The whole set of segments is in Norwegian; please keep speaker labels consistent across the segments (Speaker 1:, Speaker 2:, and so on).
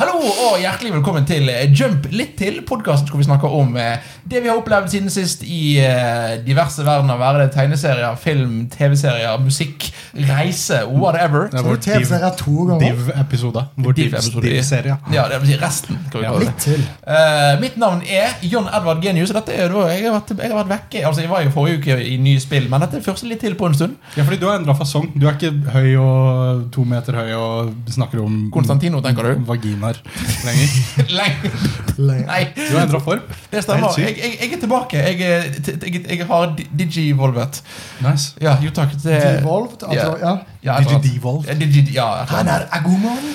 Speaker 1: Hallo og hjertelig velkommen til eh, Jump litt til, podkasten hvor vi snakker om eh, det vi har opplevd siden sist i eh, diverse verdener. Være det tegneserier, film, TV-serier, musikk, reise, whatever.
Speaker 2: Ja,
Speaker 3: Hvor
Speaker 2: vår
Speaker 3: TV-serie er to ganger.
Speaker 2: Div-episode. Vår
Speaker 1: Div-episode i-
Speaker 2: Div-serie.
Speaker 1: Ja, det vil si resten. Kan vi
Speaker 2: Ja.
Speaker 1: kalle det.
Speaker 3: Litt til.
Speaker 1: Eh, mitt navn er John Edvard Genius. Og dette er jo da, jeg, har vært, jeg har vært vekke Altså, jeg var jo forrige uke i nye spill, men dette er første litt til på en stund.
Speaker 2: Ja, fordi du har endra fasong. Du er ikke høy og to meter høy og snakker om Mm.
Speaker 1: Konstantino, tenker du?
Speaker 2: vaginaer lenger.
Speaker 1: Lenge.
Speaker 3: Lenge.
Speaker 1: Nei,
Speaker 2: Du har endra form.
Speaker 1: det stemmer.
Speaker 2: Helt
Speaker 1: Jeg,
Speaker 2: sykt.
Speaker 1: jeg, jeg er tilbake. Jeg, er- jeg, jeg, jeg har di- digivolvet.
Speaker 2: Nice.
Speaker 1: Ja, jo takk. Det,
Speaker 3: Devolved. Altså,
Speaker 1: Ja.
Speaker 3: ja.
Speaker 1: Ja, et eller annet.
Speaker 2: Digi-devolve.
Speaker 1: Ja, digi- ja, et eller
Speaker 3: Han
Speaker 1: annet.
Speaker 3: er Agoman.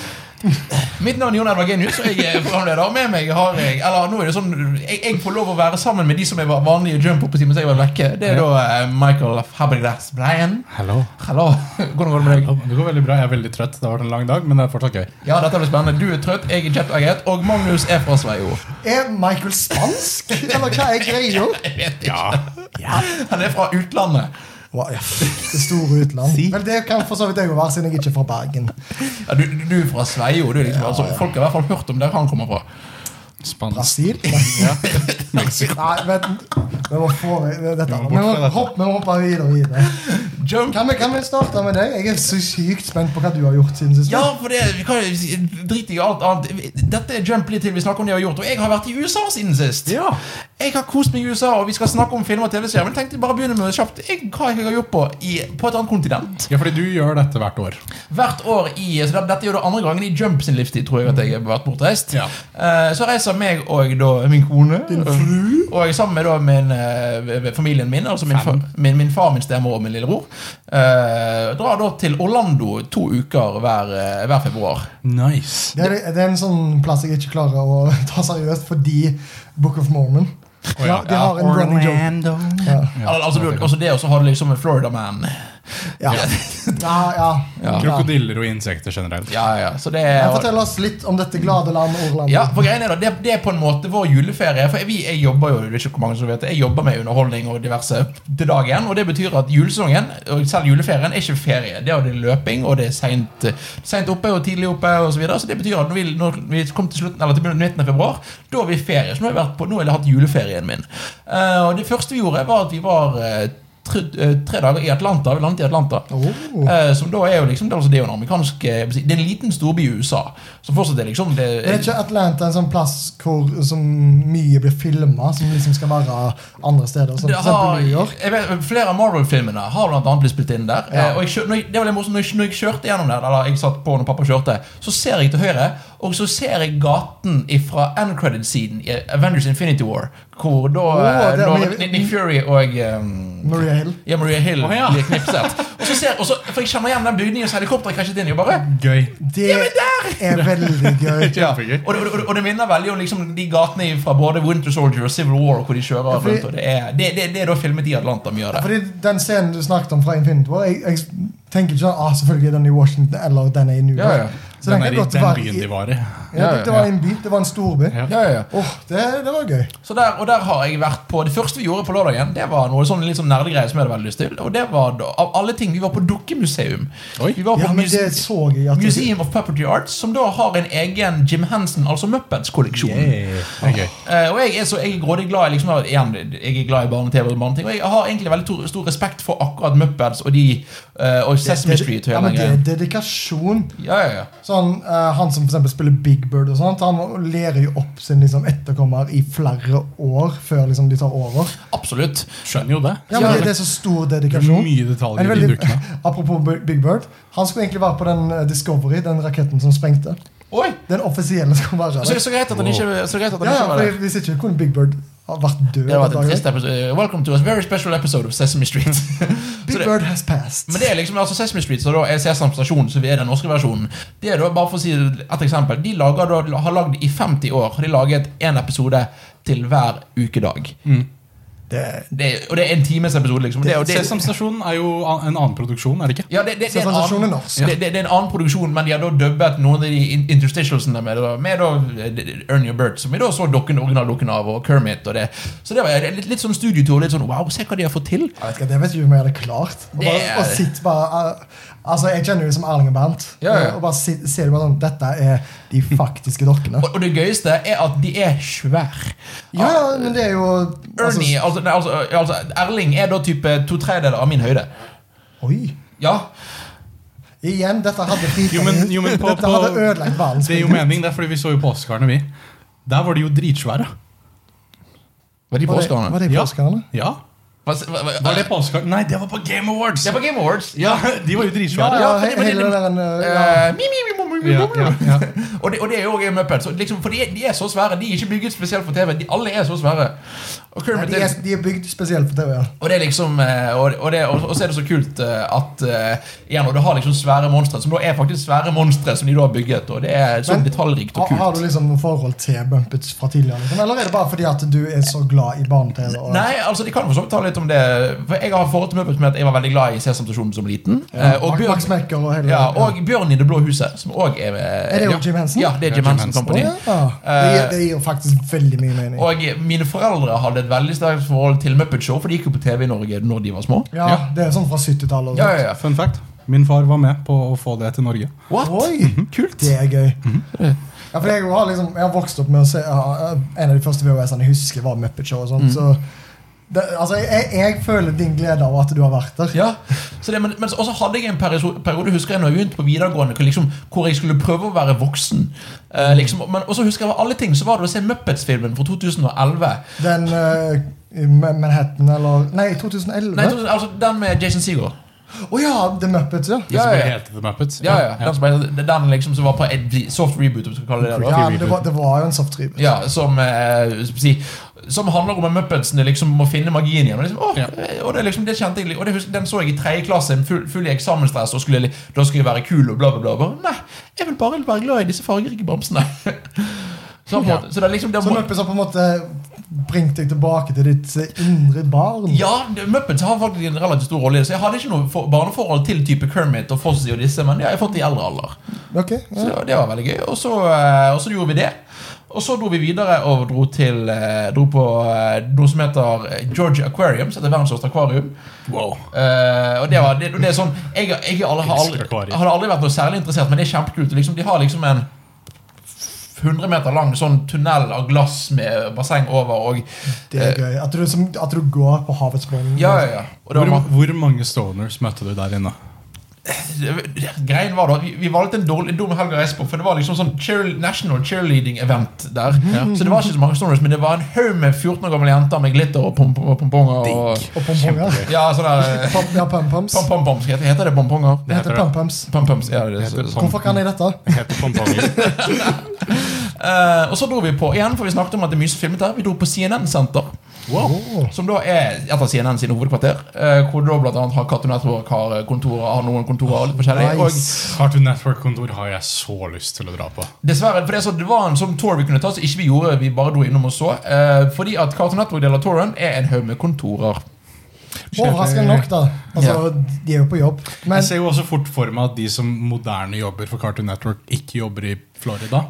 Speaker 1: Mitt navn er Jon Edvard Genius, og jeg er programleder. Og med meg har jeg Eller nå er det sånn Jeg, jeg får lov å være sammen med de som er va- vanlige jump oppe mens jeg var vekke. Det er da eh, Michael Fabregas Brian.
Speaker 2: Hello.
Speaker 1: Hallo. Hvordan går det med deg?
Speaker 2: Det går veldig bra. Jeg er veldig trøtt. Det har vært en lang dag, men det er fortsatt gøy.
Speaker 1: Ja, dette blir spennende. Du er trøtt, jeg er jetlaget, og Magnus er fra Sveio.
Speaker 3: Er Michael spansk? Eller hva er greia?
Speaker 1: Jeg vet ikke. Han er fra utlandet.
Speaker 3: Wow, ja. Det store utland.
Speaker 2: Si.
Speaker 3: Vel, det kan for så vidt jeg jo være, siden jeg ikke er fra Bergen.
Speaker 1: Ja, du, du er fra Sveio. Du er liksom, altså, folk har i hvert fall hørt om der han kommer fra.
Speaker 2: Spansk.
Speaker 3: Brasil? Nei, vent. Vi må få dette.
Speaker 2: Vi må bort
Speaker 3: Vi må
Speaker 2: fra dette.
Speaker 3: hoppe, vi må hoppe videre. videre.
Speaker 1: Jump.
Speaker 3: Kan vi, kan vi starte med deg? Jeg er så sykt spent på hva du har gjort siden sist.
Speaker 1: Ja, for det vi kan jo si- Drit i alt annet. Dette er jump litt til vi snakker om det vi har gjort. Og jeg har vært i USA siden sist.
Speaker 2: Ja.
Speaker 1: Jeg har kost meg i USA, og vi skal snakke om film og TV-serier. Men jeg tenkte bare å begynne med kjapt jeg, hva jeg har gjort på i, på et annet kontinent.
Speaker 2: ja, fordi du gjør dette hvert år.
Speaker 1: Hvert år i Så det- Dette er jo det andre gangen i Jump sin livstid, tror jeg, at jeg har vært bortreist.
Speaker 2: Ja.
Speaker 1: Eh, Så reiser meg og da min kone og jeg sammen med da min, eh, familien min, altså min, fa,
Speaker 2: Fem.
Speaker 1: min, min far, min stemor og min lillebror, eh, drar da til Orlando to uker hver, eh, hver februar.
Speaker 2: Nice.
Speaker 3: Det er, det er en sånn plass jeg ikke klarer å ta seriøst fordi Book of Mormon. Ja, de har en running joke. Ja.
Speaker 1: Al- altså, du, altså det, og så har du liksom en Florida Man.
Speaker 3: Ja. Ja, ja.
Speaker 1: Ja.
Speaker 3: Ja.
Speaker 2: Krokodiller og insekter generelt.
Speaker 1: Ja, ja, så det
Speaker 3: Men Fortell oss litt om dette glade land Orlando.
Speaker 1: Ja, for greien er da, det, det er på en måte vår juleferie. For vi, jeg jobber jo, det er ikke hvor mange som vet det, jeg jobber med underholdning og diverse til dagen. Og det betyr at julesesongen, og selv juleferien, er ikke ferie. Det er, det er løping, og det er seint sent oppe og tidlig oppe osv. Så, videre. så det betyr at når vi, når vi kom til slutten, eller til midten av februar, da har vi ferie. Så nå har jeg, vært på, nå har jeg hatt juleferien min. Eh, og det første vi gjorde, var at vi var eh, tre, eh, tre dager i Atlanta. Vi landet i Atlanta.
Speaker 3: Oh.
Speaker 1: Eh, som da er jo liksom, det er altså det er jo en amerikansk eh, Det er en liten storby i USA. Som fortsatt er liksom det,
Speaker 3: Er ikke Atlanta en sånn plass hvor som mye blir filma, som liksom skal være andre steder? Som
Speaker 1: Det
Speaker 3: for eksempel New York?
Speaker 1: jeg vet, flere av Marvel-filmene har blant annet blitt spilt inn der.
Speaker 3: Ja.
Speaker 1: Eh, Og jeg, kjør- når jeg, det var litt morsomt, når jeg, når jeg kjørte gjennom der, eller jeg satt på når pappa kjørte, så ser jeg til høyre, og så ser jeg gaten fra end-credit-siden i Avengers Infinity War, hvor da
Speaker 3: Åh,
Speaker 1: eh,
Speaker 3: det er
Speaker 1: når
Speaker 3: mye-
Speaker 1: Nick- Nick Fury og eh,
Speaker 3: Maria Hill.
Speaker 1: ja, Maria Hill
Speaker 2: Å, ja.
Speaker 1: blir knipset. Og så ser, og så, for jeg kjenner igjen den bygningen som helikopteret krasjet inn i. og bare
Speaker 2: Gøy.
Speaker 3: Det er veldig gøy.
Speaker 1: ja. og,
Speaker 2: Kjempegøy.
Speaker 1: det, og, det, og det minner veldig om liksom, de gatene fra både Winter Soldier og Civil War. Hvor de kjører
Speaker 3: Ja, fordi-
Speaker 1: rundt og Det er, det, det, det er da filmet i Atlanta. mye av det
Speaker 3: Fordi Den scenen du snakket om fra Infinity War Jeg, jeg tenker ikke sånn ah, selvfølgelig er den i Washington eller den er i New York.
Speaker 1: Ja, ja.
Speaker 3: Så den,
Speaker 2: Den, er
Speaker 3: kan
Speaker 2: i
Speaker 3: godt
Speaker 2: den
Speaker 3: være
Speaker 2: byen
Speaker 3: i,
Speaker 2: de var i.
Speaker 3: ja,
Speaker 1: Ja,
Speaker 3: det, det var en by, det var en storby. Åh,
Speaker 2: Ja.
Speaker 1: Ja, ja, ja.
Speaker 3: det, det var gøy.
Speaker 1: Så der, og der har jeg vært på Det første vi gjorde på lørdagen, Det var noe sånn litt sånn nerdegreier som jeg hadde veldig lyst til. Og det var da, av alle ting Vi var på dukkemuseum.
Speaker 2: Oi.
Speaker 1: Vi var på
Speaker 3: Ja, men
Speaker 1: muse
Speaker 3: det så jeg at
Speaker 1: Museum of Puppetry Arts, som da har en egen Jim Henson, altså Muppets-kolleksjon.
Speaker 2: Det er gøy.
Speaker 1: Eh, og jeg er så jeg er grådig glad i liksom, igjen, jeg er glad i barne-TV og barneting. Og jeg har egentlig veldig tor- stor respekt for akkurat Muppets og de eh, og Sesame Street. Og
Speaker 3: ja,
Speaker 1: hele
Speaker 3: men
Speaker 1: den
Speaker 3: det er
Speaker 1: greien.
Speaker 3: dedikasjon.
Speaker 1: Ja, ja, ja.
Speaker 3: Sånn, eh, Han som for eksempel spiller Big Bird, og sånt Han lærer jo opp sin liksom, etterkommer i flere år før liksom, de tar over.
Speaker 1: Absolutt.
Speaker 2: Skjønner jo det.
Speaker 3: Ja, men det, det er så stor
Speaker 2: Det er
Speaker 3: dedikasjon.
Speaker 2: mye
Speaker 3: En
Speaker 2: detaljer i de
Speaker 3: veldig,
Speaker 2: dukkene.
Speaker 3: apropos B- Big Bird. Han skulle egentlig være på den eh, Discovery, den raketten som sprengte.
Speaker 1: Oi!
Speaker 3: Den offisielle skulle være
Speaker 1: Så,
Speaker 3: der.
Speaker 1: så greit at han ikke, så greit at han
Speaker 3: Ja,
Speaker 1: ikke var
Speaker 3: for
Speaker 1: der.
Speaker 3: Hvis ikke kunne Big Bird ha vært død.
Speaker 1: Det har vært
Speaker 3: den
Speaker 1: en
Speaker 3: dagen.
Speaker 1: trist episode. Welcome to a very special episode of Sesame Street.
Speaker 3: Big
Speaker 1: Så det-
Speaker 3: Bird has passed.
Speaker 1: Men det er liksom, altså Sesame Street, så da er Sesam Stasjon, som er den norske versjonen Det er da, bare for å si et eksempel De lager, da, har lagd i 50 år Har de laget en episode til hver ukedag
Speaker 3: Mm. Det-
Speaker 1: det, er- Og det er en times episode liksom det, er- og det,
Speaker 2: Sesam Stasjon er jo an- en annen produksjon, er det ikke?
Speaker 1: ja, det, det, det, er en
Speaker 3: Sesam Stasjon
Speaker 1: annen-
Speaker 3: er norsk.
Speaker 1: det, det, det er en annen produksjon Men de har da dubbet noen av de in- interstitialsene Med, da- med da eh, Ernie og Bert Som vi da så dokken, originaldokken av Og Kermit og det Så det var litt, litt sånn studietur Litt sånn, wow, se hva de har fått til
Speaker 3: Jeg vet ikke, det vet ikke om jeg hadde klart. Å
Speaker 1: Det
Speaker 3: bare-
Speaker 1: er-
Speaker 3: å sitte bare eh, Altså, Jeg kjenner jo som Erling og Bernt.
Speaker 1: Ja, ja.
Speaker 3: Og bare si- ser du bare sånn Dette er de faktiske dokkene.
Speaker 1: Og, og det gøyeste er at de er svære.
Speaker 3: Ja, ja, men det er jo altså,
Speaker 1: Ah. Ernie, altså, nei, altså, altså Erling er da type to tredjedeler av min høyde.
Speaker 3: Oi.
Speaker 1: Ja.
Speaker 3: Igjen, dette hadde
Speaker 2: Jo, men-
Speaker 3: fritatt
Speaker 2: jo, men på-
Speaker 3: Dette hadde
Speaker 2: på-
Speaker 3: ødelagt verdens
Speaker 2: Det er jo mening, det er fordi vi så jo på Oscarene, vi. Der var de jo dritsvære.
Speaker 1: Var de på
Speaker 3: Var det-
Speaker 1: Oscarene?
Speaker 3: Var det
Speaker 2: Ja.
Speaker 3: på Oscarene?
Speaker 2: Ja.
Speaker 1: Hva- hva- hva-
Speaker 2: Var det på Oscar? Nei, det var på Game Awards!
Speaker 1: Det er på Game Awards.
Speaker 2: Ja, de var jo
Speaker 3: Ja,
Speaker 2: dritsvære.
Speaker 1: Ja,
Speaker 3: ja,
Speaker 1: fordi-
Speaker 3: he-
Speaker 1: fordi
Speaker 3: hele
Speaker 1: det-
Speaker 3: den der eh, ja.
Speaker 1: Eh, mi, mi, mi, mi, mi, mi, mi,
Speaker 2: Ja,
Speaker 1: mi.
Speaker 2: ja, ja.
Speaker 1: Og det, og det er jo også en Muppet. Så liksom, for de, er- de er så svære. De er ikke bygget spesielt for TV. De, alle er så svære. Og Kermit
Speaker 3: Nei,
Speaker 1: er
Speaker 3: de, er, de er bygd spesielt for TV. ja.
Speaker 1: Og det er liksom eh, Og, og, det, og, og så er det så kult eh, at eh, Igjen, og du har liksom svære monstre Som da er faktisk svære monstre som de da har bygget Og det er så
Speaker 3: Men-
Speaker 1: detaljrikt og
Speaker 3: Har,
Speaker 1: kult
Speaker 3: har du liksom noe forhold til Bumpets fra tidligere? Liksom? Eller er det bare fordi at du er så glad i barne-TV? og-
Speaker 1: Nei, altså de kan for så vidt ta litt om det For jeg har forhold til Muppets med at jeg var veldig glad i Sesamstasjonen som liten eh, og,
Speaker 3: Max-
Speaker 1: Bjørn,
Speaker 3: Max Mekker og hele
Speaker 1: ja, og Bjørn i det blå huset Som også er med
Speaker 3: Er det jo Jim Henson?
Speaker 1: Ja, det er Jim Henson
Speaker 3: Å,
Speaker 1: Company
Speaker 3: ja. det, gir, det gir faktisk veldig mye mening.
Speaker 1: Og mine foreldre hadde et veldig sterkt forhold til Muppet Show For de gikk jo på TV i Norge når de var små
Speaker 3: ja,
Speaker 2: ja.
Speaker 3: Det er sånn fra 70-tallet. og
Speaker 1: Ja,
Speaker 3: sånt.
Speaker 1: ja, ja
Speaker 2: Fun fact. Min far var med på å få det til Norge.
Speaker 1: What? Mhm.
Speaker 3: Oi,
Speaker 1: Kult
Speaker 3: det er gøy.
Speaker 1: Mhm.
Speaker 3: Ja, for jeg, har liksom, jeg har vokst opp med å se ja, En av de første VHS-ene jeg husker, var Muppet Show. og
Speaker 1: Mhm.
Speaker 3: sånt Så det, altså, jeg, jeg føler din glede av at du har vært der.
Speaker 1: Ja, så det, men, men så og så hadde jeg en periode, periode husker jeg når jeg begynte på videregående, hvor, liksom, hvor jeg skulle prøve å være voksen. Eh, liksom, men, og så husker jeg av alle ting, så var det å se Muppets-filmen fra 2011.
Speaker 3: Den eh, i Ma- Manhattan eller Nei, 2011.
Speaker 1: Nei, to- altså den med Jason Seagull.
Speaker 3: Å ja, The Muppets, ja.
Speaker 1: Ja,
Speaker 2: Det som
Speaker 1: ja.
Speaker 2: bare heter The Muppets.
Speaker 1: Ja, ja, den, som, er- den liksom som var på et re- soft reboot, om vi skal kalle det det. da.
Speaker 3: ja men det, var, det var jo en soft reboot.
Speaker 1: Ja, som, eh, skal vi si, som handler om at Muppetsene liksom må finne magien igjen. Og, liksom, åh,
Speaker 2: Ja.
Speaker 1: og det, er liksom, det kjente jeg litt- Og det, husker- Den så jeg i tredje klasse, full, full i eksamensstress, og skulle, li- da skulle jeg være kul og bla, bla, bla. Og Bare, nei, jeg vil bare være glad i disse fargerike bamsene. Så, på en måte, så det er liksom det
Speaker 3: Så
Speaker 1: må,
Speaker 3: Muppets har på en måte bringt deg tilbake til ditt eh, indre barn.
Speaker 1: ja, det- Muppets har faktisk en relativt stor rolle i det, så jeg hadde ikke noe for, barneforhold til type Kermit og Fozzie og disse, men det har jeg fått i eldre alder.
Speaker 3: Ok,
Speaker 1: Så
Speaker 3: ja.
Speaker 1: det var, det var veldig gøy. Og så, eh, og så gjorde vi det. Og så dro vi videre og dro til eh, Dro på eh, noe som heter eh, George Aquarium. Som heter verdens største akvarium.
Speaker 2: Wow.
Speaker 1: Eh, og det, var, det, det er sånn Jeg, jeg, har aldri- har aldri,
Speaker 2: Elsker akvarium.
Speaker 1: hadde aldri vært noe særlig interessert, men det er kjempekult. Liksom, de har liksom en 100 meter lang sånn tunnel av glass med basseng over. Og,
Speaker 3: Det er gøy. At du, som, at du går på havets bunn.
Speaker 1: ja, ja, ja. og det
Speaker 2: Hvor,
Speaker 1: var ma-
Speaker 2: hvor mange stoners møtte du der inne?
Speaker 1: Greien var da, vi, vi valgte en dårlig, dum helg å reise på, for det var liksom sånn cheer, national cheerleading-event der. Så det var ikke så mange stoners, men det var en haug med 14 år gamle jenter med glitter og pom- og pomponger. Og,
Speaker 3: Og pomponger.
Speaker 1: ja, sånn eh, sånne
Speaker 3: Pom, ja, pumpoms.
Speaker 1: pom-pom-pom. Heter det pomponger?
Speaker 3: Det heter
Speaker 2: heter det.
Speaker 3: pumpoms.
Speaker 1: Pom-poms, ja, det, sånn.
Speaker 2: Det heter
Speaker 1: så- så-
Speaker 2: pom-
Speaker 3: Hvorfor kan jeg dette?
Speaker 2: Heter pomponger.
Speaker 1: Eh, og så dro vi på igjen, for vi snakket om at det er mye som filmet der. Vi dro på CNN Center,
Speaker 3: Wow.
Speaker 1: som da er et av CNN sine hovedkvarter. eh, hvor du da blant annet har Cartoon Network har kontorer, har noen kontorer og litt forskjellig. Og
Speaker 3: Nice.
Speaker 2: Cartoon Network-kontor har jeg så lyst til å dra på.
Speaker 1: Dessverre, for det, er så, det var en sånn tour vi kunne ta, så ikke vi gjorde, vi bare dro innom og så. Eh, fordi at Cartoon Network deler touren er en haug med kontorer.
Speaker 3: Overraskende nok, da. Altså, De er jo på jobb. Men
Speaker 2: Jeg ser jo også fort for meg at de som moderne jobber for Cartoon Network, ikke jobber i Florida.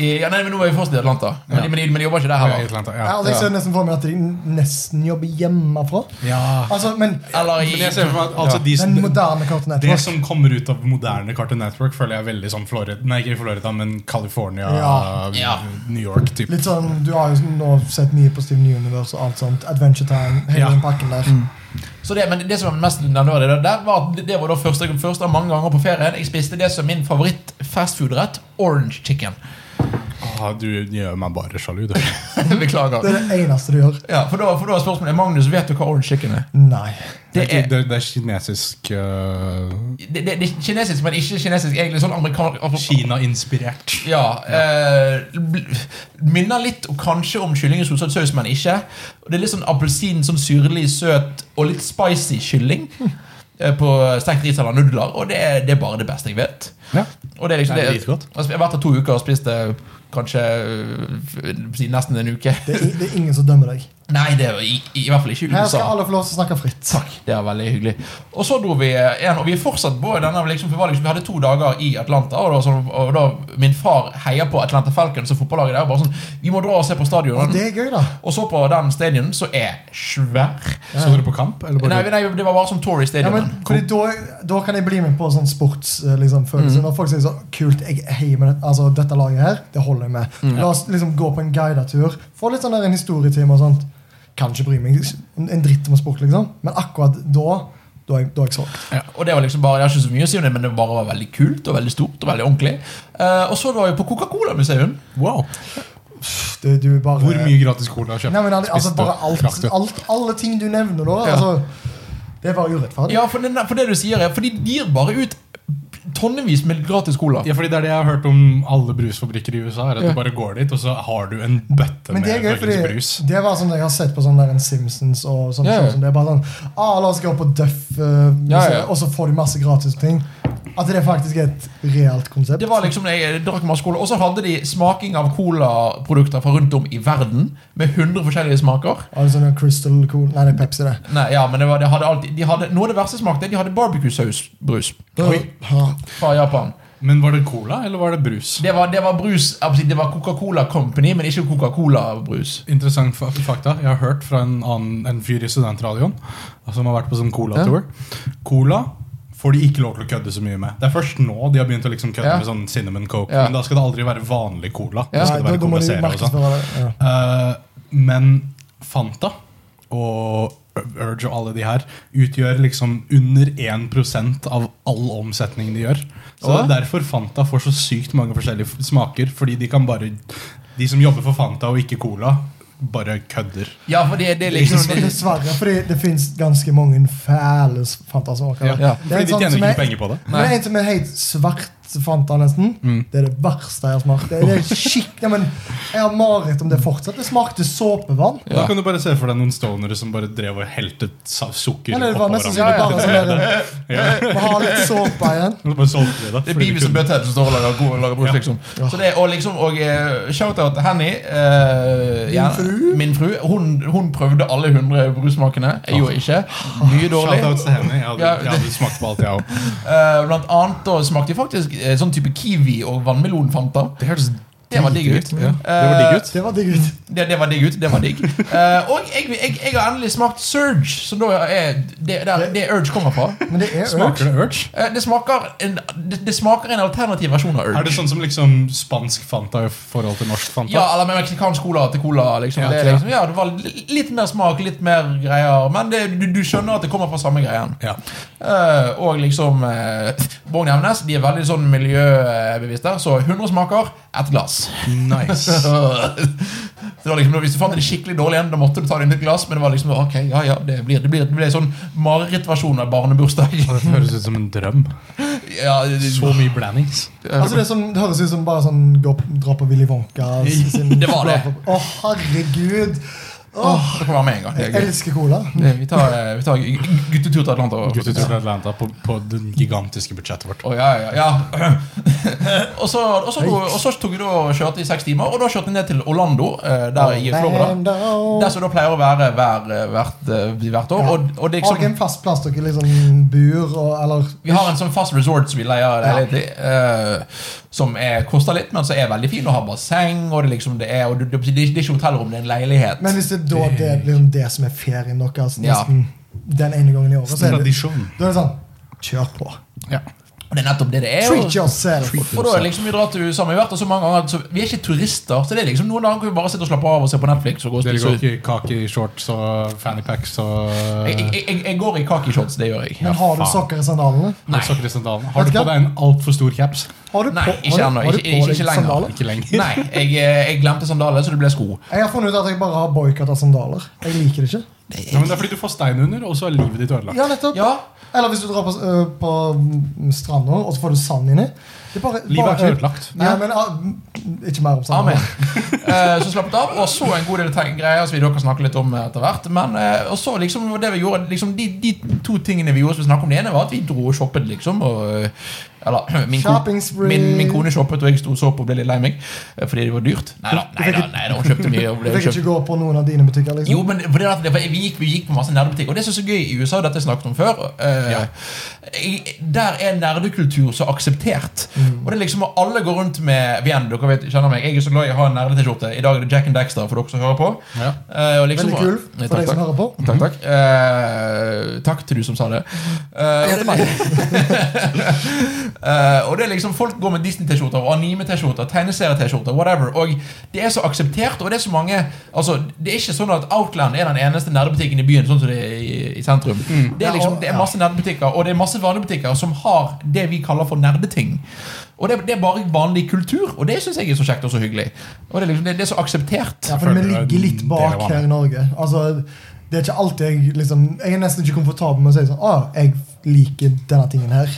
Speaker 1: I, ja, nei, men Nå er vi fortsatt i Atlanta, men, de, men, de, men de jobber ikke der
Speaker 2: Ja, i
Speaker 1: heller.
Speaker 2: Atlanta, ja.
Speaker 3: altså, jeg ser nesten for meg at de nesten jobber hjemmefra.
Speaker 2: Ja.
Speaker 3: Altså, men
Speaker 1: Eller i
Speaker 2: Men jeg ser for meg at altså, de
Speaker 3: den
Speaker 2: som,
Speaker 3: moderne Cartoon
Speaker 2: det
Speaker 3: Network
Speaker 2: som kommer ut av moderne Cartoon Network, føler jeg er veldig sånn Florida Nei, ikke Florida, men California,
Speaker 3: Ja.
Speaker 1: Ja.
Speaker 2: New York-type.
Speaker 3: Litt sånn, Du har jo nå sett mye på Steven Universe og alt sånt. Adventure Time. Hele
Speaker 2: Ja. Mm.
Speaker 3: den pakken der.
Speaker 1: Så det, men det som var mest nevneverdig der, der, var at det- det var da første, første av mange ganger på ferien jeg spiste det som min favoritt-fastfood-rett, orange chicken.
Speaker 2: Ah, du gjør meg bare sjalu, du.
Speaker 1: Beklager.
Speaker 3: Det er det eneste du gjør.
Speaker 1: Ja, for da, for da er spørsmålet Magnus, vet du hva orange chicken er?
Speaker 3: Nei.
Speaker 1: Det er,
Speaker 2: det, det er kinesisk øh,
Speaker 1: det, det, det er kinesisk, men ikke kinesisk. Egentlig sånn amerikansk
Speaker 2: Kina-inspirert.
Speaker 1: Ja. Eh, bl- minner litt og kanskje om kylling i solsatt saus, men ikke. Og Det er litt sånn appelsin, sånn syrlig, søt og litt spicy kylling. eh, På stekt ris eller nudler, og det er, det er bare det beste jeg vet.
Speaker 2: Ja.
Speaker 1: Og Og det er liksom
Speaker 2: Det er
Speaker 1: det,
Speaker 2: dritgodt.
Speaker 1: altså, Jeg har vært der to uker og spist det kanskje øh, siden nesten en uke.
Speaker 3: Det er, det er ingen som dømmer deg.
Speaker 1: Nei, det er jo i, i hvert fall ikke
Speaker 3: Her skal
Speaker 1: USA.
Speaker 3: alle få lov til å snakke fritt.
Speaker 1: Takk, det er veldig hyggelig. Og så dro vi igjen, og vi er fortsatt på denne liksom, for det var liksom, Vi hadde to dager i Atlanta, og, det var sånn, og da min far heier på Atlanta Falcons og fotballaget der. og Bare sånn, vi må dra og se på stadion.
Speaker 3: Det er gøy, da.
Speaker 1: Og så på den stadion, som er svær.
Speaker 2: Så du på kamp? Eller
Speaker 1: Nei,
Speaker 2: bare
Speaker 1: nei, det var bare sånn Tory
Speaker 3: Ja,
Speaker 1: Stadium.
Speaker 3: men, fordi da, da kan jeg bli med på sånn sportsfølelse. Liksom, følelse.
Speaker 2: Mm.
Speaker 3: Når folk sier så kult, jeg heier med det, altså, dette laget her, det holder jeg med.
Speaker 2: Mm.
Speaker 3: La oss liksom gå på en guidetur. Få litt sånn der en historietime og sånt. Kan ikke bry meg en en dritt om sport, liksom. Men akkurat da, da er jeg, da er jeg solgt.
Speaker 1: Ja, og det var liksom bare, Jeg har ikke så mye å si om det, men det bare var veldig kult og veldig stort og veldig ordentlig. Eh, og så var vi på Coca-Cola-museum.
Speaker 2: Wow!
Speaker 3: Du, du er bare
Speaker 2: Hvor mye gratis cola har du
Speaker 3: Nei, men al- altså,
Speaker 2: Spist
Speaker 3: bare
Speaker 2: og
Speaker 3: alt,
Speaker 2: fraktet.
Speaker 3: alt, alle ting du nevner nå.
Speaker 1: Ja.
Speaker 3: Altså, det er bare urettferdig.
Speaker 1: Ja, for, den, for det du sier er, for de gir bare ut tonnevis med gratis cola.
Speaker 2: Ja, fordi Det er det jeg har hørt om alle brusfabrikker i USA. er at Du bare går dit, og så har du en bøtte
Speaker 3: Men
Speaker 2: med
Speaker 3: det er gøy, fordi
Speaker 2: fuckings brus.
Speaker 3: det var sånn jeg har sett på sånn der en Simpsons og sånn.
Speaker 1: Ja, ja.
Speaker 3: show som det er bare sånn, ah, La oss gå på Duff, eh,
Speaker 1: Ja, ja.
Speaker 3: og så får de masse gratis ting. At det faktisk er et reelt konsept.
Speaker 1: Det var liksom, jeg drakk masse cola Og så hadde de smaking av colaprodukter fra rundt om i verden. Med 100 forskjellige smaker.
Speaker 3: Ja, det er sånn en Crystal Cool Nei, det er Pepsi, det.
Speaker 1: Nei, ja, men det var, de hadde alltid, de hadde, Noe av det verste smakte, de hadde barbecue-sausbrus
Speaker 2: Oi.
Speaker 3: Ja.
Speaker 1: fra Japan.
Speaker 2: Men var det cola, eller var det brus?
Speaker 1: Det var, det var brus jeg vil si, Det var Coca-Cola Company, men ikke Coca-Cola-brus.
Speaker 2: Interessant fa- fakta. Jeg har hørt fra en, annen, en fyr i studentradioen som har vært på sånn cola-tour. Cola får de ikke lov til å kødde så mye med. Det er først nå de har begynt å liksom kødde
Speaker 1: Ja.
Speaker 2: med sånn cinnamon coke.
Speaker 1: Ja.
Speaker 2: Men da skal det aldri være vanlig cola.
Speaker 1: Ja,
Speaker 2: Da skal det
Speaker 3: Nei,
Speaker 2: være
Speaker 3: da må
Speaker 2: cola
Speaker 3: de
Speaker 2: zero og sånn.
Speaker 3: markedsføre det. Ja.
Speaker 2: Eh, men Fanta og Urge og alle de her utgjør liksom under 1 av all omsetning de gjør. Så
Speaker 1: Åh?
Speaker 2: det er derfor Fanta får så sykt mange forskjellige f- smaker. Fordi de kan bare De som jobber for Fanta og ikke Cola, bare kødder.
Speaker 1: Ja, for det, det er liksom
Speaker 3: Men
Speaker 1: det,
Speaker 3: Dessverre, fordi det fins ganske mange fæle s- fantasmaker.
Speaker 2: Ja.
Speaker 1: Ja.
Speaker 3: Det
Speaker 2: Fordi
Speaker 3: er en
Speaker 2: de
Speaker 3: sånn
Speaker 2: tjener
Speaker 3: som
Speaker 2: ikke
Speaker 3: er-
Speaker 2: penger på det.
Speaker 3: Men det er en som er helt svart Fanta, nesten.
Speaker 2: Mm.
Speaker 3: Det er det verste jeg har smakt. Det, det er skikk, ja, men Jeg har mareritt om det fortsatt. Det smakte såpevann.
Speaker 1: Ja.
Speaker 2: Da kan du bare se for deg noen stonere som bare drev og helte sa- sukker
Speaker 3: Eller det
Speaker 2: oppå
Speaker 3: var nesten
Speaker 2: hverandre.
Speaker 3: så bare sånn der,
Speaker 2: Ja.
Speaker 3: Må ha litt såpe igjen.
Speaker 2: Og så bare solgte de det,
Speaker 1: det er
Speaker 2: fordi de
Speaker 1: Beavis og
Speaker 2: kunne.
Speaker 1: Butthead som står og lager, god- lager brus,
Speaker 2: Ja.
Speaker 1: liksom. Så det, og liksom, og eh, shout-out til Henny. eh, ja,
Speaker 3: fru.
Speaker 1: Min fru. Hun, hun prøvde alle 100 brussmakene. Jeg gjorde ikke. Mye dårlig.
Speaker 2: Shoutouts til henne. Jeg hadde,
Speaker 1: Ja,
Speaker 2: jeg hadde smakt på alt, jeg òg.
Speaker 1: Eh, blant annet da smakte jeg faktisk eh, sånn type kiwi og vannmelonfanta.
Speaker 2: Det hørtes
Speaker 1: Det var digg ut. Eh,
Speaker 2: Ja. Det var digg ut.
Speaker 3: Eh, Det var digg ut.
Speaker 1: Det, det var digg ut. Det var digg. Eh, og jeg, jeg, jeg har endelig smakt Surge, som da er det, der, det Urge kommer fra.
Speaker 3: Men det er
Speaker 2: Smaker det urge?
Speaker 1: Eh, det, smaker en, det, det smaker en alternativ versjon av Urge.
Speaker 2: Er det sånn som liksom spansk Fanta i forhold til norsk Fanta?
Speaker 1: Ja, eller med meksikansk cola til cola. Liksom.
Speaker 2: Ja,
Speaker 1: det, er
Speaker 2: ja.
Speaker 1: liksom, ja, det var li- litt mer smak, litt mer greier. Men det, du, du skjønner at det kommer fra samme greien.
Speaker 2: Ja.
Speaker 1: Eh, og liksom uh, Vågen Hemnes de er veldig sånn miljøbevisste, så 100 smaker, ett glass.
Speaker 2: Nice.
Speaker 1: Så det var liksom, hvis du fant en skikkelig dårlig en, da måtte du ta det inn i et glass. Men det var liksom, ok, ja, ja, det blir, det blir, det blir en sånn marerittversjon av barnebursdag.
Speaker 2: Dette høres ut som en drøm.
Speaker 1: ja, det,
Speaker 2: Så mye blandings.
Speaker 3: Altså det, er som, det høres ut som bare sånn gå, dra på Willy Wonka. s- sin-
Speaker 1: Det var det.
Speaker 3: Å, herregud! Åh,
Speaker 1: det kan være med en gang. Det
Speaker 3: jeg
Speaker 1: er gøy.
Speaker 3: elsker cola.
Speaker 1: Det- Vi tar, eh, vi tar gu- guttetur til Atlanta.
Speaker 2: Guttetur til Atlanta på, på det gigantiske budsjettet vårt.
Speaker 1: Å, ja, ja, ja. og, så, og, så, dro- og så tok jeg da og kjørte i seks timer, og da kjørte jeg ned til Orlando, eh, der i Florida.
Speaker 3: Orlando.
Speaker 1: Der som det pleier å være hver, eh, hvert, eh, hvert år.
Speaker 3: Ja.
Speaker 1: Og, og det er
Speaker 3: Har dere
Speaker 1: liksom,
Speaker 3: en fast plass dere liksom bur og eller
Speaker 1: vi har en sånn fast resort som vi leier leilighet i, eh, som er, koster litt, men som er veldig fin, og har basseng, og det, liksom, det, er, og det, det, det er ikke hotellrom, det er en leilighet.
Speaker 3: Men hvis det er da det, er liksom det som er ferien deres
Speaker 1: Ja.
Speaker 3: nesten den ene gangen i året, så er det,
Speaker 2: Tradisjon.
Speaker 3: da er det sånn Kjør på.
Speaker 2: Ja.
Speaker 1: Og det er nettopp det det er.
Speaker 3: Treat
Speaker 1: Og,
Speaker 3: yourself.
Speaker 1: og da er det liksom vi drar til USA, men vi har vært der så mange ganger, så vi er ikke turister, så det er liksom noen dager kan vi bare sitte og slappe av og se på Netflix og gå og
Speaker 2: Dere
Speaker 1: spise
Speaker 2: går ikke i kake i shorts og fannypacks og
Speaker 1: Jeg, jeg, jeg, jeg går i kakishorts, det gjør jeg.
Speaker 3: Men har du
Speaker 2: faen.
Speaker 3: sokker i sandalene?
Speaker 2: og sokker i sandalene. Har du
Speaker 3: Vet du
Speaker 2: på
Speaker 3: hva?
Speaker 2: deg en altfor stor caps?
Speaker 3: Har du
Speaker 1: Nei,
Speaker 3: på,
Speaker 1: ikke
Speaker 3: har du-
Speaker 1: ennå.
Speaker 3: har du
Speaker 1: Ikke,
Speaker 3: på
Speaker 1: ikke,
Speaker 3: deg
Speaker 1: ikke lenger.
Speaker 3: sandaler?
Speaker 2: Ikke lenger.
Speaker 1: Nei, jeg, eh, jeg glemte sandaler, så det ble sko.
Speaker 3: Jeg har funnet ut at jeg bare har boikotta sandaler. Jeg liker det ikke.
Speaker 2: Ja, men det er fordi du får stein under, og så er livet ditt ødelagt.
Speaker 3: Ja, nettopp.
Speaker 1: Ja,
Speaker 3: Eller hvis du drar på, øh, på mm, stranda, og så får du sand inni. Det er bare,
Speaker 2: Livet er
Speaker 3: bare,
Speaker 2: ikke ødelagt.
Speaker 3: Nei, men ah, mm, Ikke mer om sand.
Speaker 1: amen. Eh, så slappet av, og så en god del teg- greier som vi da kan snakke litt om eh, etter hvert. Men eh, og så liksom det vi gjorde liksom, de, de to tingene vi gjorde som vi snakket om, det ene var at vi dro og shoppet, liksom. Og, eh, eller min kone
Speaker 3: Shopping spree. free.
Speaker 1: Min, min kone shoppet, og jeg sto og så på og ble litt lei meg eh, fordi det var dyrt. Nei da,
Speaker 3: Du
Speaker 1: nei
Speaker 3: fikk
Speaker 1: da,
Speaker 3: ikke-
Speaker 1: nei da, hun kjøpte mye. Og
Speaker 3: Du
Speaker 1: ble
Speaker 3: fikk
Speaker 1: kjøpt.
Speaker 3: ikke gå på noen av dine butikker, liksom?
Speaker 1: Jo, men det- for det er at det, for vi, gikk, vi gikk på masse nerdebutikk, og det som er så gøy i USA, dette har jeg snakket om før eh, jeg, Der er nerdekultur så akseptert.
Speaker 3: Mm.
Speaker 1: Og det er liksom at alle går rundt med Igjen, dere vet, kjenner meg, jeg er så glad i å ha en nerde-T-skjorte. I dag er det Jack and Daxter for dere som hører på.
Speaker 2: Ja.
Speaker 1: Eh, og liksom-
Speaker 3: Veldig kul
Speaker 1: Nei,
Speaker 3: for
Speaker 1: takk,
Speaker 3: deg som
Speaker 1: takk.
Speaker 3: hører på.
Speaker 1: Takk, takk. Eh, takk til du som sa det. Eh,
Speaker 3: Ja, til meg.
Speaker 1: Eh, og det er liksom Folk går med Disney-T-skjorter, og anime-T-skjorter, tegneserie-T-skjorter, whatever. Og det er så akseptert, og det er så mange Altså, det er ikke sånn at Outland er den eneste nerdebutikken i byen, sånn som det er i, i sentrum. Det,
Speaker 3: Ja,
Speaker 1: er
Speaker 3: og-
Speaker 1: liksom, det er masse nerdebutikker, og det er masse vanlige butikker som har det vi kaller for nerdeting. Og det, det er bare vanlig kultur, og det syns jeg er så kjekt og så hyggelig. Og det er liksom, det, det er så akseptert.
Speaker 3: Ja, for vi
Speaker 2: Føler det er
Speaker 3: ligger litt
Speaker 2: en del
Speaker 3: bak
Speaker 2: av
Speaker 3: her i Norge. Altså, det er ikke alltid Jeg liksom Jeg er nesten ikke komfortabel med å si sånn Å, jeg liker denne tingen her.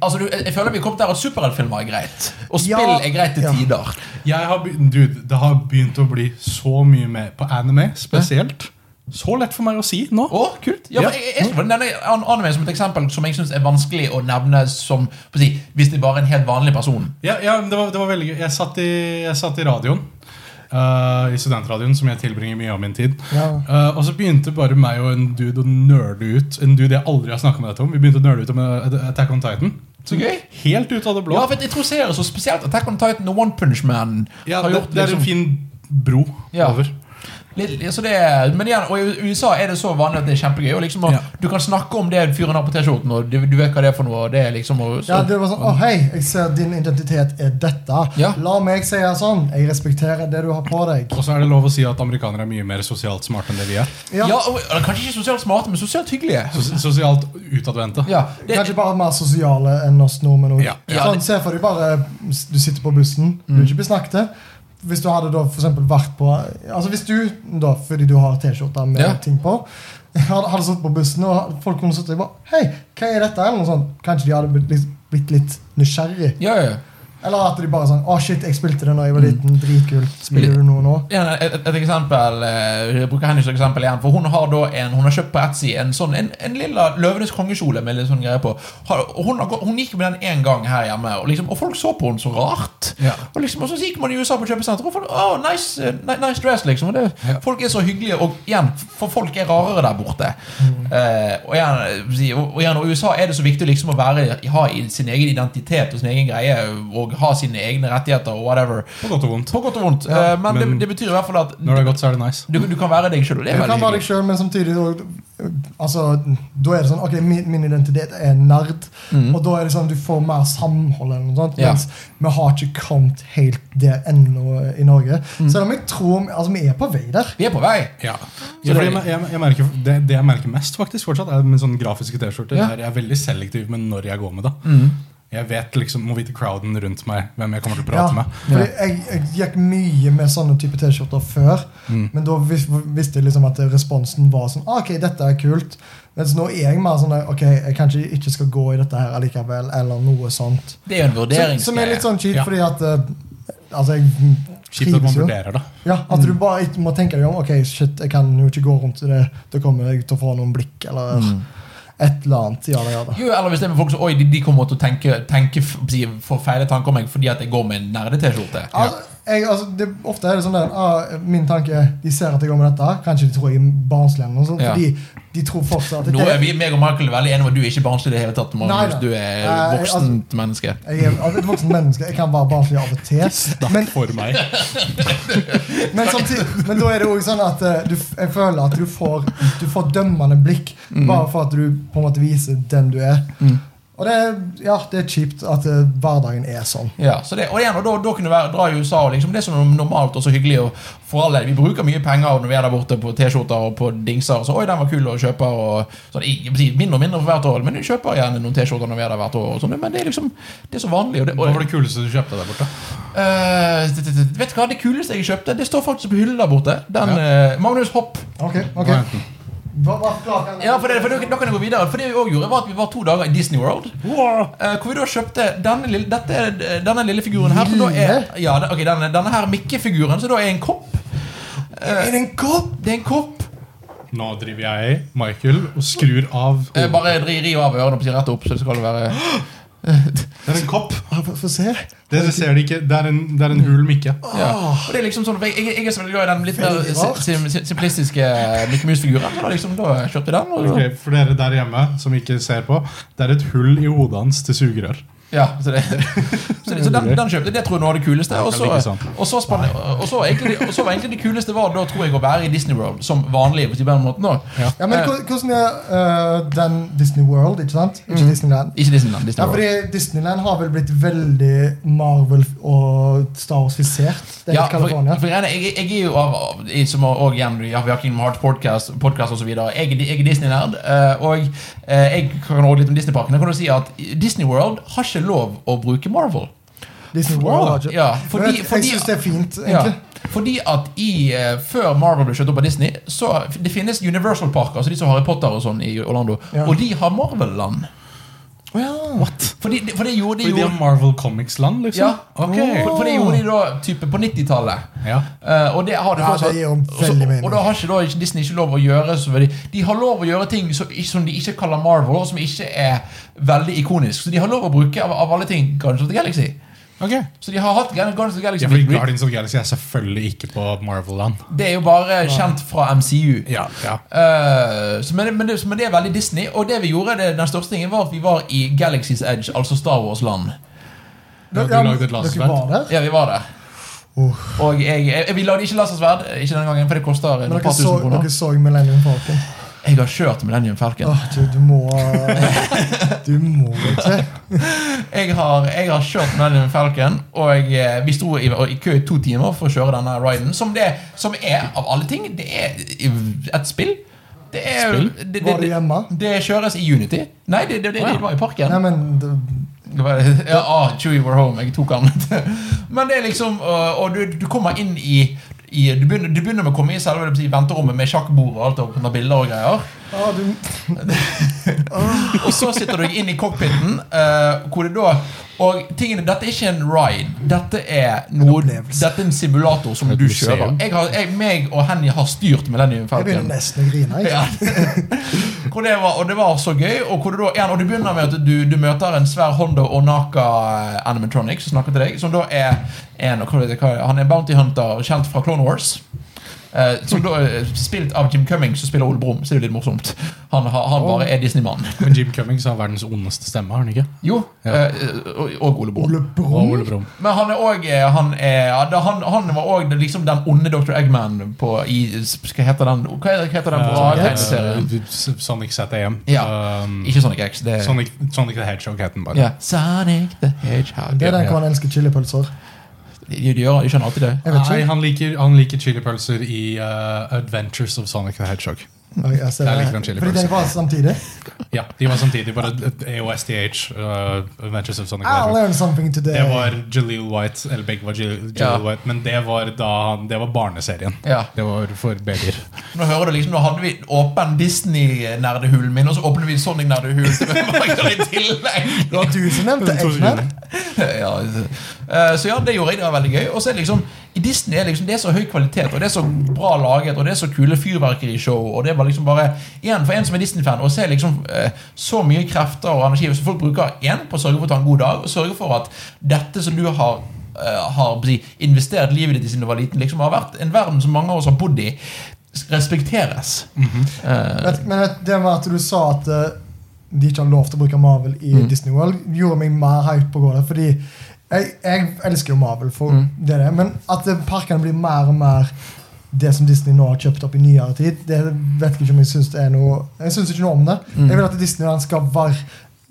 Speaker 1: Altså, du, jeg jeg føler vi kom der at superheltfilmer er greit. Og spill
Speaker 3: Ja.
Speaker 1: er greit til
Speaker 3: Ja.
Speaker 1: tider.
Speaker 2: Jeg har begynt, dude, det har begynt å bli så mye mer på anime, spesielt. Så lett for meg å si nå.
Speaker 1: Å, kult! Ja, for
Speaker 2: Ja.
Speaker 1: jeg, jeg, jeg skal nevne an- anime som et eksempel som jeg syns er vanskelig å nevne som på å si, hvis det bare er en helt vanlig person.
Speaker 2: Ja, ja det, var, det var veldig gøy. Jeg satt i, jeg satt i radioen. eh, I studentradioen, som jeg tilbringer mye av min tid.
Speaker 3: Ja.
Speaker 2: Eh, og så begynte bare meg og en dude å nerde ut. En dude jeg aldri har snakket med dette om. Vi begynte å nerde ut om eh, Attack on Titan.
Speaker 1: Så gøy!
Speaker 2: Helt ut av det blå.
Speaker 1: Ja, for jeg tror serier så spesielt Attack on Titan og One Punch Man
Speaker 2: Ja,
Speaker 1: har
Speaker 2: det,
Speaker 1: gjort
Speaker 2: det er en
Speaker 1: liksom,
Speaker 2: fin bro
Speaker 1: Ja.
Speaker 2: over.
Speaker 1: litt, ja, så det er, Men igjen, og i USA er det så vanlig at det er kjempegøy. Og liksom, og
Speaker 2: Ja.
Speaker 1: Du kan snakke om det fyren har på T-skjorten, og du, du vet hva det er for noe. Og det er liksom og, så,
Speaker 3: Ja, det var sånn, å hei, jeg ser din identitet er dette.
Speaker 1: Ja.
Speaker 3: La meg si det sånn. Jeg respekterer det du har på deg.
Speaker 2: Og så er det lov å si at amerikanere er mye mer sosialt smarte enn det vi er.
Speaker 1: ja.
Speaker 3: Ja,
Speaker 1: og, eller Kanskje ikke sosialt smarte, men sosialt hyggelige.
Speaker 2: Sos sosialt utadvendte.
Speaker 1: Ja, det,
Speaker 3: Kanskje bare mer sosiale enn oss nordmenn. også.
Speaker 2: Ja.
Speaker 1: Ja, Mm.
Speaker 3: Sånn,
Speaker 1: det-
Speaker 3: se for deg bare Du sitter på bussen, du er ikke besnakket. Hvis du hadde da for eksempel vært på Altså hvis du, da, fordi du har T-skjorta med
Speaker 1: Ja.
Speaker 3: ting på, hadde, hadde sittet på bussen og folk kunne sittet og bare Hei, hva er dette? Eller noe sånt. Kanskje de hadde blitt, litt- blitt litt nysgjerrig.
Speaker 1: ja, ja.
Speaker 3: Eller at de bare sånn Å, shit, jeg spilte det da jeg var
Speaker 1: Mm.
Speaker 3: liten. Dritkult. Spiller du noe nå?
Speaker 1: Ja, et, et eksempel eh, Jeg bruker henne som eksempel igjen. For hun har da en Hun har kjøpt på Etsy en sånn En, en lilla Løvenes kongekjole med litt sånn greier på. Har, og hun, har, gå- hun gikk med den én gang her hjemme, og, liksom, og folk så på henne så rart.
Speaker 2: Ja.
Speaker 1: Og liksom, og så gikk man i USA på kjøpesenter og folk oh, nice, eh, ni- nice dress, liksom. Og det,
Speaker 2: Ja.
Speaker 1: Folk er så hyggelige, og igjen, for folk er rarere der borte.
Speaker 2: Mm.
Speaker 1: Eh, og, igjen, eh, si- og, og igjen, og i USA er det så viktig liksom å være, ha i sin egen identitet og sin egen greie, og ha sine egne rettigheter og whatever.
Speaker 2: På godt og vondt.
Speaker 1: På godt og vondt.
Speaker 3: Ja,
Speaker 1: eh, men
Speaker 2: men-
Speaker 1: det, det betyr i hvert fall at
Speaker 2: Når det er godt, så er det nice.
Speaker 1: du, du kan være deg sjøl. Det er
Speaker 3: Du
Speaker 1: veldig
Speaker 3: kan være deg
Speaker 1: hyggelig.
Speaker 3: sjøl, men samtidig og, altså, Da er det sånn Ok, min, min identitet er nerd, og da er det sånn du får mer samhold. eller noe sånt
Speaker 1: Mm. Ja.
Speaker 3: Mens vi har ikke kommet helt der ennå i Norge.
Speaker 1: Mm.
Speaker 3: Selv om jeg tror Altså, vi er på vei der.
Speaker 1: Vi er på vei.
Speaker 2: Ja.
Speaker 1: Så
Speaker 2: fordi
Speaker 1: det-
Speaker 2: jeg, jeg, jeg merker, det, det jeg merker mest faktisk fortsatt, er med sånne grafiske T-skjorter.
Speaker 1: Ja.
Speaker 2: der Jeg er veldig selektiv med når jeg går med det.
Speaker 3: Mm.
Speaker 2: Jeg vet liksom, må vite crowden rundt meg, hvem jeg kommer til å prate med.
Speaker 3: fordi jeg, jeg gikk mye med sånne type T-skjorter før,
Speaker 1: Mm.
Speaker 3: men da vis, visste jeg liksom at responsen var sånn ah, Ok, dette er kult. Mens nå er jeg mer sånn der, Ok, jeg kanskje ikke skal gå i dette her allikevel, eller noe sånt.
Speaker 1: Det er jo en
Speaker 3: Som,
Speaker 1: vurderingsgreie.
Speaker 3: som er litt sånn kjipt,
Speaker 2: Ja.
Speaker 3: fordi at eh, Altså, jeg
Speaker 2: Kjipt at
Speaker 3: trives
Speaker 2: man
Speaker 3: jo.
Speaker 2: vurderer det.
Speaker 3: Ja, At
Speaker 1: Mm.
Speaker 3: du bare ikke må tenke deg om. Ok, shit, jeg kan jo ikke gå rundt i det. Da kommer jeg til å få noen blikk, eller
Speaker 1: Mm.
Speaker 3: et eller annet. Ja, det gjør det.
Speaker 1: Jo, eller hvis det er med folk som Oi, de, de kommer til å tenke, tenke f- si, få feile tanker om meg fordi at jeg går med en nerde-T-skjorte.
Speaker 3: Altså, jeg, altså, det, ofte er det sånn der, ah, Min tanke er de ser at jeg går med dette. Kanskje de tror jeg er barnslig, eller noe sånt.
Speaker 1: Ja.
Speaker 3: Fordi de tror fortsatt at
Speaker 1: Nå er
Speaker 3: jeg,
Speaker 1: vi, meg og Michael er veldig enige om at du er ikke barnslig i det hele tatt.
Speaker 3: Nei,
Speaker 1: Magnus.
Speaker 3: nei.
Speaker 1: Du er
Speaker 3: Eh,
Speaker 1: voksent menneske.
Speaker 3: jeg er altså, et voksen menneske. Jeg kan være barnslig av og til.
Speaker 2: Snakk
Speaker 3: Men,
Speaker 2: for meg.
Speaker 3: men, samtidig, men da er det også sånn at eh, du, f- jeg føler at du får, du får dømmende blikk
Speaker 1: Mm.
Speaker 3: bare for at du på en måte viser den du er. Og det, er- ja, det er kjipt at eh, hverdagen er sånn.
Speaker 1: Ja, så det, og igjen, og da, da kunne du være, dra i USA og liksom, Det som er normalt og så hyggelig og for alle, Vi bruker mye penger når vi er der borte på T-skjorter og på dingser. Så, Oi, den var kul å kjøpe og, sånn, jeg- jeg vil si, Mindre og mindre for hvert år, men du kjøper gjerne noen T-skjorter når vi er der hvert år. Og sånn, men det er liksom, det er så vanlig. Og det,
Speaker 2: Hva
Speaker 1: og,
Speaker 2: var det kuleste du kjøpte der borte?
Speaker 1: Eh, t- t- t- vet du hva, Det kuleste jeg kjøpte, det står faktisk på hyllen der borte. Den, eh, Magnus Hopp.
Speaker 3: Ok, ok.
Speaker 2: Nei.
Speaker 3: Hva, hva, klar, kan-
Speaker 1: Ja, for det, for da- Da kan jeg gå videre. For det vi også gjorde var at vi var to dager i Disney World. eh, hvor vi da kjøpte denne lille, dette, denne lille figuren her. Som da er, ja, den- ok, denne, denne her Mikke-figuren, som da er en kopp.
Speaker 3: Er det Eh, en kopp?
Speaker 1: Det er en kopp.
Speaker 2: Nå driver jeg, Michael, og skrur av
Speaker 1: Eh,
Speaker 3: Oh.
Speaker 2: hodet.
Speaker 1: bare dri, riv av ørene og rett opp, så det skal være
Speaker 2: Det er en kopp.
Speaker 3: Få få se.
Speaker 2: Det, det ser de ikke. Det er en, det er en hul mikke.
Speaker 1: Ja. Og det er liksom sånn, jeg, jeg, jeg er så veldig glad i den litt mer
Speaker 3: Ah. Veldig rart.
Speaker 1: sim, sim, simplistiske Mickey Mouse-figuren. Da, liksom, da kjørte jeg den. Og,
Speaker 2: Ok, for dere der hjemme som ikke ser på, det er et hull i hodet hans til sugerør.
Speaker 1: Ja, så det, så, det, så den, den kjøpte jeg. Det tror jeg nå er det kuleste. Og så,
Speaker 2: Ikke sant.
Speaker 1: og så, spann, og så, egentlig, og så var egentlig det kuleste var da tror jeg å være i Disney World som vanlig. Hvis de bare måtte nå.
Speaker 3: Ja, men
Speaker 1: Eh.
Speaker 3: hvor- hvordan er eh, den Disney World, ikke sant?
Speaker 1: Mm.
Speaker 3: Ikke Disneyland.
Speaker 1: Ikke Disneyland. Disney
Speaker 3: Ja,
Speaker 1: World.
Speaker 3: fordi Disneyland har vel blitt veldig Marvel og Star Wars-fisert. Det er
Speaker 1: Ja,
Speaker 3: litt
Speaker 1: for,
Speaker 3: California.
Speaker 1: for jeg, jeg, jeg er jo av, av i- som og, og igjen, ja, Vi har Kingdom Hearts podcast, podcast og så videre Jeg, er- jeg er Disney-nerd, eh, og eh, jeg kan også litt om Disney-parken. Jeg kan jo si at Disney World har ikke lov å bruke Marvel.
Speaker 3: Disney World har ikke-
Speaker 1: Ja,
Speaker 3: Men
Speaker 1: fordi,
Speaker 3: jeg- Jeg
Speaker 1: fordi,
Speaker 3: syns det er fint,
Speaker 1: ja,
Speaker 3: egentlig.
Speaker 1: fordi at i, eh, før Marvel ble kjøpt opp av Disney, så det finnes Universal-parker, altså de som har Harry Potter og sånn i Orlando,
Speaker 3: Ja.
Speaker 1: og de har Marvel-land.
Speaker 3: Å ja.
Speaker 1: Fordi, for det gjorde de
Speaker 2: Fordi de har
Speaker 1: jo
Speaker 2: Marvel Comics-land, liksom?
Speaker 1: ja, for, for det gjorde de da type på 90-tallet.
Speaker 2: Ja.
Speaker 1: Eh, og det har de
Speaker 3: Ja,
Speaker 1: fortsatt.
Speaker 3: det gir jo
Speaker 1: Og så-
Speaker 3: veldig mening.
Speaker 1: og da har ikke, da, ikke Disney ikke lov å gjøre så veldig De har lov å gjøre ting som, ikke- som de ikke kaller Marvel, og som ikke er veldig ikonisk. Så de har lov å bruke, av, av alle ting, Guardians of the Galaxy.
Speaker 2: Okay.
Speaker 1: Så de har hatt Guardians Guardians of the Galaxy.
Speaker 2: Ja, fordi Guardians of the Galaxy er selvfølgelig ikke på Marvel-land.
Speaker 1: det er jo bare kjent fra MCU.
Speaker 2: Ja, ja.
Speaker 1: Eh, så men, det- men, det, men det er veldig Disney. Og det vi gjorde, det, den største tingen var at vi var i Galaxy's Edge, altså Star Wars-land.
Speaker 2: Ja, du
Speaker 3: Ja,
Speaker 2: lagde et
Speaker 3: Dere var
Speaker 2: lasersverd.
Speaker 3: der?
Speaker 1: Ja, vi var der. Og jeg, jeg, vi lagde ikke lasersverd, ikke denne gangen, for det koster et
Speaker 3: Men
Speaker 1: par
Speaker 3: dere
Speaker 1: tusen
Speaker 3: så,
Speaker 1: kroner.
Speaker 3: dere Ah. så Millennium Falcon?
Speaker 1: Jeg har kjørt Millennium Falcon.
Speaker 3: Åh, du, du må Du må ikke.
Speaker 1: Jeg har, jeg har kjørt Millennium Falcon, og eh, vi sto i, i kø i to timer for å kjøre denne riden. Som, det, som er, av alle ting, det er et spill. Det er,
Speaker 2: Spill?
Speaker 1: Det, det,
Speaker 3: Var du hjemme?
Speaker 1: det, kjøres i Unity. Nei, det, det, det, det var i parken.
Speaker 3: Nei, men det,
Speaker 1: Det var- Ja, ah, Chewie were home. Jeg tok han. Men det er liksom øh, Og du, du kommer inn i, i du, begynner, du begynner med å komme i selve det vil si, venterommet med sjakkbord og alt og sånne bilder og greier.
Speaker 3: ah, du,
Speaker 1: Og så sitter du inn i cockpiten, øh, hvor det da Og tingene, dette er ikke en ride. Dette er noe,
Speaker 3: opplevelse.
Speaker 1: dette er en simulator som
Speaker 2: Et
Speaker 1: du
Speaker 2: museum.
Speaker 1: kjører. Jeg har, jeg, meg og Henny har styrt Millennium
Speaker 3: jeg begynner
Speaker 1: Falcon.
Speaker 3: nesten å grine. Jeg.
Speaker 1: Ja. Hvor det var, og det var så gøy. Og, hvor du da, ja, og du begynner med at du, du møter en svær Honda Onaka eh, animatronic som snakker til deg. Som da er en, hva er det- hva er det? Han er en bounty hunter kjent fra Clone Wars. Eh, som da er Spilt av Jim Cummings, som spiller Ole Brumm. Så det er jo litt morsomt. Han, har- han bare er Disney-mann.
Speaker 2: Men Jim Cummings har verdens ondeste stemme, har han ikke?
Speaker 1: Jo,
Speaker 2: Ja.
Speaker 1: eh, og, og Ole Brumm.
Speaker 3: Ole
Speaker 2: Og
Speaker 3: Brumm?
Speaker 2: Ole Brumm.
Speaker 1: Men han er òg han, er- ja, da- han, han var òg liksom den onde Dr. Eggman på i, Hva heter den Hva er- hva heter den bra
Speaker 2: Eh,
Speaker 1: tegneserien?
Speaker 2: eh, Sonic ZM.
Speaker 1: Ja.
Speaker 2: Um,
Speaker 1: Ikke Sonic X. Det er
Speaker 2: Sonic, Sonic the Hedgehog het den bare.
Speaker 1: Ja. Sonic the Hedgehog.
Speaker 3: Det er den hvor han elsker chilipølser.
Speaker 1: De, de, gjør, de skjønner alltid det.
Speaker 3: Jeg vet
Speaker 2: Nei,
Speaker 3: ikke.
Speaker 2: han liker, han liker chilipølser i eh, Adventures of Sonic the Hedgehog.
Speaker 3: Oi, jeg ser
Speaker 2: Der
Speaker 3: det.
Speaker 2: liker han chilipølser.
Speaker 3: Fordi den var samtidig.
Speaker 2: Ja, De var samtidig bare AOSDH. eh, Adventures of Sonic the
Speaker 3: I
Speaker 2: Hedgehog.
Speaker 3: learned something today.
Speaker 2: Det var Jaleel White, eller begge var Jaleel, Jaleel
Speaker 1: Ja.
Speaker 2: White, men det var da han, det var barneserien.
Speaker 1: Ja.
Speaker 2: Det var for babyer.
Speaker 1: Nå hører du liksom, nå hadde vi åpen Disney-nerdehulen min, og så åpner vi Sonic-nerdehulen til Margaret i tillegg.
Speaker 3: Det var du som nevnte
Speaker 2: To
Speaker 3: Eggman.
Speaker 2: sekunder.
Speaker 1: ja, eh, så ja, det gjorde jeg. Det var veldig gøy. Og så er det liksom i Disney er liksom, det er så høy kvalitet, og det er så bra laget, og det er så kule fyrverkerishow. Og det var liksom bare igjen for en som er Disney-fan, å se liksom eh, så mye krefter og energi som folk bruker igjen på å sørge for å ta en god dag, og sørge for at dette som du har eh, har på å si, investert livet ditt i siden du var liten, liksom har vært en verden som mange av oss har bodd i, s- respekteres. Eh,
Speaker 3: Vet- Men vet, det med at du sa at eh, de ikke har lov til å bruke Marvel i
Speaker 1: Mm.
Speaker 3: Disney World, gjorde meg mer hype på å gå der. Fordi jeg, jeg elsker jo Marvel, for
Speaker 1: Mm.
Speaker 3: det det, er, men at eh, parkene blir mer og mer det som Disney nå har kjøpt opp i nyere tid, det vet jeg ikke om jeg syns er noe Jeg syns ikke noe om det.
Speaker 1: Mm.
Speaker 3: Jeg vil at Disneyland skal være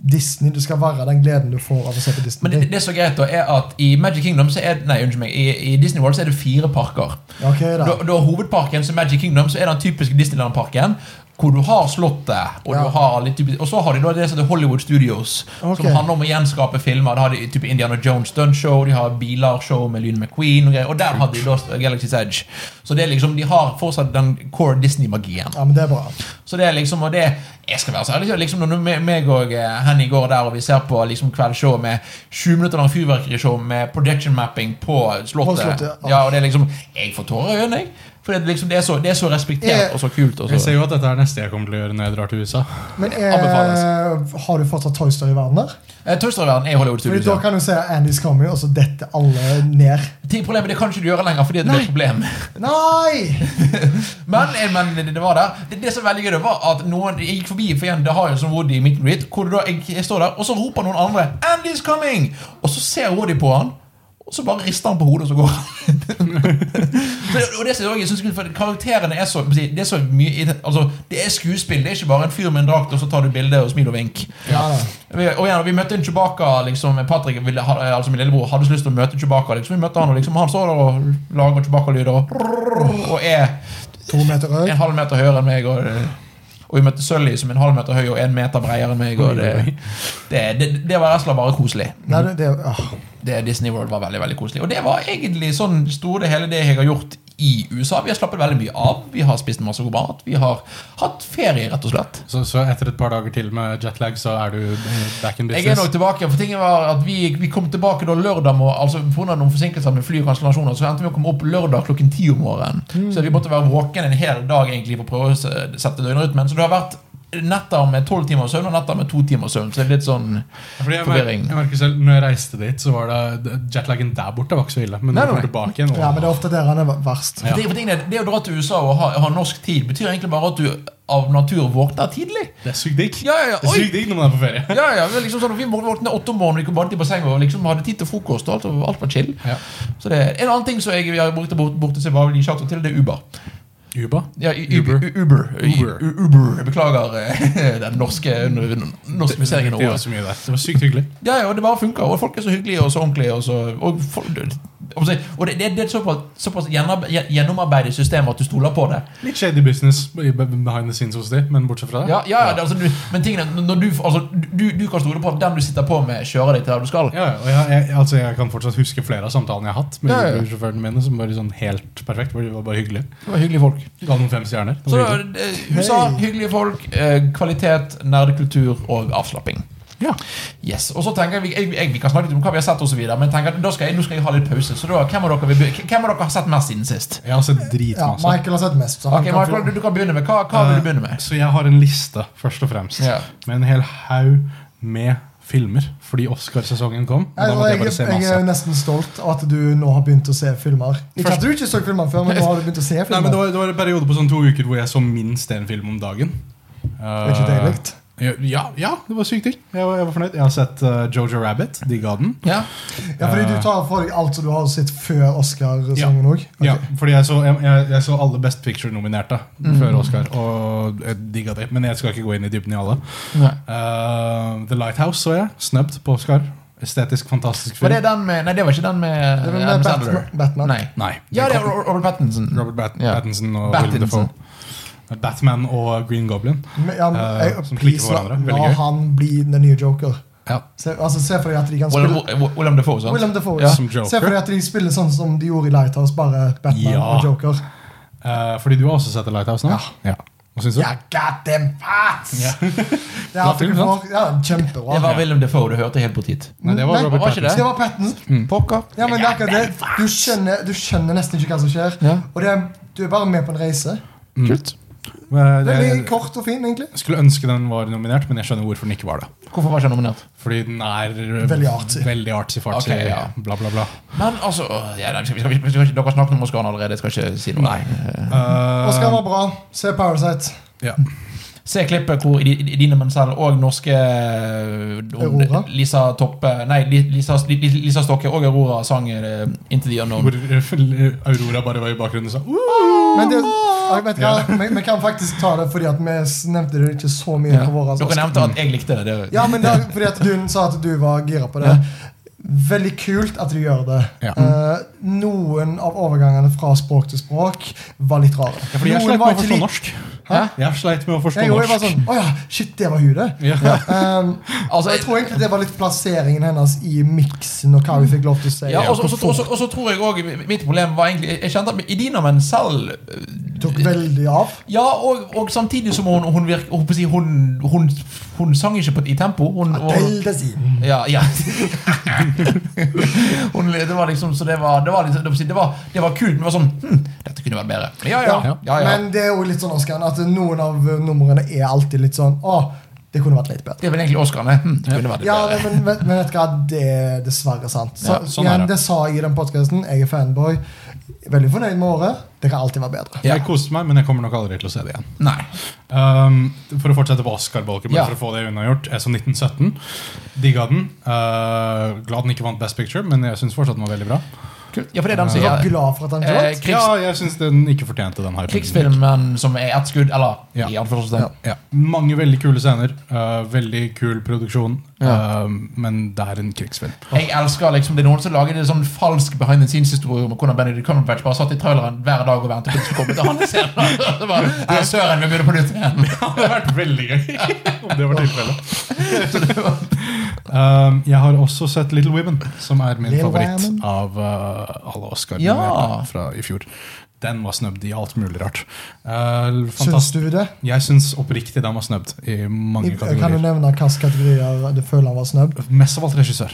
Speaker 3: Disney. Du skal være den gleden du får av å se på
Speaker 1: Men
Speaker 3: Disney.
Speaker 1: det, det som er greit, da, er at i Magic Kingdom så er Nei, unnskyld meg. I, i Disney World så er det fire parker.
Speaker 3: Ok, da.
Speaker 1: Da, da hovedparken som Magic Kingdom, så er den typiske Disneyland-parken. Hvor du har Slottet, og,
Speaker 3: Ja.
Speaker 1: du har litt typisk, og så har de da det som heter Hollywood Studios.
Speaker 3: Ok.
Speaker 1: Som handler om å gjenskape filmer. Da har de type Indiana Jones stuntshow, de har bilarshow med Lyn McQueen og greier. Og der har de da Galaxy's Edge. Så det er liksom, de har fortsatt den core Disney-magien.
Speaker 3: Ja, men det er bra.
Speaker 1: Så det er liksom, og det Jeg skal være så ærlig, så liksom når me- meg og eh, Henny går der og vi ser på liksom kveldsshow med 20 minutter lang fyrverkerishow med projection mapping på Slottet.
Speaker 3: På Slottet, ja.
Speaker 1: ja, og det er liksom Jeg får tårer i øynene, jeg. For det, er liksom, det, er så, det er så respektert
Speaker 3: Jeg-
Speaker 1: og så kult. Og
Speaker 2: Jeg ser
Speaker 1: så.
Speaker 2: jo at dette er neste jeg kommer til å gjøre når jeg drar til USA.
Speaker 3: Men
Speaker 1: Anbefales.
Speaker 3: eh, har du fortsatt Toy Story-verden der?
Speaker 1: Eh, Tøysterverden er Hollywood
Speaker 3: Fordi Da
Speaker 1: Studios.
Speaker 3: kan du se Andy's coming, og så detter alle ned.
Speaker 1: Ting problemet, Det kan ikke du gjøre lenger fordi at det blir et problem.
Speaker 3: Nei!
Speaker 1: Men, eh, men det- det var der. Det, det som var veldig gøy, det var at noen jeg gikk forbi for igjen, det har jo sånn Woody i midten mitt, hvor det da, jeg, jeg står der, og så roper noen andre 'Andy's coming!' Og så ser Woody på han, og så bare rister han på hodet, og så går han. Så det- og det som jeg også synes er kult, for Karakterene er så, det er så mye i det- altså, Det er skuespill. Det er ikke bare en fyr med en drakt, og så tar du bilde og smil og vink.
Speaker 3: Ja, da.
Speaker 1: Vi, og igjen, vi møtte en Chewbacca liksom, Patrick, ville, ha- altså min lillebror, hadde så lyst til å møte Chewbacca. Liksom. Vi møtte han, og liksom, han står der og lager Chewbacca-lyder og, og er
Speaker 3: To meter rød.
Speaker 1: en halv meter høyere enn meg. Og, og vi møtte Sully, som er en halv meter høy og en meter bredere enn meg. Og det, det, det, det var rett og slett bare koselig.
Speaker 3: Nei, det, det, ah.
Speaker 1: Det, Disney World var veldig veldig koselig. Og det var egentlig sånn store det hele det jeg har gjort i USA. Vi har slappet veldig mye av. Vi har spist masse god mat. Vi har hatt ferie, rett og slett.
Speaker 2: Så, så etter et par dager til med jetlag, så er du eh, back in
Speaker 1: Jeg er nok
Speaker 2: business?
Speaker 1: tilbake, for tingen var at vi, vi kom tilbake da lørdag må, altså på grunn av noen forsinkelser med fly og kansellasjoner, så endte vi å komme opp lørdag klokken ti om morgenen. Så vi måtte være våken en hel dag egentlig for å prøve å s- sette døgnrytmen. Så det har vært netter med tolv timer søvn og netter med to timer søvn. Så det er litt sånn
Speaker 2: Fordi jeg, mer,
Speaker 1: forvirring.
Speaker 2: jeg merker selv, når jeg reiste dit, så var det jetlagen der borte var ikke så ille. Men
Speaker 1: Nei,
Speaker 2: når du
Speaker 1: nei.
Speaker 2: kom tilbake igjen
Speaker 3: ja, men det er ofte der han er verst.
Speaker 2: Ja.
Speaker 1: Det, for tingen er, det å dra til USA og ha, ha norsk tid betyr egentlig bare at du av natur våkner tidlig.
Speaker 2: Det er sykt digg.
Speaker 1: Ja, ja, ja.
Speaker 2: Det er
Speaker 1: Oi!
Speaker 2: sykt digg når man er på ferie.
Speaker 1: Ja, ja, vi var liksom sånn, vi våknet åtte om morgenen, vi kom bare til bassenget og liksom hadde tid til frokost. og alt, og alt var chill.
Speaker 2: Ja.
Speaker 1: Så det, en annen ting som jeg har brukt bort, bort til seg, var vel i sjakk til, det er Uber.
Speaker 2: Uber.
Speaker 1: Ja, i- i-
Speaker 2: Uber.
Speaker 1: U- Uber.
Speaker 2: Uber.
Speaker 1: U- Uber. Jeg Beklager eh, den norske norskifiseringen av
Speaker 2: Det var
Speaker 1: ordet.
Speaker 2: så mye der. Det var sykt hyggelig.
Speaker 1: Ja, ja, og det bare funker. Og folk er så hyggelige og så ordentlige. Og, så, og, folk, og det, det, det er et såpass, såpass gjennom- gjennomarbeidet system at du stoler på det.
Speaker 2: Litt shady business i- behind the scenes hos de, men bortsett fra det.
Speaker 1: Ja, ja, ja, det, altså, du, men tingen er, når du, altså, du, du kan stole på at den du sitter på med, kjører deg til der du skal.
Speaker 2: Ja, og jeg, jeg, altså jeg kan fortsatt huske flere av samtalene jeg har hatt med
Speaker 1: Ja, ja.
Speaker 2: Uber-sjåførene mine, som var sånn helt perfekt. hvor De var bare hyggelige.
Speaker 1: Det var hyggelige folk.
Speaker 2: Ga noen fem stjerner. Det
Speaker 1: Så
Speaker 2: var
Speaker 1: da,
Speaker 2: hyggelig.
Speaker 1: eh, USA,
Speaker 3: Hei.
Speaker 1: hyggelige folk, eh, kvalitet, nerdekultur og avslapping.
Speaker 2: Ja.
Speaker 1: Yes, og så tenker jeg, vi- jeg, jeg Vi kan snakke litt om hva vi har sett, og så videre, men jeg tenker, at da skal jeg, nå skal jeg ha litt pause. Så da, hvem av dere, vil be- hvem av dere har sett mest siden sist?
Speaker 2: Jeg har sett
Speaker 3: Ja,
Speaker 2: dritmasse.
Speaker 3: Michael har sett mest. Så han
Speaker 1: Ok,
Speaker 3: kan
Speaker 1: Michael, du, du kan begynne med Hva, hva vil du begynne med?
Speaker 2: Så jeg har en liste, først og fremst,
Speaker 1: Ja.
Speaker 2: med en hel haug med filmer. Fordi Oscarsesongen kom. Og da
Speaker 3: Jeg,
Speaker 2: måtte jeg
Speaker 3: jeg,
Speaker 2: bare se
Speaker 3: jeg er
Speaker 2: masse.
Speaker 3: jo nesten stolt av at du nå har begynt å se filmer. Ikke at du ikke så filmer før, men nå har du begynt å se
Speaker 2: Nei, men det
Speaker 3: filmer.
Speaker 2: var, det var en periode på sånn to uker hvor jeg så minst en film om dagen. Eh,
Speaker 3: Det er ikke deilig.
Speaker 2: ja, ja, det var sykt digg. Jeg, var- jeg var fornøyd. Jeg har sett eh, Jojo Rabbit. Digga den.
Speaker 1: Ja,
Speaker 3: Ja, fordi du tar for deg alt som du har sett før Oscar-sangen òg.
Speaker 2: Ja, fordi jeg så, jeg, jeg, jeg så alle Best Picture-nominerte før Oscar, og eh, jeg digga det. Men jeg skal ikke gå inn i dybden i alle.
Speaker 1: Nei.
Speaker 2: Eh, The Lighthouse så jeg. Snubbed på Oscar. Estetisk fantastisk
Speaker 1: Var
Speaker 2: film.
Speaker 1: det den med Nei, det var ikke den med eh,
Speaker 3: Det var med
Speaker 1: Adam
Speaker 3: Batman-
Speaker 1: Sandler.
Speaker 3: Batman.
Speaker 1: Nei.
Speaker 2: Nei.
Speaker 1: Ja, det er
Speaker 2: kom-
Speaker 1: Ro- Robert Pattinson.
Speaker 2: Robert Bat
Speaker 1: Ja.
Speaker 2: Pattinson og
Speaker 1: Pattinson.
Speaker 2: Willem Dafoe. Batman og Green Goblin.
Speaker 3: Ja, men,
Speaker 2: Eh,
Speaker 3: jeg,
Speaker 2: som klikker
Speaker 3: please,
Speaker 2: på
Speaker 3: la,
Speaker 2: hverandre. Veldig
Speaker 3: la
Speaker 2: gøy.
Speaker 3: han bli den nye joker.
Speaker 2: Ja.
Speaker 3: Se, altså, se for deg at de kan
Speaker 1: Willem,
Speaker 3: spille
Speaker 1: Will- Willem Dafoe, sant?
Speaker 3: Willem Dafoe.
Speaker 1: Ja.
Speaker 2: Som Joker.
Speaker 3: Se for deg at de spiller sånn som de gjorde i Lighthouse, bare Batman
Speaker 2: Ja.
Speaker 3: og Joker.
Speaker 2: Eh, fordi du har også sett The Lighthouse nå? Ja. Hva syns du?
Speaker 3: Yeah, got them fats!
Speaker 2: Ja.
Speaker 3: Det er
Speaker 2: Bra film, sant?
Speaker 3: for, ja, kjempebra.
Speaker 1: Det var Willem Dafoe du hørte helt på tid.
Speaker 2: Nei, det var
Speaker 3: Nei,
Speaker 2: Robert
Speaker 1: var ikke
Speaker 2: Pattinson.
Speaker 1: det?
Speaker 3: Det var Pattinson.
Speaker 2: Mm.
Speaker 1: Pokker.
Speaker 3: Ja, men det er akkurat det. Du skjønner, du skjønner nesten ikke hva som skjer.
Speaker 1: Ja.
Speaker 3: Og det er, du er bare med på en reise.
Speaker 1: Kult.
Speaker 2: Mm. Eh,
Speaker 3: Veldig
Speaker 2: det-
Speaker 3: kort og fin, egentlig.
Speaker 2: Jeg skulle ønske den var nominert, men jeg skjønner hvorfor den ikke var det.
Speaker 1: Hvorfor var ikke han nominert?
Speaker 2: Fordi den er
Speaker 3: Veldig artsy.
Speaker 2: Veldig artsy-fartsy.
Speaker 1: Ok, ja.
Speaker 2: Bla, bla, bla.
Speaker 1: Men altså øh, ja, nei, vi skal, vi skal, vi skal, ikke- Dere har snakket om Oscaren allerede. Jeg skal ikke si noe. Eh,
Speaker 2: Eh,
Speaker 3: Oscar var bra. Se Parasite.
Speaker 2: ja.
Speaker 1: Se klippet hvor Idi- Idine Menzel og norske øh, hun-
Speaker 3: Aurora?
Speaker 1: Lisa Toppe Nei, Li- Lisa, Li- Li- Lisa Stokke og Aurora sang eh, 'Into the
Speaker 2: Hvor
Speaker 1: Unknown'.
Speaker 2: eh, Aurora bare var i bakgrunnen og sa uh!
Speaker 3: Men det, jeg vet hva, vi, vi kan faktisk ta det fordi at vi nevnte det ikke så mye
Speaker 1: Ja.
Speaker 3: på våre
Speaker 1: Dere
Speaker 3: Oscar.
Speaker 1: nevnte at jeg likte det. det
Speaker 3: Ja, men det, er fordi at du sa at du var gira på det.
Speaker 1: Ja.
Speaker 3: Veldig kult at du gjør det.
Speaker 2: Ja.
Speaker 3: Eh, noen av overgangene fra språk til språk var litt rare.
Speaker 2: ja, Fordi jeg
Speaker 3: noen
Speaker 2: sleit med å forstå
Speaker 1: sånn
Speaker 3: like-
Speaker 2: norsk.
Speaker 1: Hæ?
Speaker 2: Jeg sleit med å forstå
Speaker 3: Jeg, jo, jeg var
Speaker 2: norsk.
Speaker 3: sånn, Å ja, shit, det var hun, det.
Speaker 2: Ja.
Speaker 3: Um,
Speaker 1: Altså,
Speaker 3: jeg tror egentlig det var litt plasseringen hennes i miksen og hva vi fikk lov til å si.
Speaker 1: Ja, og så- og
Speaker 3: Hvor
Speaker 1: så- og så- og så tror jeg òg Mitt problem var egentlig Jeg kjente at Idina Menzel øh,
Speaker 3: folk tok veldig av.
Speaker 1: Ja, og, og samtidig som hun Hun, virk, hun, hun, hun, hun sang ikke på, i tempo. Hun, og,
Speaker 3: Veldig siden.
Speaker 1: Ja, ja. hun, det, var, var liksom Så det var, det var, liksom, det var, det var, det var kult, men det var sånn hm, Dette kunne vært bedre. Men Ja, ja. ja, ja,
Speaker 3: Men det er jo litt sånn, Oskar, at noen av eh, numrene er alltid litt sånn Å, det kunne vært litt bedre.
Speaker 1: det er vel egentlig Oscarene. Hm, det kunne vært litt
Speaker 3: Ja,
Speaker 1: bedre.
Speaker 3: men, men, men vet du hva, det er dessverre sant. Så,
Speaker 2: Ja, sånn er
Speaker 3: igjen,
Speaker 2: det.
Speaker 3: det sa jeg i den podkasten. Jeg er fanboy. Veldig fornøyd med året. Det kan alltid være bedre.
Speaker 1: Ja.
Speaker 2: Jeg koste meg, men jeg kommer nok aldri til å se det igjen.
Speaker 1: Nei.
Speaker 2: Um, for å fortsette på Oscar-bolken, bare
Speaker 1: Ja.
Speaker 2: for å få det unnagjort. Jeg så 1917. Digga den. Uh, glad den ikke vant Best Picture, men jeg syns fortsatt den var veldig bra.
Speaker 1: Kult. Ja, for det er den som
Speaker 3: Jeg
Speaker 1: ja,
Speaker 3: var glad for at han
Speaker 1: Eh,
Speaker 3: vant.
Speaker 1: krigs-
Speaker 2: Ja, jeg syns den ikke fortjente den hypen.
Speaker 1: Krigsfilmen som er ett skudd, eller
Speaker 2: Ja.
Speaker 1: i anførselstegn.
Speaker 2: Ja. Mange veldig kule scener. Uh, veldig kul produksjon. Um, men det er en krigsfilm.
Speaker 1: Jeg elsker liksom Det er noen som lager en sånn falsk behind the scenes-historie om hvordan Benedict Cumberbatch bare satt i traileren hver dag og ventet på at det skulle komme til hans scene. Så bare, Nei, søren, vi begynner på nytt igjen.
Speaker 2: Det hadde vært veldig gøy om det var tilfellet. Um, jeg har også sett Little Women, som er min
Speaker 3: Little
Speaker 2: favoritt
Speaker 3: Women.
Speaker 2: av uh, alle Oscar
Speaker 1: Ja.
Speaker 2: fra i fjor. Den var snubbed i alt mulig rart. Uh,
Speaker 3: Syns
Speaker 2: fantast-
Speaker 3: du det?
Speaker 2: Jeg syns oppriktig den var snubbed i mange
Speaker 3: Kan du
Speaker 2: kategorier.
Speaker 3: nevne hvilke kategorier du føler han var snubb?
Speaker 2: Mest av alt regissør.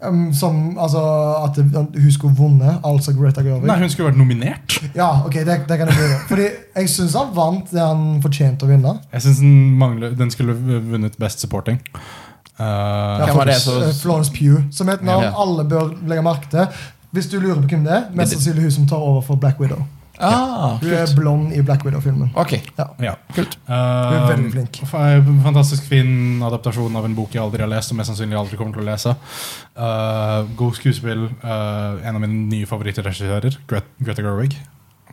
Speaker 3: Um, som altså at det- hun skulle vunnet, altså Greta Gerwig?
Speaker 2: Nei, hun skulle vært nominert.
Speaker 3: Ja, ok, det, det kan jeg bli. Fordi jeg syns han vant det han fortjente å vinne.
Speaker 2: Jeg syns den, mangler- den skulle vunnet Best Supporting. Uh,
Speaker 1: Hvem var det
Speaker 3: faktisk,
Speaker 1: som-
Speaker 3: eh, Florence Pugh, som er et navn
Speaker 1: Ja.
Speaker 3: alle bør legge merke til. Hvis du lurer på hvem det er, mest
Speaker 1: det-
Speaker 3: sannsynlig hun som tar over for Black Widow.
Speaker 1: Ah,
Speaker 3: Hun er blond i Black Widow-filmen.
Speaker 1: ok.
Speaker 2: Ja.
Speaker 1: Kult.
Speaker 2: Eh,
Speaker 3: Du er veldig flink.
Speaker 2: fa- eh, Fantastisk fin adaptasjon av en bok jeg aldri har lest, og mest sannsynlig aldri kommer til å lese. Eh, god skuespill. eh, en av mine nye favorittregissører, Gret Greta Gerwig.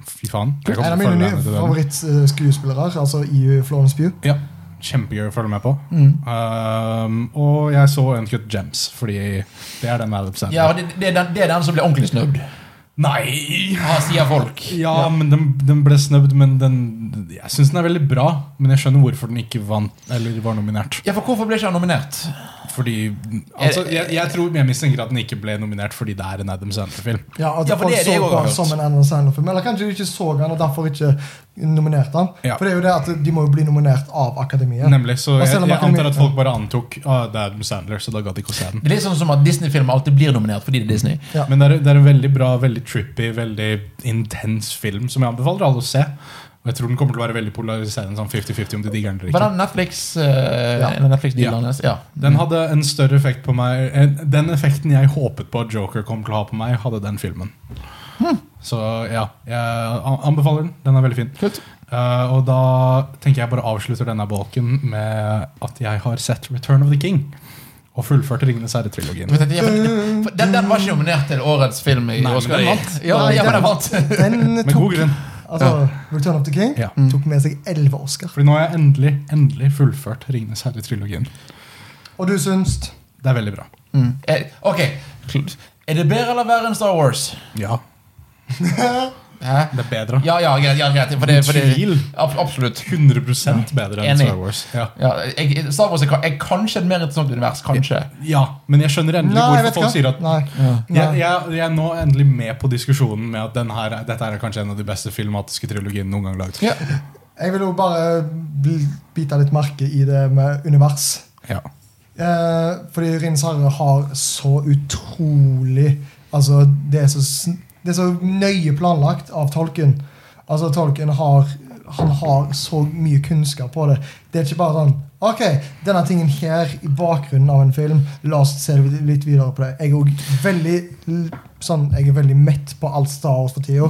Speaker 2: Fy faen. jeg
Speaker 3: En
Speaker 2: kommer til å
Speaker 3: av mine
Speaker 2: følge
Speaker 3: nye
Speaker 2: henne til døden.
Speaker 3: favorittskuespillere, altså i Florence Pugh.
Speaker 2: Ja, Kjempegøy å følge med på.
Speaker 3: Mm.
Speaker 2: Eh, og jeg så Uncut Gems, fordi det er den Adam Sandler.
Speaker 1: Ja, og det, det, er den, det er den som blir ordentlig snubbed.
Speaker 2: Nei!
Speaker 1: Ja, Ah, sier folk.
Speaker 2: Ja, men den, den ble snubbed, men den, jeg syns den er veldig bra. Men jeg skjønner hvorfor den ikke vant Eller var nominert.
Speaker 1: Ja, for hvorfor ble ikke han nominert?
Speaker 2: Fordi altså, jeg, jeg tror jeg mistenker at den ikke ble nominert fordi det er en Adam Sandler-film.
Speaker 3: Ja, at
Speaker 1: Ja, for
Speaker 3: folk
Speaker 1: det- det
Speaker 3: så
Speaker 1: går
Speaker 3: på han
Speaker 1: godt.
Speaker 3: som en Adam Sandler-film. Eller kanskje du ikke så han og derfor ikke nominerte han.
Speaker 2: Ja.
Speaker 3: For det er jo det at de må jo bli nominert av akademiet.
Speaker 2: Nemlig, Så
Speaker 3: Og
Speaker 2: jeg,
Speaker 3: selv om
Speaker 2: jeg
Speaker 3: akademi-
Speaker 2: antar at folk bare antok ah, det er Adam Sandler, så da gadd de ikke å se den.
Speaker 1: Det er litt sånn som at Disney-filmer alltid blir nominert fordi det er Disney.
Speaker 3: Ja.
Speaker 2: Men det er, det er en veldig bra, veldig trippy, veldig intens film som jeg anbefaler alle å se. Og jeg tror den kommer til å være veldig polariserende sånn 50-50 om de digger den eller ikke.
Speaker 1: Var det Netflix? eh,
Speaker 3: Ja.
Speaker 1: en av Netflix-dealene
Speaker 2: Ja.
Speaker 1: hennes? Ja.
Speaker 2: Den hadde en større effekt på meg en- Den effekten jeg håpet på at Joker kom til å ha på meg, hadde den filmen.
Speaker 3: Hmm.
Speaker 2: Så ja, jeg an- anbefaler den. Den er veldig fin.
Speaker 1: Kult.
Speaker 2: Eh, og da tenker jeg bare avslutter denne bolken med at jeg har sett Return of the King. Og fullført Ringenes herre-trilogien.
Speaker 1: For den, for den, den var ikke nominert til årets film i
Speaker 2: Nei, men
Speaker 1: Oscar.
Speaker 2: den vant.
Speaker 1: Ja,
Speaker 3: Nei,
Speaker 1: ja, men
Speaker 3: den-
Speaker 1: den vant.
Speaker 3: Den
Speaker 2: Med god
Speaker 3: tok
Speaker 2: grunn.
Speaker 3: altså, Return of the King Mm.
Speaker 2: Ja.
Speaker 3: tok med seg elleve Oscar.
Speaker 2: Fordi nå har jeg endelig, endelig fullført Ringenes herre-trilogien.
Speaker 3: Og du syns
Speaker 2: Det er veldig bra.
Speaker 1: Mm. Eh, Ok. Er det bedre eller verre enn Star Wars?
Speaker 2: Ja,
Speaker 1: Hæ?
Speaker 2: det er bedre.
Speaker 1: Ja, ja, greit. Ja, greit for det, for det,
Speaker 2: Tvil.
Speaker 1: ab absolutt.
Speaker 2: 100 bedre enn
Speaker 1: Enig.
Speaker 2: Star Wars. Ja.
Speaker 1: Ja, jeg, Star Wars er, ka- er kanskje et mer interessant univers. Kanskje.
Speaker 2: ja, Men jeg skjønner endelig
Speaker 3: Nei, vet
Speaker 2: hvorfor
Speaker 3: du
Speaker 2: folk sier
Speaker 3: hva.
Speaker 2: at
Speaker 3: Nei.
Speaker 2: Jeg,
Speaker 3: Nei.
Speaker 2: jeg, jeg er nå endelig med på diskusjonen med at den her, dette her er kanskje en av de beste filmatiske trilogiene noen gang laget.
Speaker 1: Ja.
Speaker 3: Jeg vil jo bare bl- bite litt merke i det med univers.
Speaker 2: Ja.
Speaker 3: Eh, fordi Ringens herre har så utrolig Altså, det er så, sn- det er så nøye planlagt av Tolkien. Altså, Tolkien har han har så mye kunnskap på det. Det er ikke bare sånn Ok, denne tingen her i bakgrunnen av en film, la oss se litt videre på det. Jeg er også veldig l- sånn, jeg er veldig mett på alt Star Wars for tida.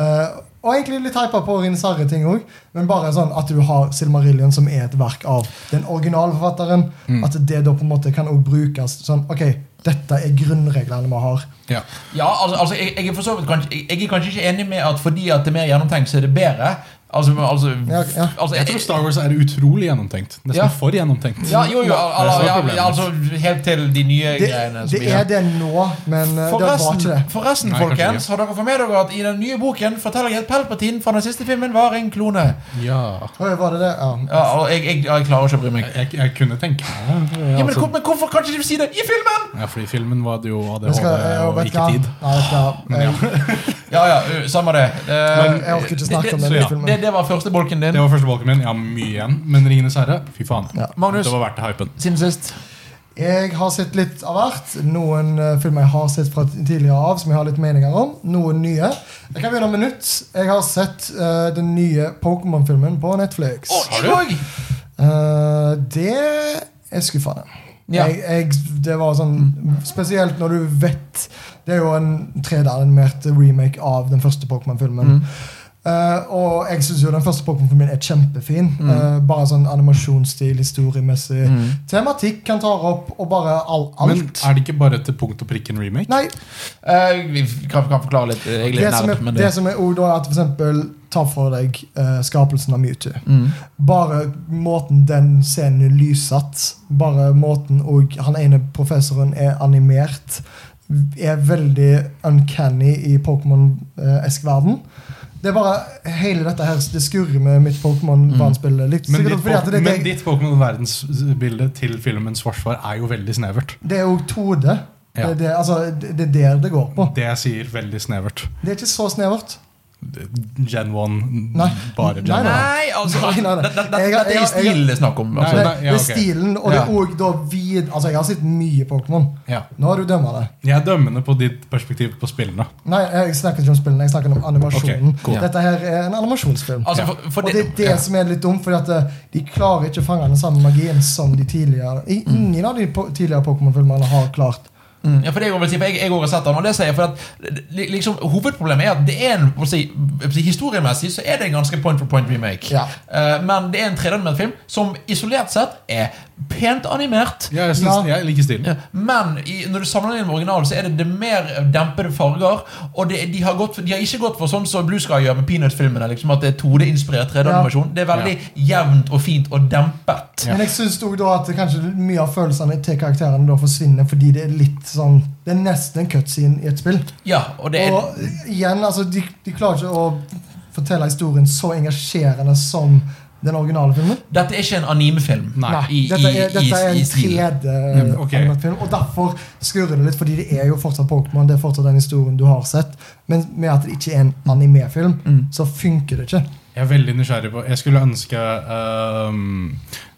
Speaker 3: Eh, og egentlig litt hypa på Ringens herre-ting òg, men bare sånn at du har Silmarillion, som er et verk av den originale forfatteren.
Speaker 2: Mm.
Speaker 3: At det da på en måte kan også brukes sånn Ok, dette er grunnreglene vi har.
Speaker 2: Ja.
Speaker 1: Ja, altså, altså jeg, jeg, er for så vidt kanskje, jeg, jeg er kanskje ikke enig med at fordi at det er mer gjennomtenkt, så er det bedre. Altså, men altså,
Speaker 3: Ja, ja.
Speaker 1: altså
Speaker 2: Jeg tror Star Wars er utrolig gjennomtenkt. Nesten
Speaker 1: Ja.
Speaker 2: for gjennomtenkt.
Speaker 1: ja, jo, jo, al-
Speaker 2: Det er
Speaker 1: al-
Speaker 2: problemet.
Speaker 1: ja, altså Helt til de nye
Speaker 3: Det,
Speaker 1: greiene.
Speaker 3: det
Speaker 1: som- ja.
Speaker 3: er det nå, men eh, det var ikke det.
Speaker 1: Forresten, forresten
Speaker 2: Nei, kanskje
Speaker 1: folkens, har dere fått med dere at i den nye boken forteller jeg at Palpatine fra den siste filmen var en klone?
Speaker 2: Ja.
Speaker 3: Oi, var det det? Ja.
Speaker 1: Ja, og jeg, jeg, jeg klarer ikke å bry meg.
Speaker 2: Jeg, jeg kunne tenke meg det.
Speaker 1: Ja, men,
Speaker 2: Altså,
Speaker 1: hvor- men hvorfor kan ikke de si det i filmen?!
Speaker 2: ja, fordi filmen var det jo
Speaker 3: Vi
Speaker 2: ADHD
Speaker 3: skal- jeg
Speaker 2: og
Speaker 3: vet
Speaker 2: ikke
Speaker 3: hva.
Speaker 2: tid.
Speaker 3: Nei, vet hva.
Speaker 2: Men ja,
Speaker 3: Jeg-
Speaker 1: Ja, ja, ø, samme det. Eh,
Speaker 2: Men
Speaker 3: jeg orker ikke snakke om
Speaker 1: det,
Speaker 3: den
Speaker 2: så ja,
Speaker 3: filmen.
Speaker 1: det. Det var første bolken din.
Speaker 2: Det var første bolken min. Jeg har mye igjen. Men Ringenes herre, fy faen.
Speaker 3: Ja.
Speaker 1: Magnus,
Speaker 2: Det var verdt hypen.
Speaker 1: siden sist.
Speaker 3: Jeg har sett litt av hvert. Noen eh, filmer jeg har sett fra tidligere av, som jeg har litt meninger om. Noen nye. Jeg kan begynne med nytt. Jeg har sett eh, den nye Pokémon-filmen på Netflix.
Speaker 1: Å,
Speaker 2: Har
Speaker 1: jeg
Speaker 2: du?
Speaker 1: òg!
Speaker 3: Eh, det er skuffende.
Speaker 1: Ja.
Speaker 3: Jeg, jeg, det var sånn Spesielt når du vet Det er jo en 3D-animert remake av den første
Speaker 1: Mm.
Speaker 3: Pokémon-filmen. Eh, og jeg syns jo den første Pokémon-filmen er kjempefin. Eh, bare sånn animasjonsstil, historiemessig.
Speaker 1: Mm.
Speaker 3: Tematikk han tar opp, og bare all,
Speaker 2: Men
Speaker 3: alt.
Speaker 2: er det ikke bare til punkt og prikke en remake?
Speaker 3: Nei,
Speaker 1: Eh, vi kan, kan forklare litt. eh, Jeg
Speaker 3: det
Speaker 1: gleder
Speaker 3: som
Speaker 1: meg
Speaker 3: er,
Speaker 1: litt, men
Speaker 3: det
Speaker 1: det
Speaker 3: som er ord, da, er at for eksempel Ta for deg eh, skapelsen av Mewtwo.
Speaker 1: mm.
Speaker 3: Bare måten den scenen er lyssatt Bare måten og han ene professoren er animert, er veldig uncanny i Pokémon-esk-verden. Det er bare hele dette her Det skurrer med mitt
Speaker 1: Mm.
Speaker 3: Pokémon-barnespill. litt.
Speaker 2: Men
Speaker 3: Sikkert
Speaker 2: ditt,
Speaker 3: fordi at
Speaker 2: Pok-
Speaker 3: det,
Speaker 2: men
Speaker 3: det,
Speaker 2: ditt Pokémon-verdensbilde til filmens forsvar er jo veldig snevert.
Speaker 3: det er jo 2D. Det,
Speaker 2: Ja.
Speaker 3: er det, altså, det, det er der det går på.
Speaker 2: Det jeg sier, veldig snevert.
Speaker 3: Det er ikke så snevert.
Speaker 2: Gen 1,
Speaker 3: Nei.
Speaker 2: bare Gen
Speaker 3: Nei,
Speaker 2: 1.
Speaker 3: nei.
Speaker 1: Nei, altså
Speaker 3: Nei, nei, nei.
Speaker 1: det- det- det- Dette er
Speaker 3: Jeg har- jeg har- jeg har-
Speaker 1: stilen det er snakk om.
Speaker 2: Nei,
Speaker 1: Altså.
Speaker 3: Det,
Speaker 2: nei, ja,
Speaker 3: det er
Speaker 2: ok.
Speaker 3: stilen, og det
Speaker 2: Ja.
Speaker 3: er òg da vid... Altså, jeg har sett mye Pokémon.
Speaker 2: Ja.
Speaker 3: Nå er du dømmende.
Speaker 2: Jeg er dømmende på ditt perspektiv på spillene.
Speaker 3: Nei, jeg snakker ikke om spillene, jeg snakker om animasjonen.
Speaker 2: Ok, cool.
Speaker 3: Dette her er en animasjonsfilm.
Speaker 1: Altså, for, for
Speaker 3: og det er det
Speaker 1: ja.
Speaker 3: som er litt dumt, fordi at eh, de klarer ikke å fange den samme magien som de tidligere I,
Speaker 2: Mm.
Speaker 3: Ingen av de po tidligere Pokémon-filmene har klart.
Speaker 1: Mm, ja, for det jeg vil si, for jeg, jeg også har sett den, og det sier jeg for at li- liksom, hovedproblemet er at det er en, hva skal jeg si, hva skal jeg si, historiemessig så er det en ganske point for point remake.
Speaker 3: Ja.
Speaker 1: Eh, men det er en tredanimert film som isolert sett er pent animert.
Speaker 2: Ja, jeg,
Speaker 3: Ja.
Speaker 2: synes, jeg liker stilen.
Speaker 1: Ja, Men i, når du samler inn med originalen, så er det, det mer dempede farger. Og det, de, har gått for, de har ikke gått for sånn som Blue Sky gjør med Peanut-filmene. Liksom at det er 2D-inspirert 3D-animasjon. Det er veldig jevnt og fint og dempet.
Speaker 3: Men jeg syns òg da at kanskje mye av følelsene til karakterene da forsvinner fordi det er litt sånn Det er nesten en cutscene i et spill.
Speaker 1: Ja, og det er
Speaker 3: Og igjen, altså, de, de klarer ikke å fortelle historien så engasjerende som den originale filmen.
Speaker 1: Dette er ikke en animefilm.
Speaker 2: Nei.
Speaker 1: I,
Speaker 3: dette er,
Speaker 1: i,
Speaker 3: dette er
Speaker 1: i, i
Speaker 3: en
Speaker 1: stil.
Speaker 3: 3D-animert
Speaker 2: ok.
Speaker 3: film. Og derfor skurrer det litt, fordi det er jo fortsatt Pokémon. Det er fortsatt den historien du har sett. Men med at det ikke er en animefilm, så funker det ikke.
Speaker 2: Jeg er veldig nysgjerrig på Jeg skulle ønske ehm,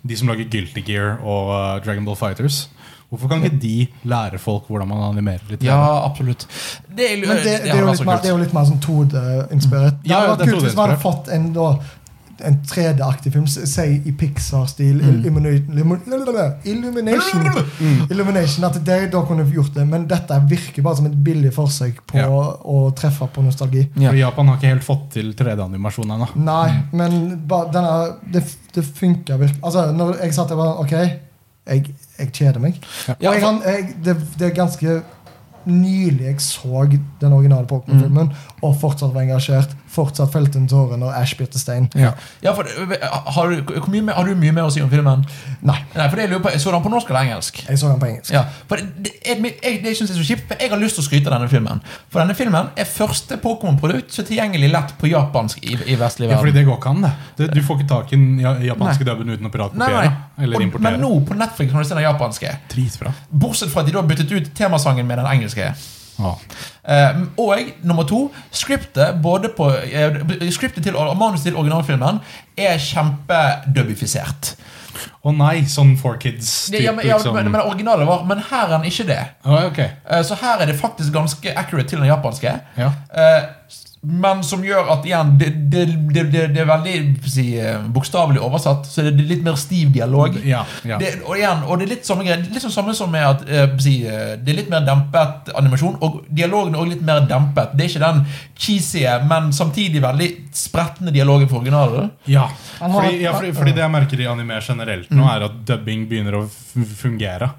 Speaker 2: de som lager Guilty Gear og eh, Dragon Ball Fighters Hvorfor kan ikke de lære folk hvordan man animerer litt?
Speaker 1: Ja, absolutt. Det, er-
Speaker 3: Men det, det,
Speaker 1: hadde
Speaker 3: er,
Speaker 1: vært
Speaker 3: jo litt
Speaker 1: så
Speaker 3: mer,
Speaker 1: kult.
Speaker 3: det er jo litt mer sånn 2D-inspirert. Det
Speaker 2: Ja, ja,
Speaker 3: hadde vært
Speaker 2: det er
Speaker 3: kult hvis man hadde fått en da en 3D-aktig film, s- si i Pixar-stil. Illumina- Illumina- Illumination. Illumination, At de da kunne gjort det, men dette virker bare som et billig forsøk på
Speaker 2: Ja.
Speaker 3: å treffe på nostalgi.
Speaker 1: Ja.
Speaker 2: For Japan har ikke helt fått til 3D-animasjon ennå.
Speaker 3: Nei, men ba, denne, det, det funker virkelig. Altså, når jeg satt der bare Ok, jeg, jeg kjeder meg.
Speaker 1: Ja,
Speaker 3: og jeg, kan- jeg, det, det er ganske nylig jeg så den originale
Speaker 2: Mm.
Speaker 3: Pokémon-filmen, og fortsatt var engasjert. Fortsatt felte en tåre når Ash blir til stein.
Speaker 2: Ja.
Speaker 1: Ja, for, har, du, hvor mye, mer- har du mye mer å si om filmen?
Speaker 3: Nei.
Speaker 1: Nei, for det jeg lurer på, jeg Så den på norsk eller engelsk?
Speaker 3: Jeg så den på engelsk.
Speaker 1: Ja, for det, jeg, jeg, det synes jeg er så kjipt, for jeg har lyst til å skryte av denne filmen. For denne filmen er første Pokémon-produkt som er tilgjengelig lett på japansk i, i vestlig
Speaker 2: Ja, fordi
Speaker 1: verden.
Speaker 2: det går ikke an, det. det. Du får ikke tak i den ja- japanske dubben uten å
Speaker 1: Nei,
Speaker 2: piratkopiere.
Speaker 1: nei.
Speaker 2: Eller
Speaker 1: Og, men
Speaker 2: importere.
Speaker 1: nå på Netflix kan du se den japanske.
Speaker 2: Dritbra.
Speaker 1: Bortsett fra at de da byttet ut temasangen med den engelske.
Speaker 2: Ja.
Speaker 1: Eh, og nummer to, scriptet, både på, eh, scriptet til, og manuset til originalfilmen er kjempedubifisert.
Speaker 2: Å nei, sånn Four Kids.
Speaker 1: Det- Ja, men, ja,
Speaker 2: sånn-
Speaker 1: men, men det originale var Men her er den ikke det.
Speaker 2: Ja, ok.
Speaker 1: Eh, Så her er det faktisk ganske accurate til den japanske.
Speaker 2: Ja.
Speaker 1: Eh, Men som gjør at igjen det, det, det, det, det er veldig si, eh, bokstavelig oversatt, så det er litt mer stiv dialog.
Speaker 2: Ja, ja.
Speaker 1: Det, og igjen, og det er litt samme greie Litt sånn samme som med at eh, si, eh, det er litt mer dempet animasjon, og dialogen er også litt mer dempet. Det er ikke den cheesy, men samtidig veldig spretne dialogen for originalen.
Speaker 2: Ja,
Speaker 3: Han har- Mm.
Speaker 2: fordi, ja fordi, fordi det jeg merker i anime generelt nå, er at dubbing begynner å f- fungere.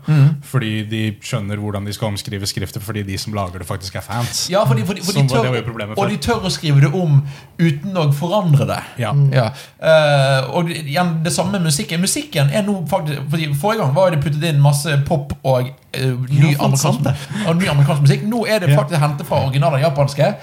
Speaker 2: Fordi de skjønner hvordan de skal omskrive skriftet, fordi de som lager det, faktisk er fans.
Speaker 1: Ja, fordi, fordi, fordi
Speaker 2: Som
Speaker 1: de
Speaker 2: var- det var jo
Speaker 1: tør,
Speaker 2: problemet før.
Speaker 1: og de tør å skrive det om uten å forandre det.
Speaker 2: Ja.
Speaker 3: Mm.
Speaker 1: Ja. Eh, og det- igjen, det samme med musikken. Musikken er nå faktisk fordi Forrige gang var det puttet inn masse pop og, eh, ny,
Speaker 2: Ja, faen, sant
Speaker 1: amerikansk, og ny amerikansk musikk. Nå er det
Speaker 2: Ja.
Speaker 1: faktisk hentet fra originaler japanske.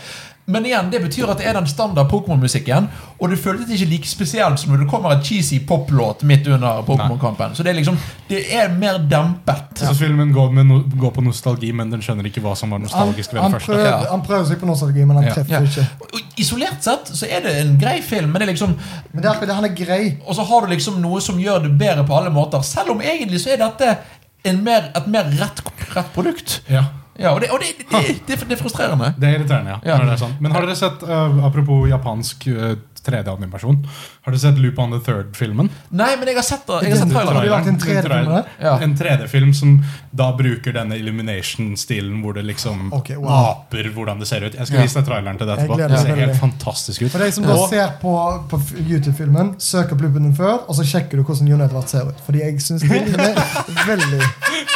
Speaker 1: Men igjen, det betyr at det er den standard Pokémon-musikken. Og det føltes ikke like spesielt som når det kommer et cheesy poplåt midt under Pokémon-kampen. Så det er liksom Det er mer dempet.
Speaker 2: Så filmen går, med no, går på nostalgi, men den skjønner ikke hva som var
Speaker 3: Han,
Speaker 2: nostalgisk ved
Speaker 3: han,
Speaker 2: det første.
Speaker 3: prøver,
Speaker 1: Ja.
Speaker 3: han prøver seg på nostalgi, men han
Speaker 2: Ja.
Speaker 3: treffer
Speaker 1: Ja.
Speaker 3: ikke.
Speaker 1: Og Isolert sett så er det en grei film, men det er liksom
Speaker 3: Men det er, fordi han er grei.
Speaker 1: Og så har du liksom noe som gjør det bedre på alle måter. Selv om egentlig så er dette en mer, et mer rett, rett produkt.
Speaker 2: Ja.
Speaker 1: Ja, og det, og det, det, det, det er frustrerende.
Speaker 2: Det er irriterende, ja.
Speaker 1: Ja.
Speaker 2: Når det er sånn. Men har dere sett, eh, apropos japansk eh, 3D-animasjon, har dere sett Loop on the Third-filmen?
Speaker 1: Nei, men jeg har sett, det- jeg har sett
Speaker 3: Har
Speaker 1: traileren.
Speaker 3: de lagt en 3D-film med det?
Speaker 1: Ja.
Speaker 2: En 3D-film som da bruker denne illumination-stilen, hvor det liksom
Speaker 3: Ok, wow.
Speaker 2: aper hvordan det ser ut. Jeg skal
Speaker 1: Ja.
Speaker 2: vise deg traileren til deg
Speaker 3: Jeg
Speaker 2: etterpå.
Speaker 3: gleder
Speaker 2: Det
Speaker 3: meg
Speaker 2: ser
Speaker 3: veldig.
Speaker 2: helt fantastisk ut.
Speaker 3: For deg som da
Speaker 1: Og-
Speaker 3: ser på, på f- YouTube-filmen, søk opp loopen din før, og så sjekker du hvordan Jon Edvard ser ut. Fordi jeg syns bildene er veldig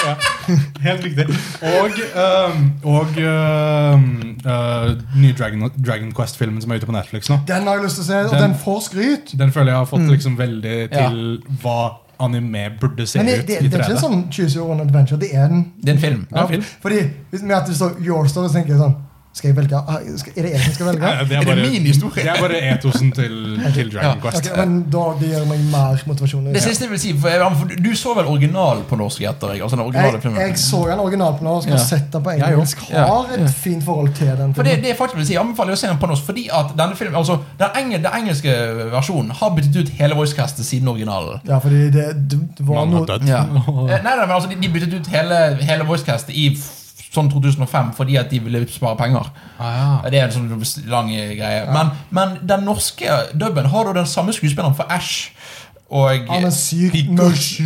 Speaker 2: Ja, helt riktig. Og, ehm, og ehm, eh, nye Dragon, Dragon Quest-filmen som er ute på Netflix nå.
Speaker 3: Den har jeg lyst til å se, og
Speaker 2: Den-
Speaker 3: den får skryt.
Speaker 2: Den føler jeg har
Speaker 3: Mm.
Speaker 2: fått liksom veldig
Speaker 1: Ja.
Speaker 2: til hva anime burde se
Speaker 3: Men det,
Speaker 2: ut
Speaker 3: det,
Speaker 2: i
Speaker 3: det er
Speaker 2: 3D.
Speaker 3: ikke en sånn Choose Your Own Adventure. Det er en
Speaker 1: Det er en film.
Speaker 2: Det er en film.
Speaker 3: Fordi hvis med at det står Your Story, så tenker jeg sånn Skal jeg velge? Ah, skal- Er det jeg som skal velge?
Speaker 2: Nei,
Speaker 1: Er det min historie?
Speaker 2: Det er bare etosen til, til Dragon
Speaker 3: Ok,
Speaker 2: Quest.
Speaker 3: men da det gir meg mer motivasjon.
Speaker 1: Det siste jeg vil si, for, jeg, for du så vel original på norsk etter jeg, altså den originale
Speaker 3: Jeg,
Speaker 1: filmen?
Speaker 3: jeg så den original på norsk og
Speaker 1: Ja.
Speaker 3: har sett den på
Speaker 2: Jeg òg.
Speaker 3: engelsk.
Speaker 1: Ja,
Speaker 3: Har
Speaker 1: ja.
Speaker 3: et fint forhold til den.
Speaker 1: For det,
Speaker 3: filmen.
Speaker 1: det er faktisk vil si, jeg anbefaler å se den på norsk, fordi at denne filmen, altså, den, enge, den engelske versjonen har byttet ut hele voicecastet siden originalen.
Speaker 3: Ja, fordi det, det, det var
Speaker 2: Mannen
Speaker 3: noe
Speaker 2: er død.
Speaker 1: Ja. Eh, Nei, nei, men altså, de, de byttet ut hele, hele voicecastet i f- sånn 2005 fordi at de ville spare penger.
Speaker 2: Ah, ja.
Speaker 1: Det er en sånn lang eh, greie. Men, men den norske dubben har da den samme skuespilleren for Ash. Og
Speaker 3: Han er sykt
Speaker 1: Pikachu.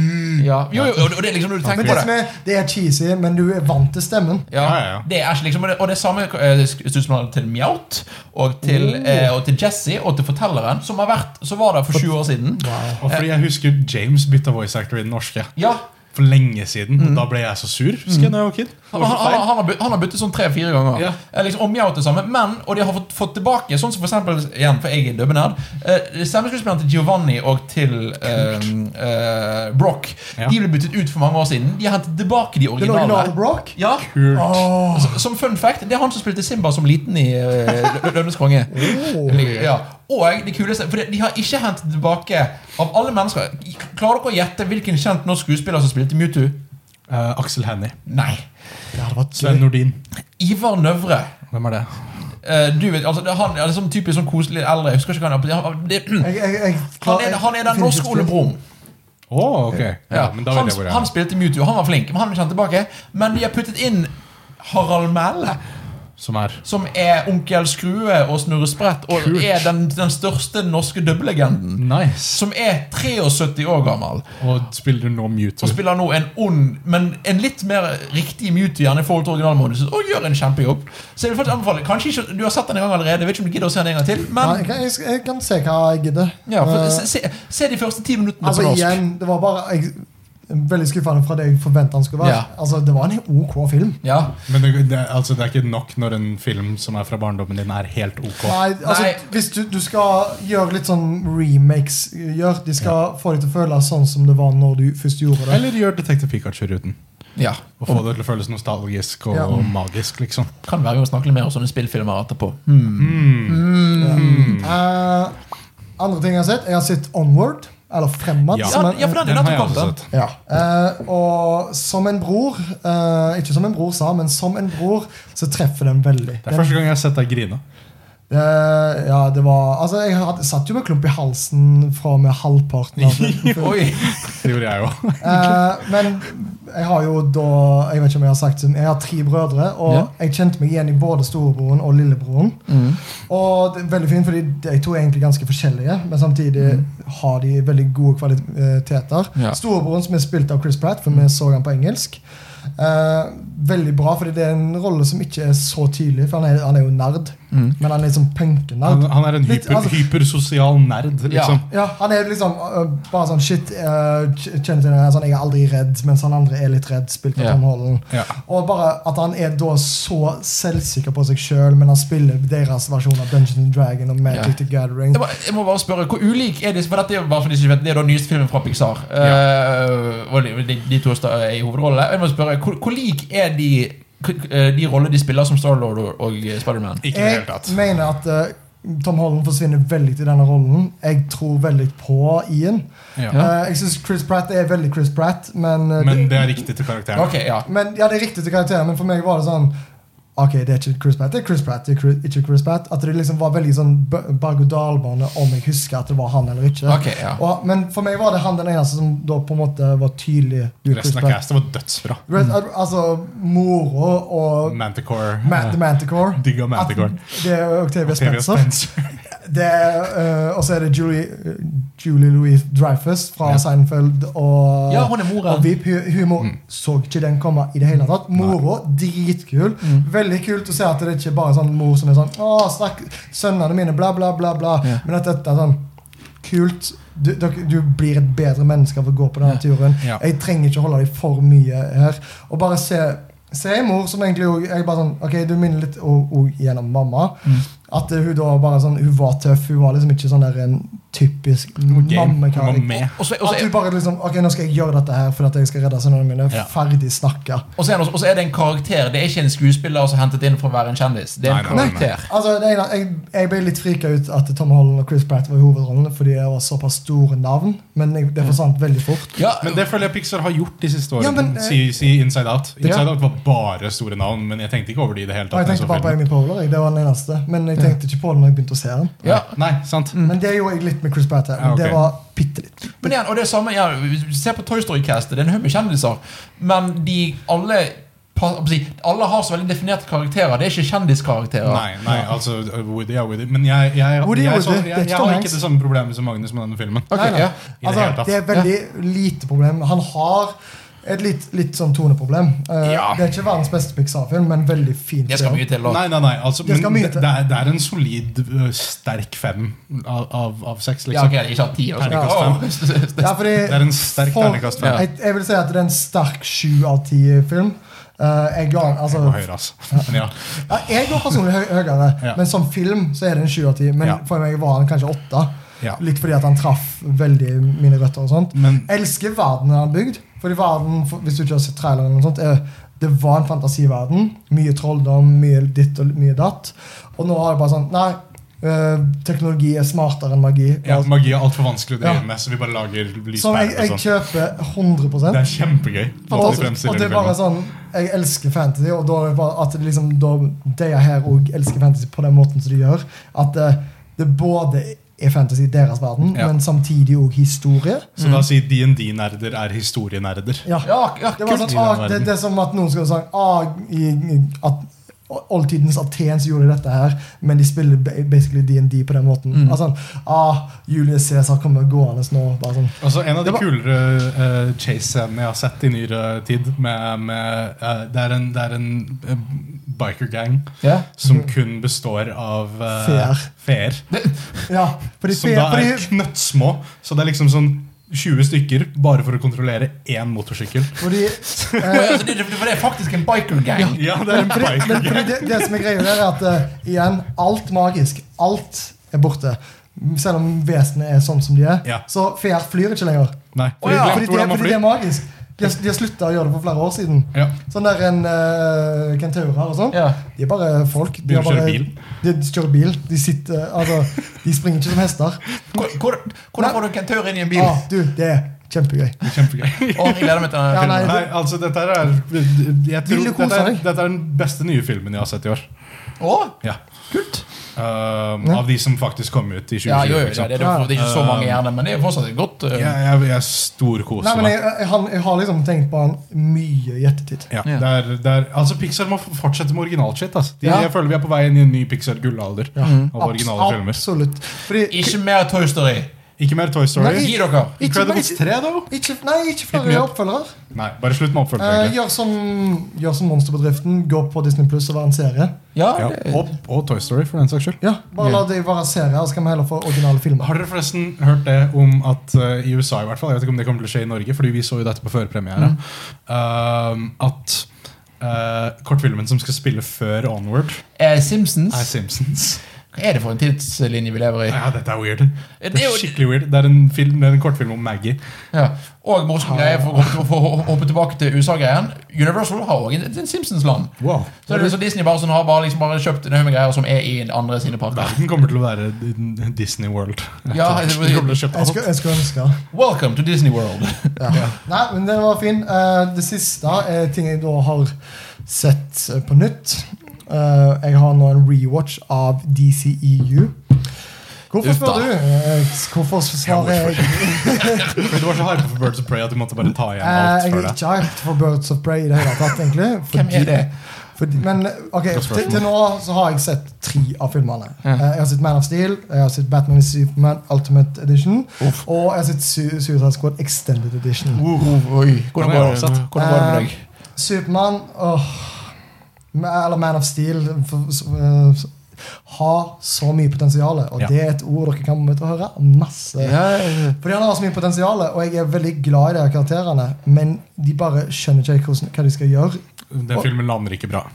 Speaker 3: mørk.
Speaker 1: ja. Jo, jo, og det er liksom når du
Speaker 3: Men
Speaker 1: tenker
Speaker 3: det,
Speaker 1: på
Speaker 3: som
Speaker 1: det.
Speaker 3: er, det er cheesy, men du er vant til stemmen.
Speaker 1: Ja,
Speaker 2: Ja, ja, ja.
Speaker 1: Det er Ash liksom, og det, og det samme eh, skuespilleren til Mjaut og til,
Speaker 3: Oh.
Speaker 1: eh, og til Jesse og til fortelleren, som har vært, så var der for sju år siden.
Speaker 2: Og fordi jeg husker James bytta voice actor i den norske
Speaker 1: Ja, Mhm.
Speaker 2: for lenge siden. Og da ble jeg så sur. husker jeg, når jeg var kid. Det
Speaker 1: Han,
Speaker 2: var
Speaker 1: han,
Speaker 2: så
Speaker 1: han,
Speaker 2: feil.
Speaker 1: han, har, bytt- han har byttet sånn tre-fire ganger.
Speaker 2: Ja.
Speaker 1: Eh, Liksom om Mjaut det samme Men, og de har fått, fått tilbake Sånn som for eksempel, igjen, for jeg er dubbenerd eh, Stemmeskuespilleren til Giovanni og til eh, eh, Brock
Speaker 2: Ja.
Speaker 1: De ble byttet ut for mange år siden. De har hentet tilbake de
Speaker 3: Den originale
Speaker 1: originale.
Speaker 3: Brock.
Speaker 1: Ja,
Speaker 2: Kult.
Speaker 3: Åh,
Speaker 1: som, som fun fact, Det er han som spilte Simba som liten i uh, Lønnes konge. Ja. Og det kuleste For de har ikke hentet tilbake Av alle mennesker Klarer dere å gjette hvilken kjent norsk skuespiller som spilte Mewtwo?
Speaker 2: Eh, Aksel Hennie.
Speaker 1: Nei.
Speaker 3: det hadde vært
Speaker 2: Sven
Speaker 3: gøy.
Speaker 2: Nordin.
Speaker 1: Ivar Nøvre.
Speaker 2: Hvem er det?
Speaker 1: Eh, du vet, altså, det, han er liksom typisk sånn koselig eldre. Jeg husker ikke hva han er. Han, det,
Speaker 3: Jeg, jeg, jeg,
Speaker 1: han, er, han er den norske Ole Brumm.
Speaker 2: Å, ok. Ja, men da
Speaker 1: han,
Speaker 2: vet jeg hvor jeg
Speaker 1: han
Speaker 2: er.
Speaker 1: spilte Mewtwo, han var flink, men han er kjent tilbake. Men de har puttet inn Harald Mæhle,
Speaker 2: Som er
Speaker 1: som er Onkel Skrue og Snurre Sprett, og
Speaker 2: Kult.
Speaker 1: er den, den største norske dubbelegenden.
Speaker 2: nice.
Speaker 1: Som er 73 år gammel,
Speaker 2: Og spiller nå Mewtwo.
Speaker 1: og spiller nå en ond, men en litt mer riktig Mewtwo gjerne i forhold til originalmodusen, og gjør en kjempejobb. Så jeg vil faktisk anbefale Kanskje ikke, Du har sett den en gang allerede, jeg vet ikke om du gidder å se den en gang til,
Speaker 3: Nei,
Speaker 1: men
Speaker 3: jeg, kan, jeg, skal- jeg kan se hva jeg gidder.
Speaker 1: Ja, for
Speaker 3: Eh,
Speaker 1: se, se, se de første ti minuttene
Speaker 3: altså
Speaker 1: på norsk.
Speaker 3: igjen, Det var bare jeg, veldig skuffende fra det jeg forventa han skulle være.
Speaker 1: Ja.
Speaker 3: Altså, Det var en OK film.
Speaker 1: Ja.
Speaker 2: Men det, det, altså, det er ikke nok når en film som er fra barndommen din, er helt ok.
Speaker 3: Nei, altså,
Speaker 1: Nei.
Speaker 3: Hvis du, du skal gjøre litt sånn remakes gjør, De skal få deg til å føle sånn som det var når du først gjorde det.
Speaker 2: Eller gjør Detektiv Pikachu-ruten.
Speaker 1: ja.
Speaker 2: Og få det til å føles nostalgisk og
Speaker 3: Ja.
Speaker 2: magisk, liksom.
Speaker 1: Kan være vi må snakke litt mer om sånne spillfilmer etterpå.
Speaker 3: Mm.
Speaker 1: Hmm.
Speaker 3: Eh, andre ting jeg har sett Jeg har sett Onward, eller Fremad.
Speaker 2: Ja.
Speaker 3: som er-
Speaker 1: Ja, for den er
Speaker 2: Den har jeg
Speaker 1: nettopp
Speaker 2: også
Speaker 1: kommet.
Speaker 2: sett.
Speaker 3: Ja. Eh, og som en bror eh, Ikke som en bror sa, men som en bror, så treffer den veldig.
Speaker 2: Det er første gang jeg har sett deg grine.
Speaker 3: Den- eh, ja, det var Altså, jeg hadde, satt jo med klump i halsen fra og med halvparten av den.
Speaker 1: Oi.
Speaker 2: Det gjorde jeg òg.
Speaker 3: Eh, men jeg har jo da Jeg vet ikke om jeg har sagt det, men jeg har tre brødre, og
Speaker 1: Ja. Mm.
Speaker 3: jeg kjente meg igjen i både storebroren og lillebroren. Og det er veldig fint, fordi de to er egentlig ganske forskjellige, men samtidig har de veldig gode kvaliteter.
Speaker 1: Mm. Ja.
Speaker 3: Storebroren som er spilt av Chris Pratt, for vi så han på engelsk. Eh, veldig bra, fordi det er en rolle som ikke er så tydelig, for han er, han er jo nerd.
Speaker 1: Mm.
Speaker 3: Men han er liksom
Speaker 2: Han,
Speaker 3: punkenerd.
Speaker 2: han er en
Speaker 3: Litt,
Speaker 2: hyper,
Speaker 3: altså-
Speaker 2: hypersosial nerd, liksom.
Speaker 3: Ja, han er liksom øh, bare sånn shit, øh, kj- kjenner til den her, sånn, jeg er aldri redd, mens han andre er litt redd, spilt av
Speaker 1: Ja.
Speaker 3: Tom Holland.
Speaker 2: Ja.
Speaker 3: Og bare at han er da så selvsikker på seg sjøl, men han spiller deres versjon av Dungeons and Dragon og Magic
Speaker 1: Ja.
Speaker 3: the Gathering.
Speaker 1: Jeg, må, jeg må bare spørre, Hvor ulik er disse? For dette er jo bare for de som ikke vet, det er da nyeste filmen fra Pixar. Eh, og de, de to sta- er i hovedrollene. Jeg må spørre, Hvor, hvor lik er de eh, de rollene de spiller som Starlord og- og Spiderman?
Speaker 2: Ikke i det hele tatt.
Speaker 3: Jeg mener at øh, Tom Holland forsvinner veldig i denne rollen. Jeg tror veldig på Ian.
Speaker 2: Ja.
Speaker 3: Eh, jeg syns Chris Pratt er veldig Chris Pratt, men, øh,
Speaker 2: Men det er riktig til karakteren.
Speaker 1: Ok, ja.
Speaker 3: Men ja, det er riktig til karakteren, men for meg var det sånn Ok, det er ikke Chris Pratt, det er Chris Pratt, det er Chris, ikke Chris Pratt. At det liksom var veldig sånn b- berg-og-dal-bane om jeg husker at det var han eller ikke.
Speaker 1: Ok, ja.
Speaker 3: Og, men for meg var det han den eneste som da på en måte var tydelig. du, Chris
Speaker 2: Resten av
Speaker 3: Pratt.
Speaker 2: castet var dødsbra.
Speaker 3: Red, al- Altså, mora og
Speaker 2: Manticore.
Speaker 3: Ma- The Manticore.
Speaker 2: Digga Manticore.
Speaker 3: At Det er Octavia
Speaker 2: Octavia
Speaker 3: Spencer. Det er, eh, og så er det Julie, eh, Julie Louis Dreyfus fra
Speaker 2: Ja.
Speaker 3: Seinfeld og,
Speaker 1: Ja, hun er mora.
Speaker 3: og VIP. Hun, hun
Speaker 2: Mm.
Speaker 3: må- så ikke den komme i det hele tatt. Mora, dritkul.
Speaker 1: Mm.
Speaker 3: Veldig kult å se at det ikke bare er sånn mor som er sånn Å, snakk, sønnene mine, bla, bla, bla. bla.
Speaker 1: Ja.
Speaker 3: Men at dette er sånn Kult. Du, dere- du blir et bedre menneske av å gå på denne turen.
Speaker 2: Ja.
Speaker 3: Jeg trenger ikke holde deg for mye her. Og bare se, se en mor som egentlig også- jeg bare sånn, ok, Du minner litt og, og gjennom mamma.
Speaker 2: Mm.
Speaker 3: At eh, hun da bare sånn, hun var tøff. Hun var liksom ikke sånn der en typisk
Speaker 2: game. Hun var
Speaker 3: mammekarakter.
Speaker 2: med.
Speaker 1: Og så, og så,
Speaker 3: At hun bare liksom Ok, nå skal jeg gjøre dette her fordi at jeg skal redde sønnene mine.
Speaker 2: Ja.
Speaker 3: Ferdig snakka.
Speaker 1: og så er det også- og så er det en karakter. Det er ikke en skuespiller som er hentet inn for å være en kjendis. Det er en
Speaker 2: Nei, nei, nei.
Speaker 1: karakter.
Speaker 3: Altså, det ene, jeg, jeg ble litt frika ut at Tom Holland og Chris Pratt var i hovedrollene fordi det var såpass store navn, men jeg,
Speaker 2: Mm.
Speaker 3: det forsvant veldig fort.
Speaker 1: Ja,
Speaker 2: Men det føler jeg Pixar har gjort de siste årene.
Speaker 3: Ja, men, eh,
Speaker 2: si, si Inside Out. Inside
Speaker 1: Ja.
Speaker 2: Out var bare store navn, men jeg tenkte ikke over de i det hele
Speaker 3: Og
Speaker 2: tatt.
Speaker 3: jeg
Speaker 2: når
Speaker 3: tenkte
Speaker 2: jeg så
Speaker 3: bare på
Speaker 2: filmen.
Speaker 3: Amy Poehler. jeg. Det var den eneste. Men jeg tenkte ikke på den når jeg begynte å se den.
Speaker 1: ja.
Speaker 2: Nei, sant.
Speaker 3: Men det gjorde jeg litt med Chris Pratt her.
Speaker 2: Ja, Mm. Ah, ok.
Speaker 3: Det var bitte litt.
Speaker 1: Men igjen, og det er samme, ja, Se på Toy Story-castet. Det er en haug med kjendiser. Men de alle pa- hva skal jeg si, Alle har så veldig definerte karakterer. Det er ikke kjendiskarakterer.
Speaker 2: Nei, nei, altså uh, Woody er Woody. Men jeg, jeg,
Speaker 3: Woody er
Speaker 2: jeg,
Speaker 3: Woody,
Speaker 2: så,
Speaker 3: det er
Speaker 2: jeg, jeg,
Speaker 3: ikke Tom
Speaker 2: har
Speaker 3: Hanks.
Speaker 2: ikke det samme problemet som Magnus med denne filmen.
Speaker 1: Ok,
Speaker 3: Nei, nei.
Speaker 1: ja.
Speaker 2: I det hele
Speaker 3: Altså,
Speaker 2: tatt.
Speaker 3: det er veldig lite problem. Han har et litt, litt sånn toneproblem. Eh,
Speaker 2: Ja.
Speaker 3: Det er ikke verdens beste Pixar-film, men veldig fin.
Speaker 1: Det skal
Speaker 3: film.
Speaker 1: mye til. da.
Speaker 2: Nei, nei, nei. Altså,
Speaker 3: Det skal
Speaker 2: men
Speaker 3: mye
Speaker 2: det,
Speaker 3: til.
Speaker 2: det, er, det er en solid, uh, sterk fem av, av, av seks,
Speaker 1: Ja, ok,
Speaker 2: liksom.
Speaker 1: ikke hatt ti. og sånn.
Speaker 2: Terningkast
Speaker 1: Åh.
Speaker 3: Ja, fordi
Speaker 2: Det er en sterk
Speaker 3: for-
Speaker 2: terningkast
Speaker 1: fem.
Speaker 3: Jeg, jeg vil si at det er en sterk sju av ti-film. jeg ga den
Speaker 2: Altså,
Speaker 3: altså,
Speaker 2: høyere, altså. Men ja.
Speaker 3: ja, Jeg går personlig høy, høyere,
Speaker 2: Ja.
Speaker 3: men som film så er det en sju av ti. Men
Speaker 2: Ja.
Speaker 3: for meg var han kanskje åtte.
Speaker 2: Ja.
Speaker 3: Litt fordi at han traff veldig mine røtter. og sånt
Speaker 2: Men-
Speaker 3: Elsker verden han har bygd. Fordi verden, for- hvis du ikke har sett traileren, eller noe sånt, er, det var en fantasiverden. Mye trolldom, mye ditt og mye datt. Og nå har jeg bare sånn Nei, eh, teknologi er smartere enn magi.
Speaker 2: Ja,
Speaker 3: Og-
Speaker 2: magi er altfor vanskelig å drive
Speaker 3: Ja.
Speaker 2: med, så vi bare lager
Speaker 3: som jeg,
Speaker 2: lyspærer
Speaker 3: jeg
Speaker 2: og sånn.
Speaker 3: kjøper 100
Speaker 2: Det er kjempegøy. måten de
Speaker 3: Fantastisk.
Speaker 2: fremstiller
Speaker 3: Og det
Speaker 2: det
Speaker 3: er
Speaker 2: i
Speaker 3: bare
Speaker 2: filmen.
Speaker 3: sånn Jeg elsker fantasy, og da er det bare at det liksom Da de her òg elsker fantasy på den måten som de gjør. At det, det både er fantasy i deres verden,
Speaker 2: Ja.
Speaker 3: men samtidig òg historie.
Speaker 2: Så da sier DND-nerder er historienerder.
Speaker 3: Ja.
Speaker 1: Ja, ja,
Speaker 3: Det, var sånn,
Speaker 2: kult.
Speaker 3: ah, det, det er som at noen skulle sagt ah, i, i, at Oldtidens Aten så gjorde de dette her, men de spiller ba- basically DND på den måten.
Speaker 2: Mm.
Speaker 3: Altså, ah, Julius Cæsar kommer gående nå. Bare sånn.
Speaker 2: Altså, en av de
Speaker 3: Det var-
Speaker 2: kulere eh, chase-scenene jeg har sett i nyere tid med, med, eh, Det er en, det er en eh, biker-gang
Speaker 1: Ja.
Speaker 2: som kun består av eh,
Speaker 3: Mhm. Feer.
Speaker 2: feer.
Speaker 3: Ja, fordi,
Speaker 2: Som
Speaker 3: fe-
Speaker 2: da
Speaker 3: fordi,
Speaker 2: er knøttsmå. Så det er liksom sånn 20 stykker bare for å kontrollere én motorsykkel.
Speaker 1: Åh,
Speaker 3: fordi
Speaker 1: ja, så Altså, det, det, for det er faktisk en biker-gang.
Speaker 2: Ja, det er en
Speaker 3: Fordi, men
Speaker 2: biker-gang.
Speaker 3: fordi det, det som er greia, der er at eh, igjen, alt magisk, alt er borte. Selv om vesenene er sånn som de er.
Speaker 2: Ja.
Speaker 3: Så feer flyr ikke lenger.
Speaker 2: Nei,
Speaker 1: Å
Speaker 2: de
Speaker 1: ja,
Speaker 2: glemte
Speaker 3: Fordi det,
Speaker 2: hvordan man
Speaker 3: fordi
Speaker 2: flyr.
Speaker 3: det er magisk. De har, de har slutta å gjøre det for flere år siden.
Speaker 2: Ja.
Speaker 3: Sånn der en uh, kentaurer og sånn.
Speaker 1: Ja.
Speaker 3: De er bare folk. De,
Speaker 2: Begynner
Speaker 3: har
Speaker 2: å kjøre
Speaker 3: bare,
Speaker 2: bil.
Speaker 3: De, de kjører bil. De sitter Altså, de springer ikke som hester.
Speaker 1: Hvor- hvor- Hvordan får du en kentaur inn i en bil?
Speaker 3: Ah, du, det er kjempegøy.
Speaker 2: Kjempegøy.
Speaker 1: Åh, jeg gleder meg til
Speaker 3: Ja,
Speaker 1: den
Speaker 3: nei,
Speaker 1: filmen.
Speaker 2: Nei, altså dette her er jeg tror,
Speaker 3: Vil du kose
Speaker 2: dette, er,
Speaker 3: deg?
Speaker 2: dette er den beste nye filmen jeg har sett i år.
Speaker 1: Åh,
Speaker 2: Ja.
Speaker 1: kult.
Speaker 2: Ehm,
Speaker 3: Ja.
Speaker 2: av de som faktisk kom ut i 2020.
Speaker 1: Ja, jo, jo,
Speaker 2: ikke
Speaker 1: det
Speaker 2: sant?
Speaker 1: er, det, for det er ikke så mange gjerne, men det er jo fortsatt et godt øh,
Speaker 2: Jeg, jeg, jeg storkoser
Speaker 3: Nei, men jeg,
Speaker 2: meg.
Speaker 3: jeg, han- jeg har liksom tenkt på han mye i ettertid.
Speaker 2: Ja,
Speaker 1: Ja.
Speaker 2: det er, det er, altså Pixar må fortsette med originalshit. Altså. De,
Speaker 1: Ja.
Speaker 2: Jeg føler vi er på vei inn i en ny Pixar-gullalder av originale
Speaker 3: Mm. Abs-
Speaker 2: filmer.
Speaker 3: Absolutt. Fordi,
Speaker 1: Ikke mer Toy Story.
Speaker 2: Ikke mer Toy Story.
Speaker 1: Gi dere.
Speaker 3: Ikke-
Speaker 2: Incredibles 3, da?
Speaker 3: Ikke, nei, ikke
Speaker 2: Hit me
Speaker 3: flere
Speaker 2: up.
Speaker 3: oppfølgere.
Speaker 2: Nei, bare slutt med
Speaker 3: Eh,
Speaker 2: oppfølging.
Speaker 3: gjør, som, gjør som Monsterbedriften. Gå på Disney Pluss og være en serie.
Speaker 1: Ja,
Speaker 2: Ja,
Speaker 1: det-
Speaker 2: og, og Toy Story, for den saks skyld.
Speaker 3: Ja, Bare la det være serier, så kan vi heller få originale filmer.
Speaker 2: Har dere forresten hørt det om at eh, i USA i hvert fall, jeg vet ikke om det kommer til å skje i Norge, fordi vi så jo dette på førpremiere, ehm, at eh, kortfilmen som skal spille før Onward,
Speaker 1: Eh, Simpsons.
Speaker 2: er Simpsons.
Speaker 1: Hva er det for en tidslinje vi lever i?
Speaker 2: Ja, dette er weird. Det
Speaker 1: Det er
Speaker 2: er
Speaker 1: jo-
Speaker 2: skikkelig weird. Det er en, film, det er en kortfilm om Maggie.
Speaker 1: Ja. Og morsom greie for å hoppe- for å hoppe tilbake til USA-greien. Universal har òg en Simpsons-land.
Speaker 2: Wow.
Speaker 1: Så er det så Disney bare, sånn, har bare, liksom bare kjøpt en haug med greier som er i andre sine parker.
Speaker 2: Verden kommer til å være Disney World.
Speaker 1: Ja,
Speaker 2: De kommer til å kjøpe
Speaker 3: Jeg
Speaker 2: alt.
Speaker 3: skulle, jeg skulle ønske
Speaker 1: Welcome to Disney World.
Speaker 3: ja. Nei, men den var fin. Eh, det siste er ting jeg da har sett eh, på nytt. Eh, Eh, jeg har nå en rewatch av DCEU. Hvorfor
Speaker 1: Uff da.
Speaker 3: spør du? Eh, Hvorfor svarer jeg?
Speaker 2: Men du var så hype for Birds of Prey at du måtte bare ta igjen
Speaker 3: Eh,
Speaker 2: alt
Speaker 3: jeg
Speaker 2: før
Speaker 3: er
Speaker 2: det.
Speaker 3: ikke hyped for Birds of Prey i det hele tatt, egentlig.
Speaker 1: Hvem er det?
Speaker 3: Fordi, men ok,
Speaker 2: Godt spørsmål.
Speaker 3: til, til nå så har jeg sett tre av filmene.
Speaker 1: Ja.
Speaker 3: Eh, Jeg har sett Man of Steel, jeg har sett Batman vs. Superman Ultimate Edition
Speaker 1: Uff.
Speaker 3: og jeg har sett Su Suicide Squad Extended Edition.
Speaker 1: Uh, oi. Hvordan
Speaker 2: Ja, men jeg
Speaker 1: går
Speaker 2: har
Speaker 1: det
Speaker 2: oversatt.
Speaker 1: Hvordan går det med deg?
Speaker 3: Supermann Eller Man of Steel for- s- eh, s- har så mye potensial, og
Speaker 2: Ja.
Speaker 3: det er et ord dere kan komme til å høre masse. Fordi han har så mye potensial, og jeg er veldig glad i de her karakterene, men de bare skjønner ikke hvordan, hva de skal gjøre.
Speaker 2: Den filmen lander ikke bra.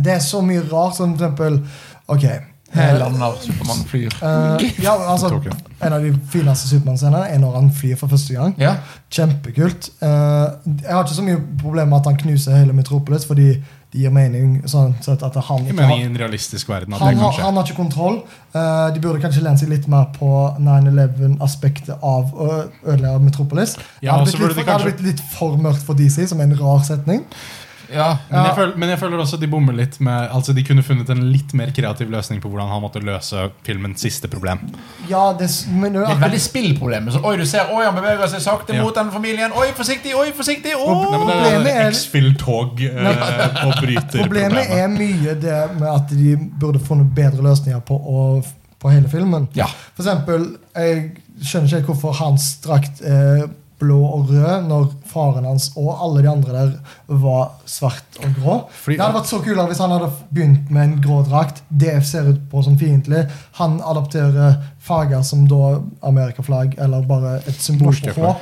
Speaker 3: Det er så mye rart, som for eksempel Ok.
Speaker 1: Her
Speaker 3: eh,
Speaker 1: lander Supermann flyr.
Speaker 3: eh, ja, altså,
Speaker 2: Tokyo.
Speaker 3: en av de fineste Supermann-scenene er når han flyr for første gang.
Speaker 1: Ja.
Speaker 3: Kjempekult. Eh, jeg har ikke så mye problemer med at han knuser hele Metropolis, fordi det gir mening sånn sett at han
Speaker 2: Jeg
Speaker 3: ikke
Speaker 2: mener
Speaker 3: har
Speaker 2: i en realistisk verden at det
Speaker 3: han
Speaker 2: kan
Speaker 3: har,
Speaker 2: skje.
Speaker 3: han har ikke kontroll. Eh, de burde kanskje lene seg litt mer på 9-11-aspektet av å ødelegge Metropolis.
Speaker 2: Ja,
Speaker 3: det, hadde
Speaker 2: så burde
Speaker 3: blitt litt,
Speaker 2: de
Speaker 3: for- det hadde
Speaker 2: kanskje-
Speaker 3: blitt litt for mørkt for DC, som er en rar setning.
Speaker 1: ja.
Speaker 2: Men
Speaker 3: Ja.
Speaker 2: jeg, føler, men jeg føler også de bommer litt med Altså de kunne funnet en litt mer kreativ løsning på hvordan han måtte løse filmens siste problem.
Speaker 3: Ja, det, s- men det er
Speaker 1: Det er et
Speaker 3: akkurat-
Speaker 1: veldig spillproblem. Så, oi, du ser, oi, han beveger seg sakte
Speaker 2: Ja.
Speaker 1: mot den familien. Oi, forsiktig! Oi, forsiktig! Oh.
Speaker 2: Nei, men det er
Speaker 3: Problemet er-
Speaker 2: X-Fill-tog eh, og bryter
Speaker 3: Problemet
Speaker 2: problemet.
Speaker 3: er mye det med at de burde funnet bedre løsninger på, å- på hele filmen.
Speaker 1: Ja.
Speaker 3: For eksempel, jeg skjønner ikke helt hvorfor hans drakt er blå og rød når faren hans og alle de andre der var svart og grå.
Speaker 2: Fordi-
Speaker 3: det hadde vært så kulere hvis han hadde begynt med en grå drakt. Det ser ut på som fiendtlig. Han adopterer farger som da amerikaflagg eller bare et symbol på
Speaker 2: Norske flagg.
Speaker 3: håp.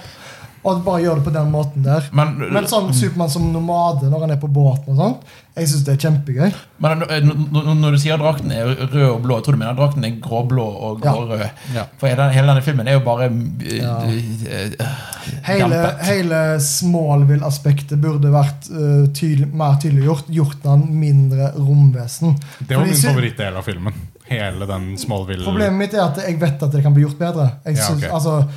Speaker 3: Og bare gjør det på den måten der.
Speaker 1: Men,
Speaker 3: Men sånn Supermann som nomade når han er på båten og sånt, jeg syns det er kjempegøy.
Speaker 1: men eh, n- n- n- når du sier drakten er rød og blå, jeg tror du mener drakten er gråblå og
Speaker 3: Ja.
Speaker 1: grårød.
Speaker 2: Ja.
Speaker 1: For hele, hele denne filmen er jo bare eh,
Speaker 3: Ja.
Speaker 1: eh,
Speaker 3: Hele,
Speaker 1: Dampet.
Speaker 3: hele Smallville-aspektet burde vært eh, tydelig, mer tydeliggjort. Gjort han mindre romvesen.
Speaker 2: Det var
Speaker 3: Fordi
Speaker 2: min
Speaker 3: sy-
Speaker 2: favorittdel av filmen. Hele den Smallville
Speaker 3: Problemet mitt er at jeg vet at det kan bli gjort bedre. Jeg
Speaker 2: Mm. Ja,
Speaker 3: syns-
Speaker 2: ok.
Speaker 3: altså,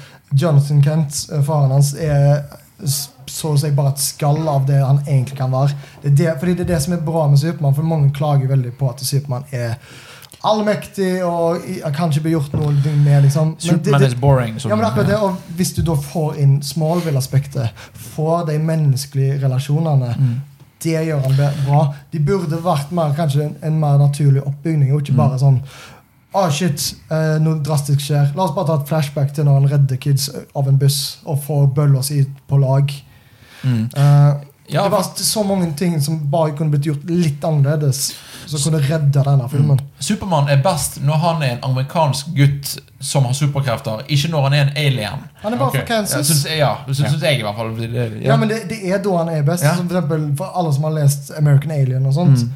Speaker 3: Jonathan Kent, eh, faren hans, er s- så å si bare et skall av det han egentlig kan være. Det er det, fordi det er det som er bra med Supermann, for mange klager veldig på at Supermann er allmektig og i- kan ikke bli gjort noe med, liksom. Men det-
Speaker 1: Superman
Speaker 3: det-
Speaker 1: is boring. som-
Speaker 3: Ja, men akkurat det, og Hvis du da får inn Smallville-aspektet, får de menneskelige relasjonene,
Speaker 1: Mm.
Speaker 3: det gjør han be- bra. De burde vært mer, kanskje en, en mer naturlig oppbygning, og ikke bare sånn Å, shit, eh, noe drastisk skjer. La oss bare ta et flashback til når han redder kids av en buss og får bølla si på lag.
Speaker 1: Mm.
Speaker 3: Eh,
Speaker 1: Ja,
Speaker 3: det var så mange ting som bare kunne blitt gjort litt annerledes, som kunne redda denne filmen.
Speaker 1: Mm. Supermann er best når han er en amerikansk gutt som har superkrefter, ikke når han er en alien.
Speaker 3: Han er bare
Speaker 2: Ok.
Speaker 3: for
Speaker 1: Ja,
Speaker 3: Kansas.
Speaker 1: syns, ja, syns,
Speaker 2: Ja.
Speaker 1: syns jeg i hvert fall. Det, det,
Speaker 3: Ja, men det, det er da han er best.
Speaker 1: Ja.
Speaker 3: Som for, eksempel, for alle som har lest American Alien og sånt.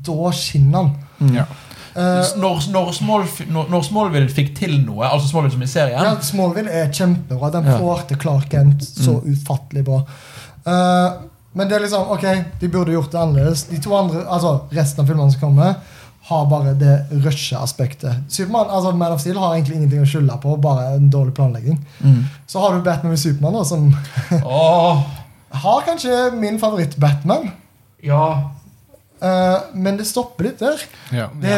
Speaker 3: Da skinner han.
Speaker 2: ja.
Speaker 3: Eh,
Speaker 1: Mm. når, når, Small, når, når Smallville fikk til noe, altså Smallville som i serien
Speaker 3: ja, Smallville er kjempebra. Den
Speaker 1: Ja.
Speaker 3: får til Clark Kent så ufattelig bra. Eh, men det er liksom, ok, de burde gjort det annerledes. De to andre, altså Resten av filmene som kommer, har bare det rushe-aspektet. Superman, altså Man of Steel har egentlig ingenting å skylde på, bare en dårlig planlegging.
Speaker 1: mm.
Speaker 3: Så har du Batman med Supermann, da, som
Speaker 1: Åh,
Speaker 3: har kanskje min favoritt-Batman.
Speaker 1: Ja
Speaker 3: Eh, men det stopper litt der.
Speaker 2: Ja.
Speaker 3: Det,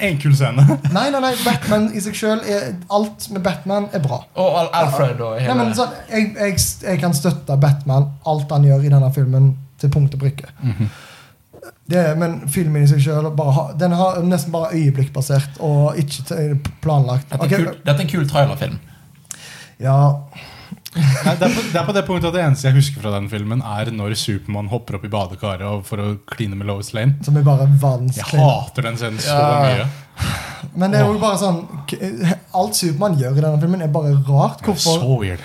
Speaker 2: En kul scene.
Speaker 3: Nei, nei, nei, Batman i seg sjøl Alt med Batman er bra.
Speaker 1: Og Al Alfred og hele
Speaker 3: Nei, men sånn, jeg, jeg, jeg kan støtte Batman, alt han gjør i denne filmen, til punkt og prikke.
Speaker 2: Mhm.
Speaker 3: Det, men filmen i seg sjøl Den har nesten bare øyeblikkbasert og ikke til- planlagt.
Speaker 1: dette, er
Speaker 3: Ok,
Speaker 1: kul, dette er en kul trailerfilm.
Speaker 3: Ja,
Speaker 2: Nei, det, er på, det er på det punktet at det eneste jeg husker fra den filmen, er når Supermann hopper opp i badekaret og- for å kline med Lois Lane.
Speaker 3: som er bare verdens
Speaker 2: Jeg
Speaker 3: kline.
Speaker 2: hater den scenen så
Speaker 1: Ja.
Speaker 2: mye.
Speaker 3: Men det er jo bare sånn k- alt Supermann gjør i denne filmen, er bare rart.
Speaker 2: Det er
Speaker 3: Hvorfor,
Speaker 2: så weird.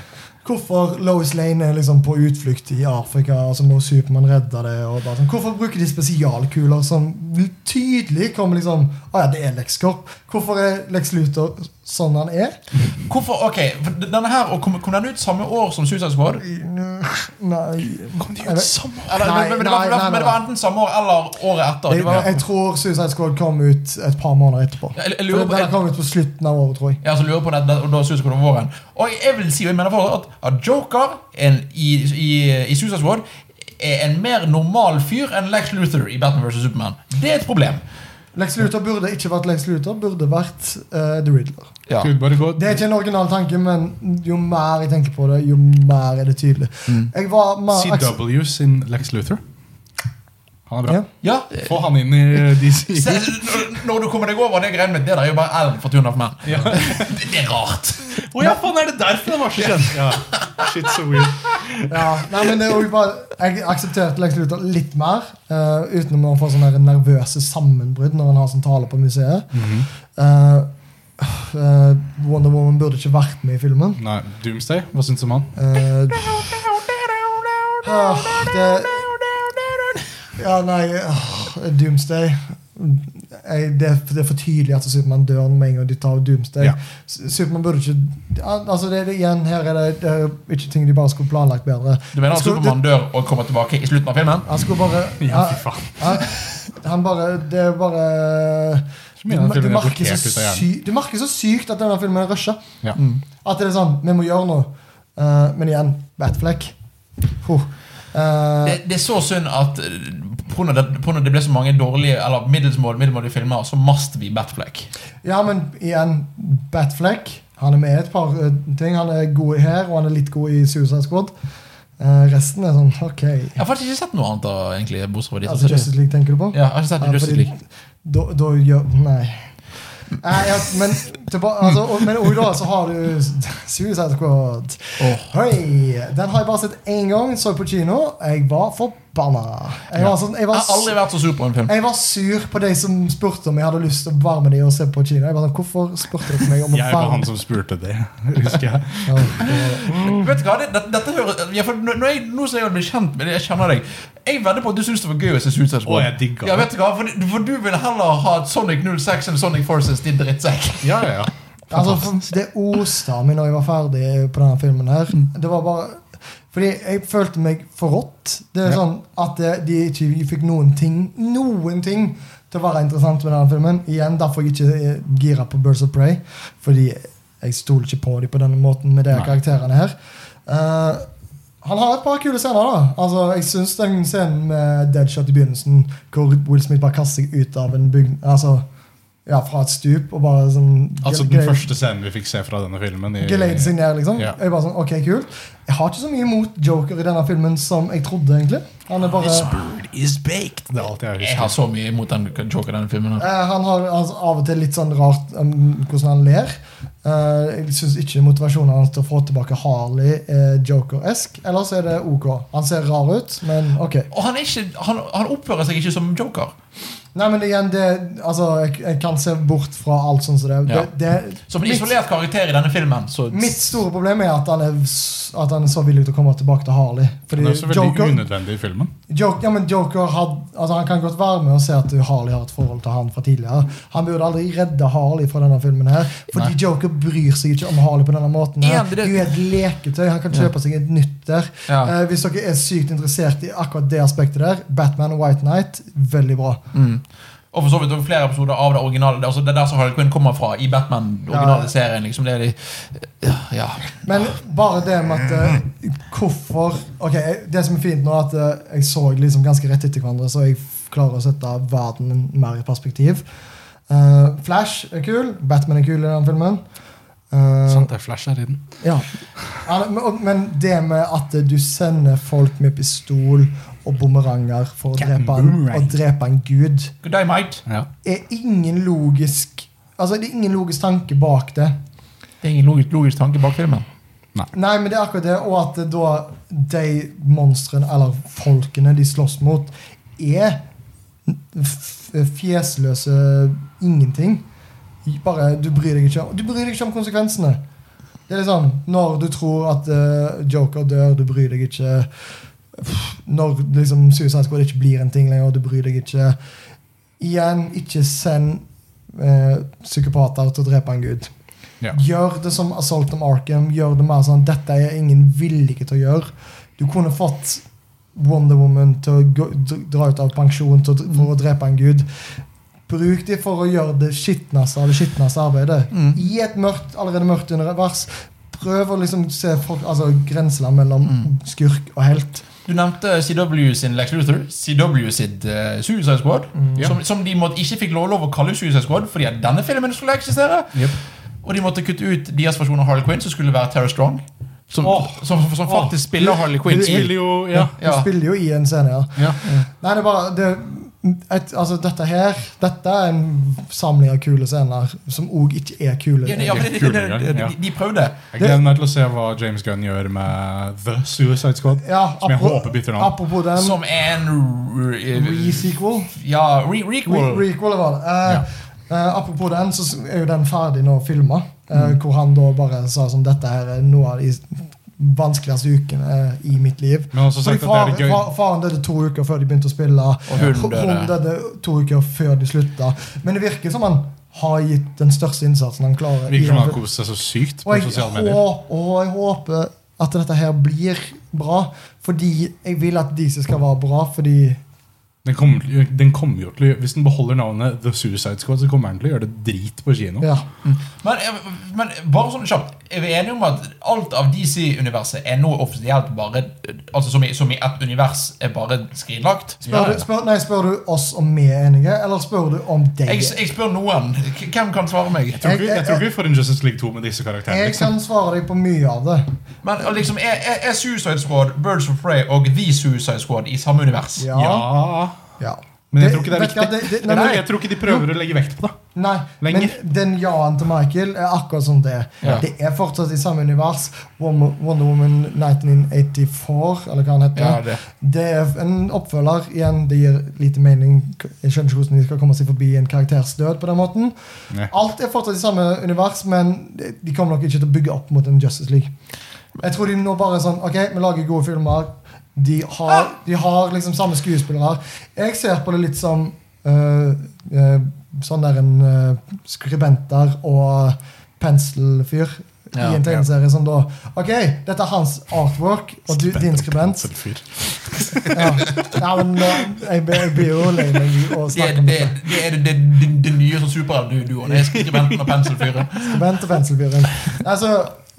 Speaker 3: hvorfor Lois Lane er liksom på utflukt i Afrika, og så må Supermann redde det. Og bare sånn. Hvorfor bruker de spesialkuler som tydelig kommer liksom Å ja, det er Lex Corp. Hvorfor er Lex Luthor sånn han er?
Speaker 1: Hvorfor, ok, for Denne her, og kom, kom den ut samme år som Suicide Squad?
Speaker 3: Nei
Speaker 2: Kom de ut
Speaker 3: Jeg vet-
Speaker 2: sammen?
Speaker 1: Eller,
Speaker 3: Nei,
Speaker 1: men, men, det var,
Speaker 3: nei, nei, nei.
Speaker 1: men det var enten samme år eller året etter.
Speaker 3: jeg,
Speaker 1: Det var,
Speaker 3: jeg tror Suicide Squad kom ut et par måneder etterpå.
Speaker 1: Jeg- jeg lurer
Speaker 3: For
Speaker 1: på-
Speaker 3: Den kom ut på slutten av året, tror jeg.
Speaker 1: Ja, så lurer jeg på det, det- og da synes jeg hvordan våren. Og jeg vil si, og jeg mener fortsatt, at- at Joker en, i, i, i Suicide Squad er en mer normal fyr enn Lex Luthor i Batman vs. Superman. Det er et problem.
Speaker 3: Lex Luthor burde ikke vært Lex Luthor, burde vært eh, The Riddler.
Speaker 1: Ja.
Speaker 2: Skal vi bare gå
Speaker 3: Det er ikke en original tanke, men jo mer jeg tenker på det, jo mer er det tydelig.
Speaker 1: Mm.
Speaker 3: Jeg var mer akse-
Speaker 2: CW sin Lex Luthor? Han er bra.
Speaker 3: Ja.
Speaker 1: Ja,
Speaker 2: Få han inn i eh, DC.
Speaker 1: se, når- når du kommer deg over det greiene mitt, det der er jo bare Ellen fra Tune of Man.
Speaker 2: Ja.
Speaker 1: Det, det er rart.
Speaker 2: Å ja, faen, er det derfor han var så kjent? Ja. Shit, so weird.
Speaker 3: Ja, nei, men det er jo bare, Jeg aksepterte Lex Luthor litt mer, eh, utenom å få sånne her nervøse sammenbrudd når han har sånn tale på museet.
Speaker 1: Mhm.
Speaker 3: Eh, eh, Wonder Woman burde ikke vært med i filmen.
Speaker 2: Nei, Doomsday, hva syns du om han?
Speaker 3: Eh, ah, det, ja, nei ah, Doomsday. Jeg, det, er- det er for tydelig at Supermann dør med en gang de tar Doomsday.
Speaker 2: Ja.
Speaker 3: S- Supermann burde ikke al- altså det, er det, igjen, Her er det, det er ikke ting de bare skulle planlagt bedre.
Speaker 1: Du mener at
Speaker 3: Skulle-
Speaker 1: Supermann dør og kommer tilbake i slutten av filmen?
Speaker 3: Han skulle bare
Speaker 2: Ja, fy faen.
Speaker 3: han, han bare Det er bare
Speaker 2: Så mener han
Speaker 3: du,
Speaker 2: filmen er
Speaker 3: merker så
Speaker 2: blokkert ut av hjernen.
Speaker 3: sy, du merker så sykt at denne filmen er rusha.
Speaker 2: Ja.
Speaker 3: At det er sånn Vi må gjøre noe. Eh, men igjen, Batfleck. Huh. Eh,
Speaker 1: det, det er så synd at eh, på grunn av det, på grunn av det ble så mange dårlige Eller middelsmål, middelmålige filmer, så must vi Batfleck.
Speaker 3: ja, men igjen, Batfleck. Han er med i et par eh, ting. Han er god her, og han er litt god i Suicide Squad. Eh, resten er sånn OK.
Speaker 1: Jeg har faktisk ikke sett noe annet da, egentlig, bortsett fra de
Speaker 3: Altså Justice League, tenker du på?
Speaker 1: Ja, jeg har ikke sett
Speaker 3: Ja,
Speaker 1: Justice
Speaker 3: fordi
Speaker 1: League.
Speaker 3: Da, da gjør Nei. Nei ja, men tilba- altså, og- men og da så har du Suicide Squad.
Speaker 1: Åh.
Speaker 3: Hei! Den har jeg bare sett én gang. Så jeg på kino. Jeg var forbanna. Jeg var, sånn, jeg,
Speaker 1: Jeg
Speaker 3: var,
Speaker 1: har aldri
Speaker 3: su-
Speaker 1: vært så sur på en film.
Speaker 3: jeg var sur på de som spurte om jeg hadde lyst til å være med de og se på kino. Jeg var sånn, Hvorfor spurte dere meg om å
Speaker 2: Jeg var
Speaker 3: være
Speaker 2: han
Speaker 3: med?
Speaker 2: som spurte det, husker jeg.
Speaker 3: Ja, det-
Speaker 1: Vet du hva, det, dette, dette hører, ja, for når jeg, Nå som jeg har blitt kjent med deg, jeg kjenner deg Jeg vedder på at du syns det var gøy å se Suicide Squad.
Speaker 2: Å, jeg digger
Speaker 1: ja,
Speaker 2: det.
Speaker 1: vet du hva, for, for du vil heller ha et Sonic 06 enn Sonic Forces, din drittsekk.
Speaker 2: Ja, ja, ja.
Speaker 3: Altså, for- det oste av meg når jeg var ferdig på denne filmen her.
Speaker 2: Mm.
Speaker 3: Det var bare Fordi jeg følte meg forrådt. Det er
Speaker 2: Ja.
Speaker 3: sånn at det, de ikke fikk noen ting Noen ting til å være interessant med denne filmen. Igjen derfor jeg ikke er gira på Birds of Prey. Fordi jeg stoler ikke på dem på denne måten med de
Speaker 2: Nei.
Speaker 3: karakterene her. Eh, han har et par kule scener. da Altså, Jeg syns den scenen med Deadshot i begynnelsen, hvor Will Smith bare kaster seg ut av en bygning Altså, ja, fra et stup og bare sånn
Speaker 2: Altså den
Speaker 3: greier-
Speaker 2: første scenen vi fikk se fra denne filmen. i-
Speaker 3: Geleide seg ned, liksom.
Speaker 2: Ja.
Speaker 3: Jeg bare sånn, ok, kult. Jeg har ikke så mye imot Joker i denne filmen som jeg trodde, egentlig. Han er bare
Speaker 1: bird is baked.
Speaker 2: Det er alt jeg
Speaker 1: Ah. Jeg
Speaker 2: husker.
Speaker 1: har så mye imot den joker i den filmen. her.
Speaker 3: eh, Han har altså, av og til litt sånn rart um, hvordan han ler. Eh, jeg syns ikke motivasjonen hans til å få tilbake Harley er Joker-esk. Ellers er det ok. Han ser rar ut, men ok.
Speaker 1: Og han, er ikke, han, han oppfører seg ikke som joker.
Speaker 3: Nei, men igjen, det Altså, jeg, jeg kan se bort fra alt sånn som det er.
Speaker 1: Ja.
Speaker 3: Det, det
Speaker 1: Som en
Speaker 3: mitt-
Speaker 1: isolert karakter i denne filmen. Så
Speaker 3: Mitt store problem er at han er, s- at han er så villig til å komme tilbake til Harley.
Speaker 2: Den
Speaker 3: Fordi
Speaker 2: er også veldig
Speaker 3: Joker,
Speaker 2: unødvendig i filmen.
Speaker 3: Joker, ja, men Joker had, altså han kan godt være med og se at du Harley har et forhold til han fra tidligere. Han burde aldri redde Harley fra denne filmen. her Fordi
Speaker 1: Nei.
Speaker 3: Joker bryr seg ikke om Harley på denne måten. her
Speaker 1: Igjen,
Speaker 3: Du
Speaker 1: det-
Speaker 3: er et leketøy. Han kan kjøpe seg et nytt der.
Speaker 1: Ja.
Speaker 3: Eh, hvis dere er sykt interessert i akkurat det aspektet der, Batman og White Knight, veldig bra.
Speaker 1: Og for så vidt også flere episoder av det originale. Det er, altså, det er der som Harley Quinn kommer fra i Batman. den originale
Speaker 3: Ja.
Speaker 1: serien liksom, det er de, ja.
Speaker 3: Men bare det med at eh, Hvorfor Ok, jeg- Det som er fint nå, er at eh, jeg så liksom ganske rett etter hverandre, så jeg f- klarer å sette verden mer i perspektiv. Eh, Flash er kul. Batman er kul i den filmen. Eh,
Speaker 2: Sant, Sånn det er Flash her i den.
Speaker 3: ja. Ja, men- og- Men det med at du sender folk med pistol og bumeranger for å
Speaker 2: Captain
Speaker 3: drepe en,
Speaker 2: Boomerang.
Speaker 3: å drepe en gud,
Speaker 1: Good day, mate.
Speaker 2: Ja.
Speaker 3: er ingen logisk Altså, det er ingen logisk tanke bak det.
Speaker 1: Det er ingen logisk, logisk tanke bak filmen.
Speaker 3: Nei, men det er akkurat det. Og at det da de monstrene, eller folkene de slåss mot, er f- fjesløse ingenting. Bare, du bryr deg ikke om, du bryr deg ikke om konsekvensene. Det er liksom når du tror at eh, Joker dør, du bryr deg ikke. Pff, Når liksom, Suicide Squad ikke blir en ting lenger, du bryr deg ikke. Igjen, ikke send eh, psykopater til å drepe en gud.
Speaker 2: Ja.
Speaker 3: Gjør det som Assault on Arkham. Gjør det mer sånn Dette er ingen villige til å gjøre. Du kunne fått Wonder Woman til å gå, dr- dra ut av pensjon til, å dr- for å drepe en gud. Bruk de for å gjøre det skitneste av det skitneste arbeidet.
Speaker 1: Mm.
Speaker 3: I et mørkt, allerede mørkt
Speaker 2: Mm.
Speaker 3: univers. Prøv å liksom se folk, altså, grenseland mellom skurk og helt.
Speaker 1: Du nevnte CW sin Lex Luthor. CW sitt eh, Suicide Squad.
Speaker 2: Ja.
Speaker 1: Som, som de måtte, ikke fikk lov, lov å kalle Suicide Squad fordi at denne filmen skulle eksistere.
Speaker 2: Jep.
Speaker 1: Og de måtte kutte ut deres versjon av Harley Quinn, som skulle være Tara Strong. Som,
Speaker 2: Åh.
Speaker 1: som, som faktisk spiller Harley Quinn.
Speaker 2: Det spiller jo Ja.
Speaker 3: Du
Speaker 1: Ja.
Speaker 3: spiller jo i en scene, ja.
Speaker 2: ja.
Speaker 3: Nei, det er bare det, et, Altså, dette her Dette er en samling av kule scener som òg ikke er kule.
Speaker 1: Ja, ja, men det, det, det, det, de, de prøvde.
Speaker 2: Jeg gleder meg til å se hva James Gunn gjør med The Suicide Squad.
Speaker 3: Ja,
Speaker 2: Som jeg
Speaker 3: apro-
Speaker 2: håper bytter navn.
Speaker 3: Apropos den.
Speaker 1: Som en r-
Speaker 3: Re-sequel.
Speaker 1: Ja, re requel.
Speaker 3: Re Requel var det. Eh, eh, apropos den, så er jo den ferdig nå filma. eh,
Speaker 2: Mm.
Speaker 3: Hvor han da bare sa som dette her er noe av de vanskeligste ukene eh, i mitt liv.
Speaker 2: Men også
Speaker 3: Fordi
Speaker 2: sagt at det er
Speaker 3: far,
Speaker 2: gøy
Speaker 3: far, faren døde to uker før de begynte å spille.
Speaker 1: Og hun
Speaker 3: Hun
Speaker 1: døde.
Speaker 3: døde to uker før de slutta. Men det virker som han har gitt den største innsatsen han klarer. i
Speaker 2: Virker som
Speaker 3: den
Speaker 2: han har kost seg så sykt
Speaker 3: og
Speaker 2: på
Speaker 3: jeg,
Speaker 2: sosiale medier.
Speaker 3: hå- og jeg håper at dette her blir bra, fordi jeg vil at DC skal være bra, fordi
Speaker 2: Den kommer, til- den kommer jo til å gjøre- Hvis den beholder navnet The Suicide Squad, så kommer den til å gjøre det drit på kino.
Speaker 3: Ja.
Speaker 1: Men, men bare sånn kjapt, er vi enige om at alt av DC-universet er nå offisielt bare Altså som i, som i ett univers er bare skrinlagt?
Speaker 3: Spør, du, spør, nei, spør du oss om vi er enige, eller spør du om deg?
Speaker 1: Jeg, jeg spør noen. K- Hvem kan svare meg?
Speaker 2: Jeg tror, ikke,
Speaker 3: Jeg-
Speaker 2: jeg tror ikke vi får en Justice League 2 med disse karakterene.
Speaker 3: Jeg
Speaker 2: Liksom.
Speaker 3: kan svare deg på mye av det.
Speaker 1: Men liksom, er, er, er Suicide Squad, Birds of Prey og The Suicide Squad i samme univers?
Speaker 3: Ja.
Speaker 2: Ja,
Speaker 3: ja.
Speaker 2: men jeg tror ikke det er
Speaker 3: vet du hva,
Speaker 2: viktig.
Speaker 3: det- det-
Speaker 2: Jeg
Speaker 3: nei,
Speaker 2: tror-
Speaker 3: men-
Speaker 2: Jeg tror ikke de prøver å legge vekt på det.
Speaker 3: Nei,
Speaker 2: Lenger.
Speaker 3: men den ja-en til Michael er akkurat som det. er.
Speaker 1: Ja.
Speaker 3: Det er fortsatt i samme univers. Wonder Wonder Woman 1984, eller hva han heter.
Speaker 1: Ja, det.
Speaker 3: Det er en oppfølger igjen. Det gir lite mening. Jeg skjønner ikke hvordan de skal komme seg forbi en karakters død på den måten.
Speaker 2: Nei.
Speaker 3: Alt er fortsatt i samme univers, men de kommer nok ikke til å bygge opp mot en Justice League. Jeg tror de nå bare er sånn Ok, vi lager gode filmer. De har, de har liksom samme skuespillere. Jeg ser på det litt som øh, øh, sånn der en øh, skribenter og penselfyr
Speaker 1: Ja,
Speaker 3: i en tegneserie som da Ok, dette er hans artwork, og du, din skribent.
Speaker 2: Selvfyr.
Speaker 3: Ja. ja, men nå, jeg blir jeg blir jo lei meg i å
Speaker 1: Det,
Speaker 3: snakke om
Speaker 1: det,
Speaker 3: dette.
Speaker 1: det er det, det, det, det nye som superheltduoen er skribenten og penselfyren.
Speaker 3: Skribent og penselfyren. Altså,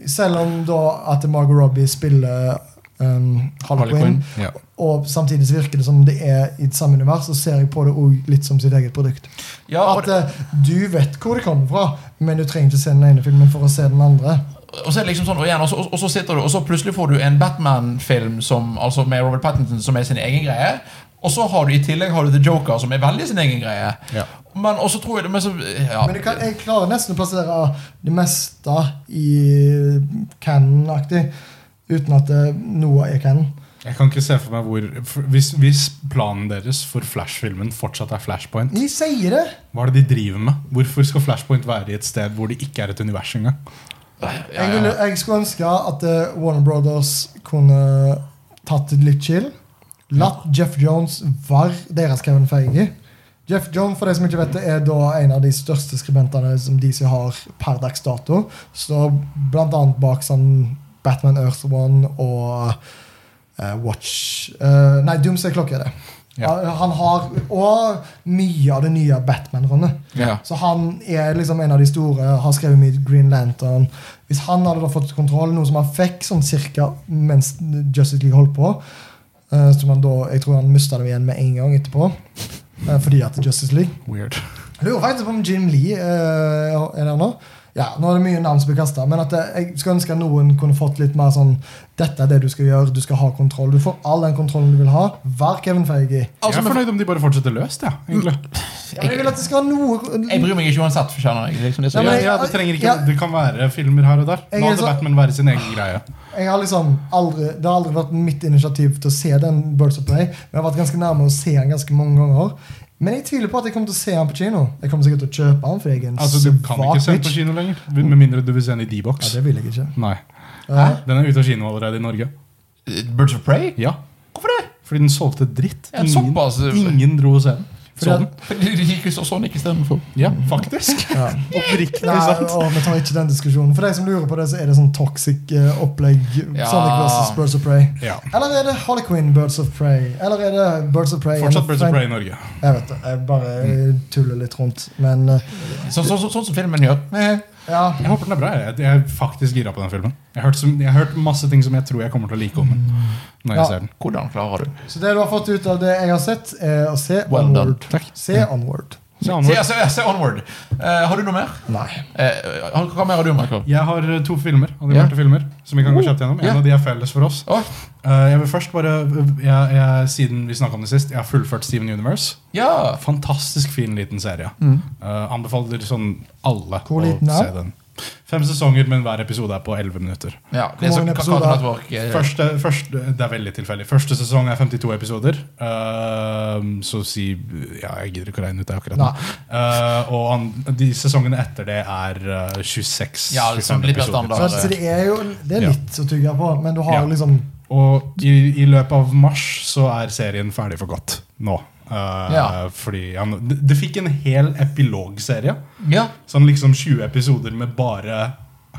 Speaker 3: selv om da at Margot Robbie spiller um, Harley Quinn,
Speaker 2: Ja.
Speaker 3: og samtidig så virker det som det er i et samme univers, så ser jeg på det også litt som sitt eget produkt.
Speaker 1: Ja, og,
Speaker 3: At eh, du vet hvor det kommer fra, men du trenger ikke se den ene filmen for å se den andre.
Speaker 1: Og så er det liksom sånn, og, igjen, og, så, og så sitter du, og så plutselig får du en Batman-film som, altså med Robert Pattinson som er sin egen greie. Og så har du i tillegg har du The Joker, som er veldig sin egen greie.
Speaker 2: Ja.
Speaker 1: Men og så tror jeg det men så, ja.
Speaker 3: Men jeg, kan, jeg klarer nesten å plassere det meste i canon-aktig, uten at eh, noe er canon.
Speaker 2: Jeg kan ikke se for meg hvor for hvis, hvis planen deres for Flash-filmen fortsatt er Flashpoint,
Speaker 3: De sier det!
Speaker 2: hva er det de driver med? Hvorfor skal Flashpoint være i et sted hvor det ikke er et univers engang?
Speaker 1: ja,
Speaker 3: Jeg,
Speaker 1: ja.
Speaker 3: ville, jeg skulle ønske at eh, Warner Brothers kunne tatt det litt chill. Latt Jeff Jones være deres Kevin Feige. Jeff Jones for de som ikke vet det, er da en av de største skribentene som DC har per dags dato. Står bl.a. bak sånn Batman Earth One og eh, Watch eh, Nei, Doomsday Clock er det.
Speaker 2: Ja.
Speaker 3: Han- Han har Og mye av det nye Batman-rundet.
Speaker 1: Ja.
Speaker 3: Så han er liksom en av de store, har skrevet mye Green Lantern. Hvis han hadde da fått kontroll, noe som han fikk sånn cirka mens Justice League holdt på eh, Som han da, Jeg tror han mista det igjen med en gang etterpå. eh, fordi at Justice League
Speaker 2: Weird.
Speaker 3: Jeg lurer faktisk på om Jim Lee eh, er der nå. Ja, Nå er det mye navn som blir kasta, men at eh, jeg skulle ønske at noen kunne fått litt mer sånn Dette er det du skal gjøre, du skal ha kontroll. Du får all den kontrollen du vil ha. Vær Kevin Feige.
Speaker 1: Altså,
Speaker 2: jeg er
Speaker 1: men,
Speaker 2: fornøyd om de bare fortsetter løst, ja, egentlig.
Speaker 3: Ja, men jeg vil at det skal ha noe
Speaker 1: jeg bryr meg ikke uansett, for skjønner jeg. Liksom, det
Speaker 3: Ja,
Speaker 1: som
Speaker 3: men
Speaker 2: Ja,
Speaker 1: gjør.
Speaker 3: jeg-
Speaker 2: ja, det, trenger ikke,
Speaker 3: ja.
Speaker 2: det kan være filmer her og der.
Speaker 3: Jeg
Speaker 2: Nå
Speaker 3: er
Speaker 2: hadde
Speaker 3: så-
Speaker 2: Batman være sin egen greie.
Speaker 3: Jeg har liksom aldri, Det har aldri vært mitt initiativ til å se den Birds of Prey. Men jeg har vært ganske nærme å se den ganske mange ganger. Men jeg tviler på at jeg kommer til å se den på kino. Jeg kommer sikkert til å kjøpe den, for jeg er en
Speaker 2: Altså, Du kan ikke se den på
Speaker 3: bitch.
Speaker 2: kino lenger. Med mindre du vil se den i
Speaker 3: Ja,
Speaker 2: D-box.
Speaker 3: det vil jeg ikke.
Speaker 2: Nei.
Speaker 3: Hæ?
Speaker 2: Den er ute av kino allerede i Norge.
Speaker 1: Eh, Birds of Prey?
Speaker 2: Ja,
Speaker 1: Hvorfor det?
Speaker 2: Fordi den solgte dritt.
Speaker 1: Ja,
Speaker 2: Ingen,
Speaker 1: såpass. eh,
Speaker 2: ingen dro og se den.
Speaker 3: Fordi
Speaker 2: Så
Speaker 3: at-
Speaker 2: den?
Speaker 1: Fordi de gikk jo så sånn ikke istedenfor.
Speaker 2: Ja, faktisk.
Speaker 3: Ja.
Speaker 2: Oppriktig
Speaker 3: Nei,
Speaker 2: sant.
Speaker 3: å, vi tar ikke den diskusjonen. For de som lurer på det, så er det sånn toxic eh, opplegg.
Speaker 1: Ja.
Speaker 3: Sonic versus Birds of Prey.
Speaker 2: Ja.
Speaker 3: Eller er det Harley Quinn, Birds of Prey? Eller er det Birds of Prey
Speaker 2: Fortsatt Birds of Prey Mm. i Norge.
Speaker 3: Jeg vet det. Jeg bare eh, tuller litt rundt. Men eh,
Speaker 1: Sånn så, så, sånn som filmen gjør. Eh,
Speaker 3: Ja.
Speaker 2: Jeg håper den er bra. Jeg, jeg er faktisk gira på den filmen. Jeg har, hørt som, jeg har hørt masse ting som jeg tror jeg kommer til å like om den. Når jeg
Speaker 3: Ja.
Speaker 2: ser den
Speaker 1: Hvordan klarer du
Speaker 3: Så det du har fått ut av det jeg har sett, er å se
Speaker 1: Well done.
Speaker 3: Onward.
Speaker 2: Takk.
Speaker 3: Se Onward.
Speaker 2: Så
Speaker 1: Se,
Speaker 2: Onward.
Speaker 1: se, se Onward. Eh, har du noe mer?
Speaker 3: Nei.
Speaker 1: Eh, har- hva mer har du, Michael?
Speaker 2: Jeg har eh, to filmer animerte filmer som vi
Speaker 3: Oh,
Speaker 2: kan gå kjapt gjennom. En
Speaker 1: Ja.
Speaker 2: av de er felles for oss.
Speaker 1: Å,
Speaker 2: Eh, jeg vil først bare jeg, jeg, Siden vi snakket om det sist, jeg har fullført Steven Universe.
Speaker 1: ja.
Speaker 2: Fantastisk fin, liten serie. Eh, anbefaler sånn alle
Speaker 3: Mm.
Speaker 2: å
Speaker 3: Hvor liten er
Speaker 2: se den. Fem sesonger, men hver episode er på 11 minutter.
Speaker 1: ja. Det er
Speaker 3: Hvor
Speaker 1: sånn
Speaker 3: mange
Speaker 1: Cartoon
Speaker 3: episoder?
Speaker 1: Network. eh,
Speaker 2: Første, første, det er veldig tilfeldig. Første sesong er 52 episoder. Ehm, så si Ja, jeg gidder ikke å regne ut det akkurat nå. Eh, og an, de sesongene etter det er eh, 26
Speaker 1: Ja, det er sånn
Speaker 2: 25
Speaker 1: litt mer
Speaker 2: episoder.
Speaker 1: standard.
Speaker 3: Så, så det er jo det er
Speaker 2: Ja.
Speaker 3: litt å tygge på, men du har jo
Speaker 2: Ja.
Speaker 3: liksom
Speaker 2: Og i, i løpet av mars så er serien ferdig for godt. Nå. Eh,
Speaker 1: Ja.
Speaker 2: Fordi han, det, det fikk en hel epilogserie.
Speaker 1: Ja.
Speaker 2: Sånn liksom 20 episoder med bare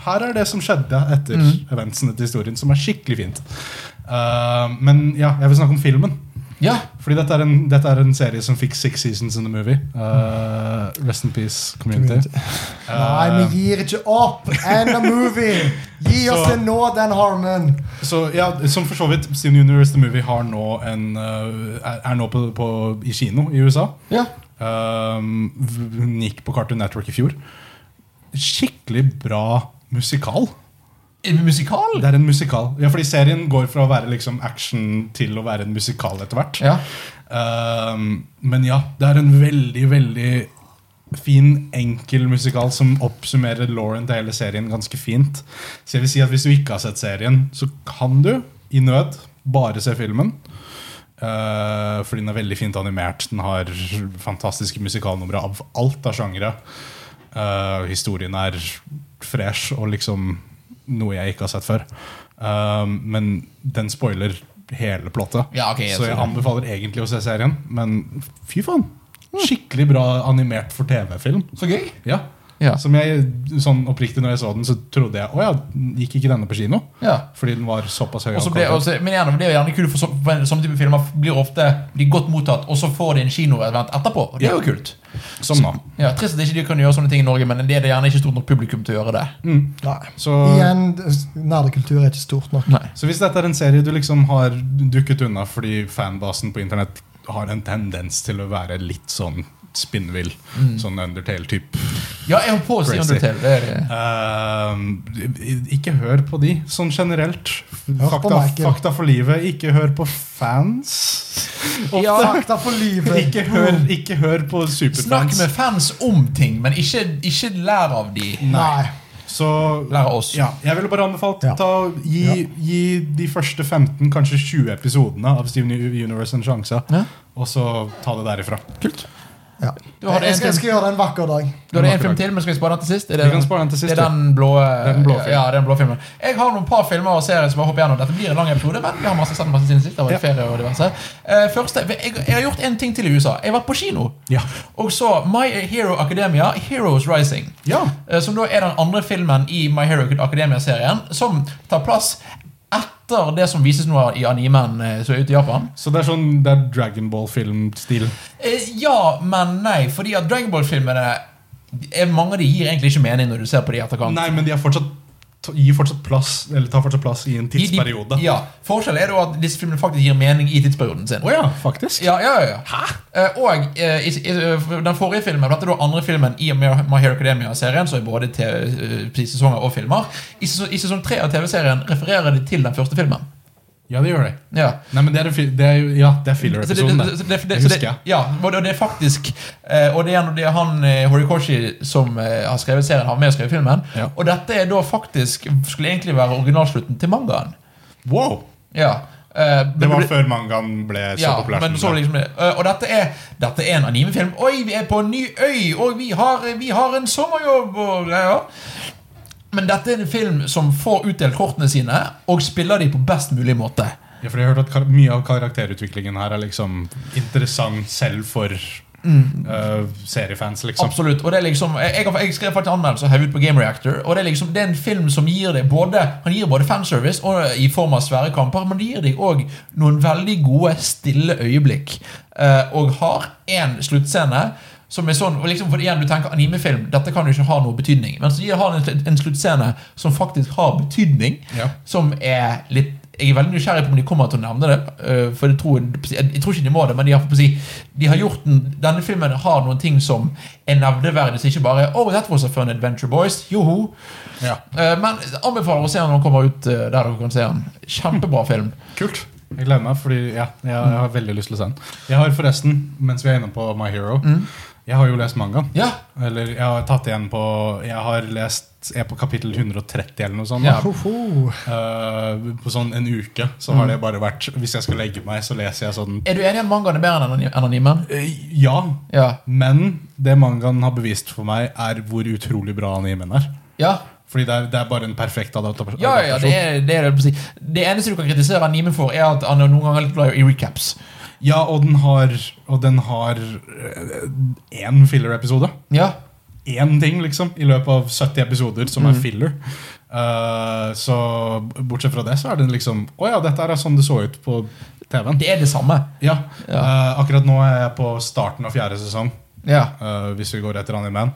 Speaker 2: Her er det som skjedde etter eventsene til historien, som er skikkelig fint. Eh, men ja, jeg vil snakke om filmen.
Speaker 1: ja.
Speaker 2: Fordi dette er en, dette er en serie som fikk six seasons in the movie. Eh, rest in peace, community.
Speaker 3: Nei, vi gir ikke opp! And a movie! Gi oss
Speaker 2: Så-
Speaker 3: det nå, Dan Harmon!
Speaker 2: Så ja, Som for så vidt, Steven Universe The Movie har nå en, eh, er- er nå på, på, i kino i USA.
Speaker 1: ja.
Speaker 2: Um, v- hun gikk på Cartoon Network i fjor. Skikkelig bra musikal.
Speaker 1: Er det musikal?
Speaker 2: Det er en musikal. Ja, fordi serien går fra å være liksom action til å være en musikal etter hvert.
Speaker 1: Ja.
Speaker 2: Um, men ja, det er en veldig, veldig fin, enkel musikal som oppsummerer Lauren til hele serien ganske fint. Så jeg vil si at hvis du ikke har sett serien, så kan du i nød bare se filmen. Uh, fordi den er veldig fint animert. Den har fantastiske musikalnumre av alt av sjangere. Uh, historien er fresh og liksom noe jeg ikke har sett før. Um, men den spoiler hele plottet.
Speaker 1: Ja, ok, jeg
Speaker 2: så jeg
Speaker 1: ser det.
Speaker 2: anbefaler egentlig å se serien, men fy faen. Skikkelig bra animert for TV-film.
Speaker 1: Så gøy.
Speaker 2: Ja.
Speaker 1: Ja.
Speaker 2: Som jeg, sånn oppriktig når jeg så den, så trodde jeg Å ja, gikk ikke denne på kino?
Speaker 1: Ja.
Speaker 2: Fordi den var såpass høy.
Speaker 1: Og så
Speaker 2: av
Speaker 1: ble,
Speaker 2: kvalitet.
Speaker 1: og så- men gjerne, det er jo gjerne kult, for så, for sånne type filmer blir ofte de er godt mottatt, og så får de en kinoevent etterpå. Og Det er jo kult.
Speaker 2: Som nå.
Speaker 1: Ja, Trist at ikke de kan gjøre sånne ting i Norge, men det er det gjerne ikke stort nok publikum til å gjøre det.
Speaker 3: Nei.
Speaker 2: Så,
Speaker 3: Igjen, det- nerdekultur er ikke stort nok.
Speaker 1: Nei.
Speaker 2: så hvis dette er en serie du liksom har dukket unna fordi fanbasen på internett har en tendens til å være litt sånn spinnvill,
Speaker 1: Mm.
Speaker 2: sånn Undertale-type
Speaker 1: Ja, jeg holdt på å si
Speaker 2: Crazy.
Speaker 1: Undertale. Det er det.
Speaker 2: Ehm, ikke hør på de, sånn generelt.
Speaker 3: Hør på
Speaker 2: Fakta,
Speaker 3: Michael.
Speaker 2: fakta for livet. Ikke hør på fans. Ofte.
Speaker 3: Ja. Fakta for livet!
Speaker 2: Ikke, hør, ikke hør på
Speaker 1: Snakk
Speaker 2: superfans.
Speaker 1: med fans om ting, men ikke, ikke lær av de.
Speaker 3: Nei.
Speaker 2: Så
Speaker 1: Lær av oss.
Speaker 2: ja, jeg ville bare anbefalt
Speaker 3: Ja.
Speaker 2: ta, gi,
Speaker 3: Ja.
Speaker 2: gi de første 15, kanskje 20 episodene av Steven Universe en sjanse,
Speaker 1: Ja.
Speaker 2: og så ta det derifra.
Speaker 1: Kult.
Speaker 3: Ja.
Speaker 1: Du har det
Speaker 3: Jeg,
Speaker 1: en
Speaker 3: skal,
Speaker 1: film.
Speaker 3: jeg skal gjøre det en vakker dag.
Speaker 1: Du hadde en film til, men skal vi spare den til sist? Er
Speaker 2: Vi kan spare den til sist,
Speaker 1: Det er den blå, eh,
Speaker 2: Den blå filmen.
Speaker 1: ja, det er den blå filmen. Jeg har noen par filmer og serier som jeg hopper gjennom. Dette blir en lang episode, men vi har masse sett masse siden sist. Det har vært
Speaker 2: Ja.
Speaker 1: ferie og diverse. Eh, første, jeg, jeg har gjort en ting til i USA. Jeg har vært på kino.
Speaker 2: Ja.
Speaker 1: Og så My Hero Academia, Heroes Rising.
Speaker 2: Ja.
Speaker 1: Eh, Som da er den andre filmen i My Hero Academia-serien som tar plass etter det som vises nå i animen eh, som er ute i Japan.
Speaker 2: Så det er sånn Det er Dragonball-filmstil.
Speaker 1: Eh, Ja, men nei. Fordi at Dragonball-filmene eh, Mange av de gir egentlig ikke mening når du ser på de i etterkant.
Speaker 2: Nei, men de er fortsatt, ta- gir fortsatt plass Eller tar fortsatt plass i en
Speaker 1: De- de-
Speaker 2: tidsperiode.
Speaker 1: Ja, Forskjellen er da at disse filmene faktisk gir mening i tidsperioden sin.
Speaker 2: Å ja, faktisk?
Speaker 1: Ja, ja, ja, ja. Eh, Og eh, i, i, eh, den forrige filmen, dette er da andre filmen i My My Hero Academia-serien, som er både TV, eh, sesonger og filmer, i sesong, i sesong tre av TV-serien refererer de til den første filmen.
Speaker 2: Ja, det gjør det.
Speaker 1: Ja.
Speaker 2: Nei, men det er, en fi- det er, jo- ja, det er
Speaker 1: Så det-
Speaker 2: filler-episoden,
Speaker 1: så
Speaker 2: det.
Speaker 1: det- så det-
Speaker 2: Det
Speaker 1: så det-
Speaker 2: husker jeg.
Speaker 1: Ja, og det og det er faktisk eh, Og det er, det er han eh, Horikoshi som eh, har skrevet serien, har med og skrevet filmen.
Speaker 2: Ja.
Speaker 1: Og dette er da faktisk skulle egentlig være originalslutten til mangaen.
Speaker 2: Wow!
Speaker 1: Ja. eh,
Speaker 2: Det
Speaker 1: men
Speaker 2: var
Speaker 1: ble-
Speaker 2: før mangaen ble så
Speaker 1: ja,
Speaker 2: populær.
Speaker 1: men så var det liksom det. Eh, Og dette er, dette er en animefilm. Oi, vi er på en ny øy, og vi har, vi har en sommerjobb og greier. Men dette er en film som får utdelt kortene sine, og spiller de på best mulig måte.
Speaker 2: Ja, for jeg har hørt at kar Mye av karakterutviklingen her er liksom interessant selv for
Speaker 1: Mm.
Speaker 2: eh, seriefans. liksom
Speaker 1: Absolutt. og det er liksom Jeg, jeg har- jeg skrev faktisk anmeldelse og hev ut på Game Reactor. Og Det er liksom Det er en film som gir deg både Han gir både fanservice og eh, i form av svære kamper, men det gir deg òg noen veldig gode, stille øyeblikk. Eh, og har en sluttscene Som er sånn, og liksom, for igjen, Du tenker animefilm, dette kan jo ikke ha noe betydning. Men så de har en, en sluttscene som faktisk har betydning.
Speaker 2: Ja.
Speaker 1: Som er litt Jeg er veldig nysgjerrig på om de kommer til å nevne det. eh, For jeg tror, jeg, jeg tror ikke de må det, men de har, på å si, de har gjort den, denne filmen har noen ting som er nevneverdig. Så ikke bare Oh, that was a fun adventure, boys. Joho.
Speaker 2: Ja.
Speaker 1: Eh, Men anbefaler å se den når den kommer ut eh, der dere kan se den. Kjempebra film.
Speaker 2: Kult. Jeg gleder meg, fordi ja, jeg, jeg har veldig lyst til å se den. Jeg har forresten, mens vi er inne på My Hero,
Speaker 1: Mm.
Speaker 2: jeg har jo lest mangaen.
Speaker 1: Ja,
Speaker 2: Eller jeg har tatt igjen på Jeg har lest er på kapittel 130 eller noe sånt.
Speaker 1: Ja.
Speaker 2: da. Eh, på sånn en uke så har det
Speaker 1: Mm.
Speaker 2: bare vært Hvis jeg skal legge meg, så leser jeg sånn
Speaker 1: Er du enig i at mangaen er bedre enn anony- enn animen?
Speaker 2: eh, Ja.
Speaker 1: Ja.
Speaker 2: Men det mangaen har bevist for meg, er hvor utrolig bra animen er.
Speaker 1: Ja,
Speaker 2: Fordi det er, det er bare en perfekt adapta- adaptasjon.
Speaker 1: ja, ja, ja det, er, det er det jeg vil si. Det eneste du kan kritisere animen for, er at han er noen ganger er litt glad i recaps.
Speaker 2: Ja, og den har Og den har eh, én filler-episode.
Speaker 1: Ja,
Speaker 2: Én ting, liksom, i løpet av 70 episoder som
Speaker 1: Mm.
Speaker 2: er filler. Eh, så b- bortsett fra det, så er den liksom Å ja, dette her er sånn det så ut på TV-en.
Speaker 1: det er det samme.
Speaker 2: Ja.
Speaker 1: Ja.
Speaker 2: Eh, akkurat nå er jeg på starten av fjerde sesong,
Speaker 1: Ja.
Speaker 2: eh, hvis vi går etter Animan.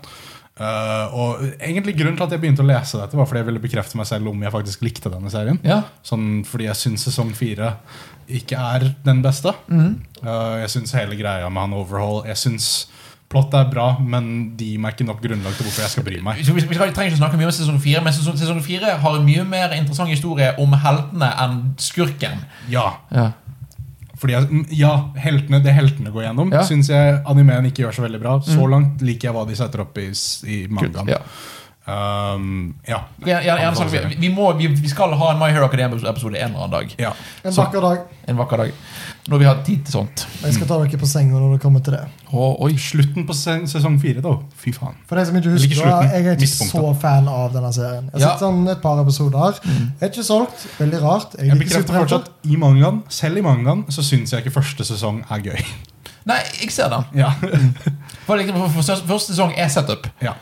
Speaker 2: Uh, og egentlig grunnen til at jeg begynte å lese dette, var fordi jeg ville bekrefte meg selv om jeg faktisk likte denne serien.
Speaker 1: Ja.
Speaker 2: Sånn, fordi jeg syns sesong fire ikke er den beste.
Speaker 1: Mhm.
Speaker 2: Uh, jeg syns hele greia med han Overhaul Jeg syns plott er bra, men de gir meg ikke nok grunnlag til hvorfor jeg skal bry meg.
Speaker 1: Så Vi, vi skal- vi trenger ikke snakke mye om sesong fire, men sesong, sesong fire har en mye mer interessant historie om heltene enn skurken.
Speaker 2: Ja,
Speaker 1: Ja.
Speaker 2: fordi jeg, mm, ja heltene, Det heltene går gjennom,
Speaker 1: Ja. Mhm.
Speaker 2: syns jeg animeen ikke gjør så veldig bra. Så langt liker jeg hva de setter opp i, s- i mangaen.
Speaker 1: Ja.
Speaker 2: Um, ja.
Speaker 1: Gjerne, gjerne, gjerne sagt, vi, vi, må, vi, vi skal ha en My Hero Academia-episode en eller annen dag.
Speaker 2: ja.
Speaker 3: En
Speaker 1: Så-
Speaker 3: vakker dag.
Speaker 1: En vakker dag. Når vi har tid til sånt.
Speaker 3: Jeg skal ta dere på senga når det kommer til det.
Speaker 1: Å, oi.
Speaker 2: Slutten på se- sesong fire, da. Fy faen.
Speaker 3: For de som ikke
Speaker 2: Jeg
Speaker 3: husker,
Speaker 2: liker
Speaker 3: da,
Speaker 2: slutten.
Speaker 3: jeg er ikke
Speaker 2: Midtpunktet.
Speaker 3: så fan av denne serien. Jeg har
Speaker 1: Ja.
Speaker 3: sett sånn et par episoder. Jeg er ikke solgt. Veldig rart.
Speaker 2: Mm.
Speaker 3: Jeg
Speaker 2: Jeg
Speaker 3: liker
Speaker 2: bekrefter
Speaker 3: superhelter.
Speaker 2: fortsatt i mangaen, selv i mangaen, så syns jeg ikke første sesong er gøy.
Speaker 1: Nei, jeg ser den.
Speaker 2: Ja.
Speaker 1: For, liksom, for, for, for første sesong er setup.
Speaker 2: ja.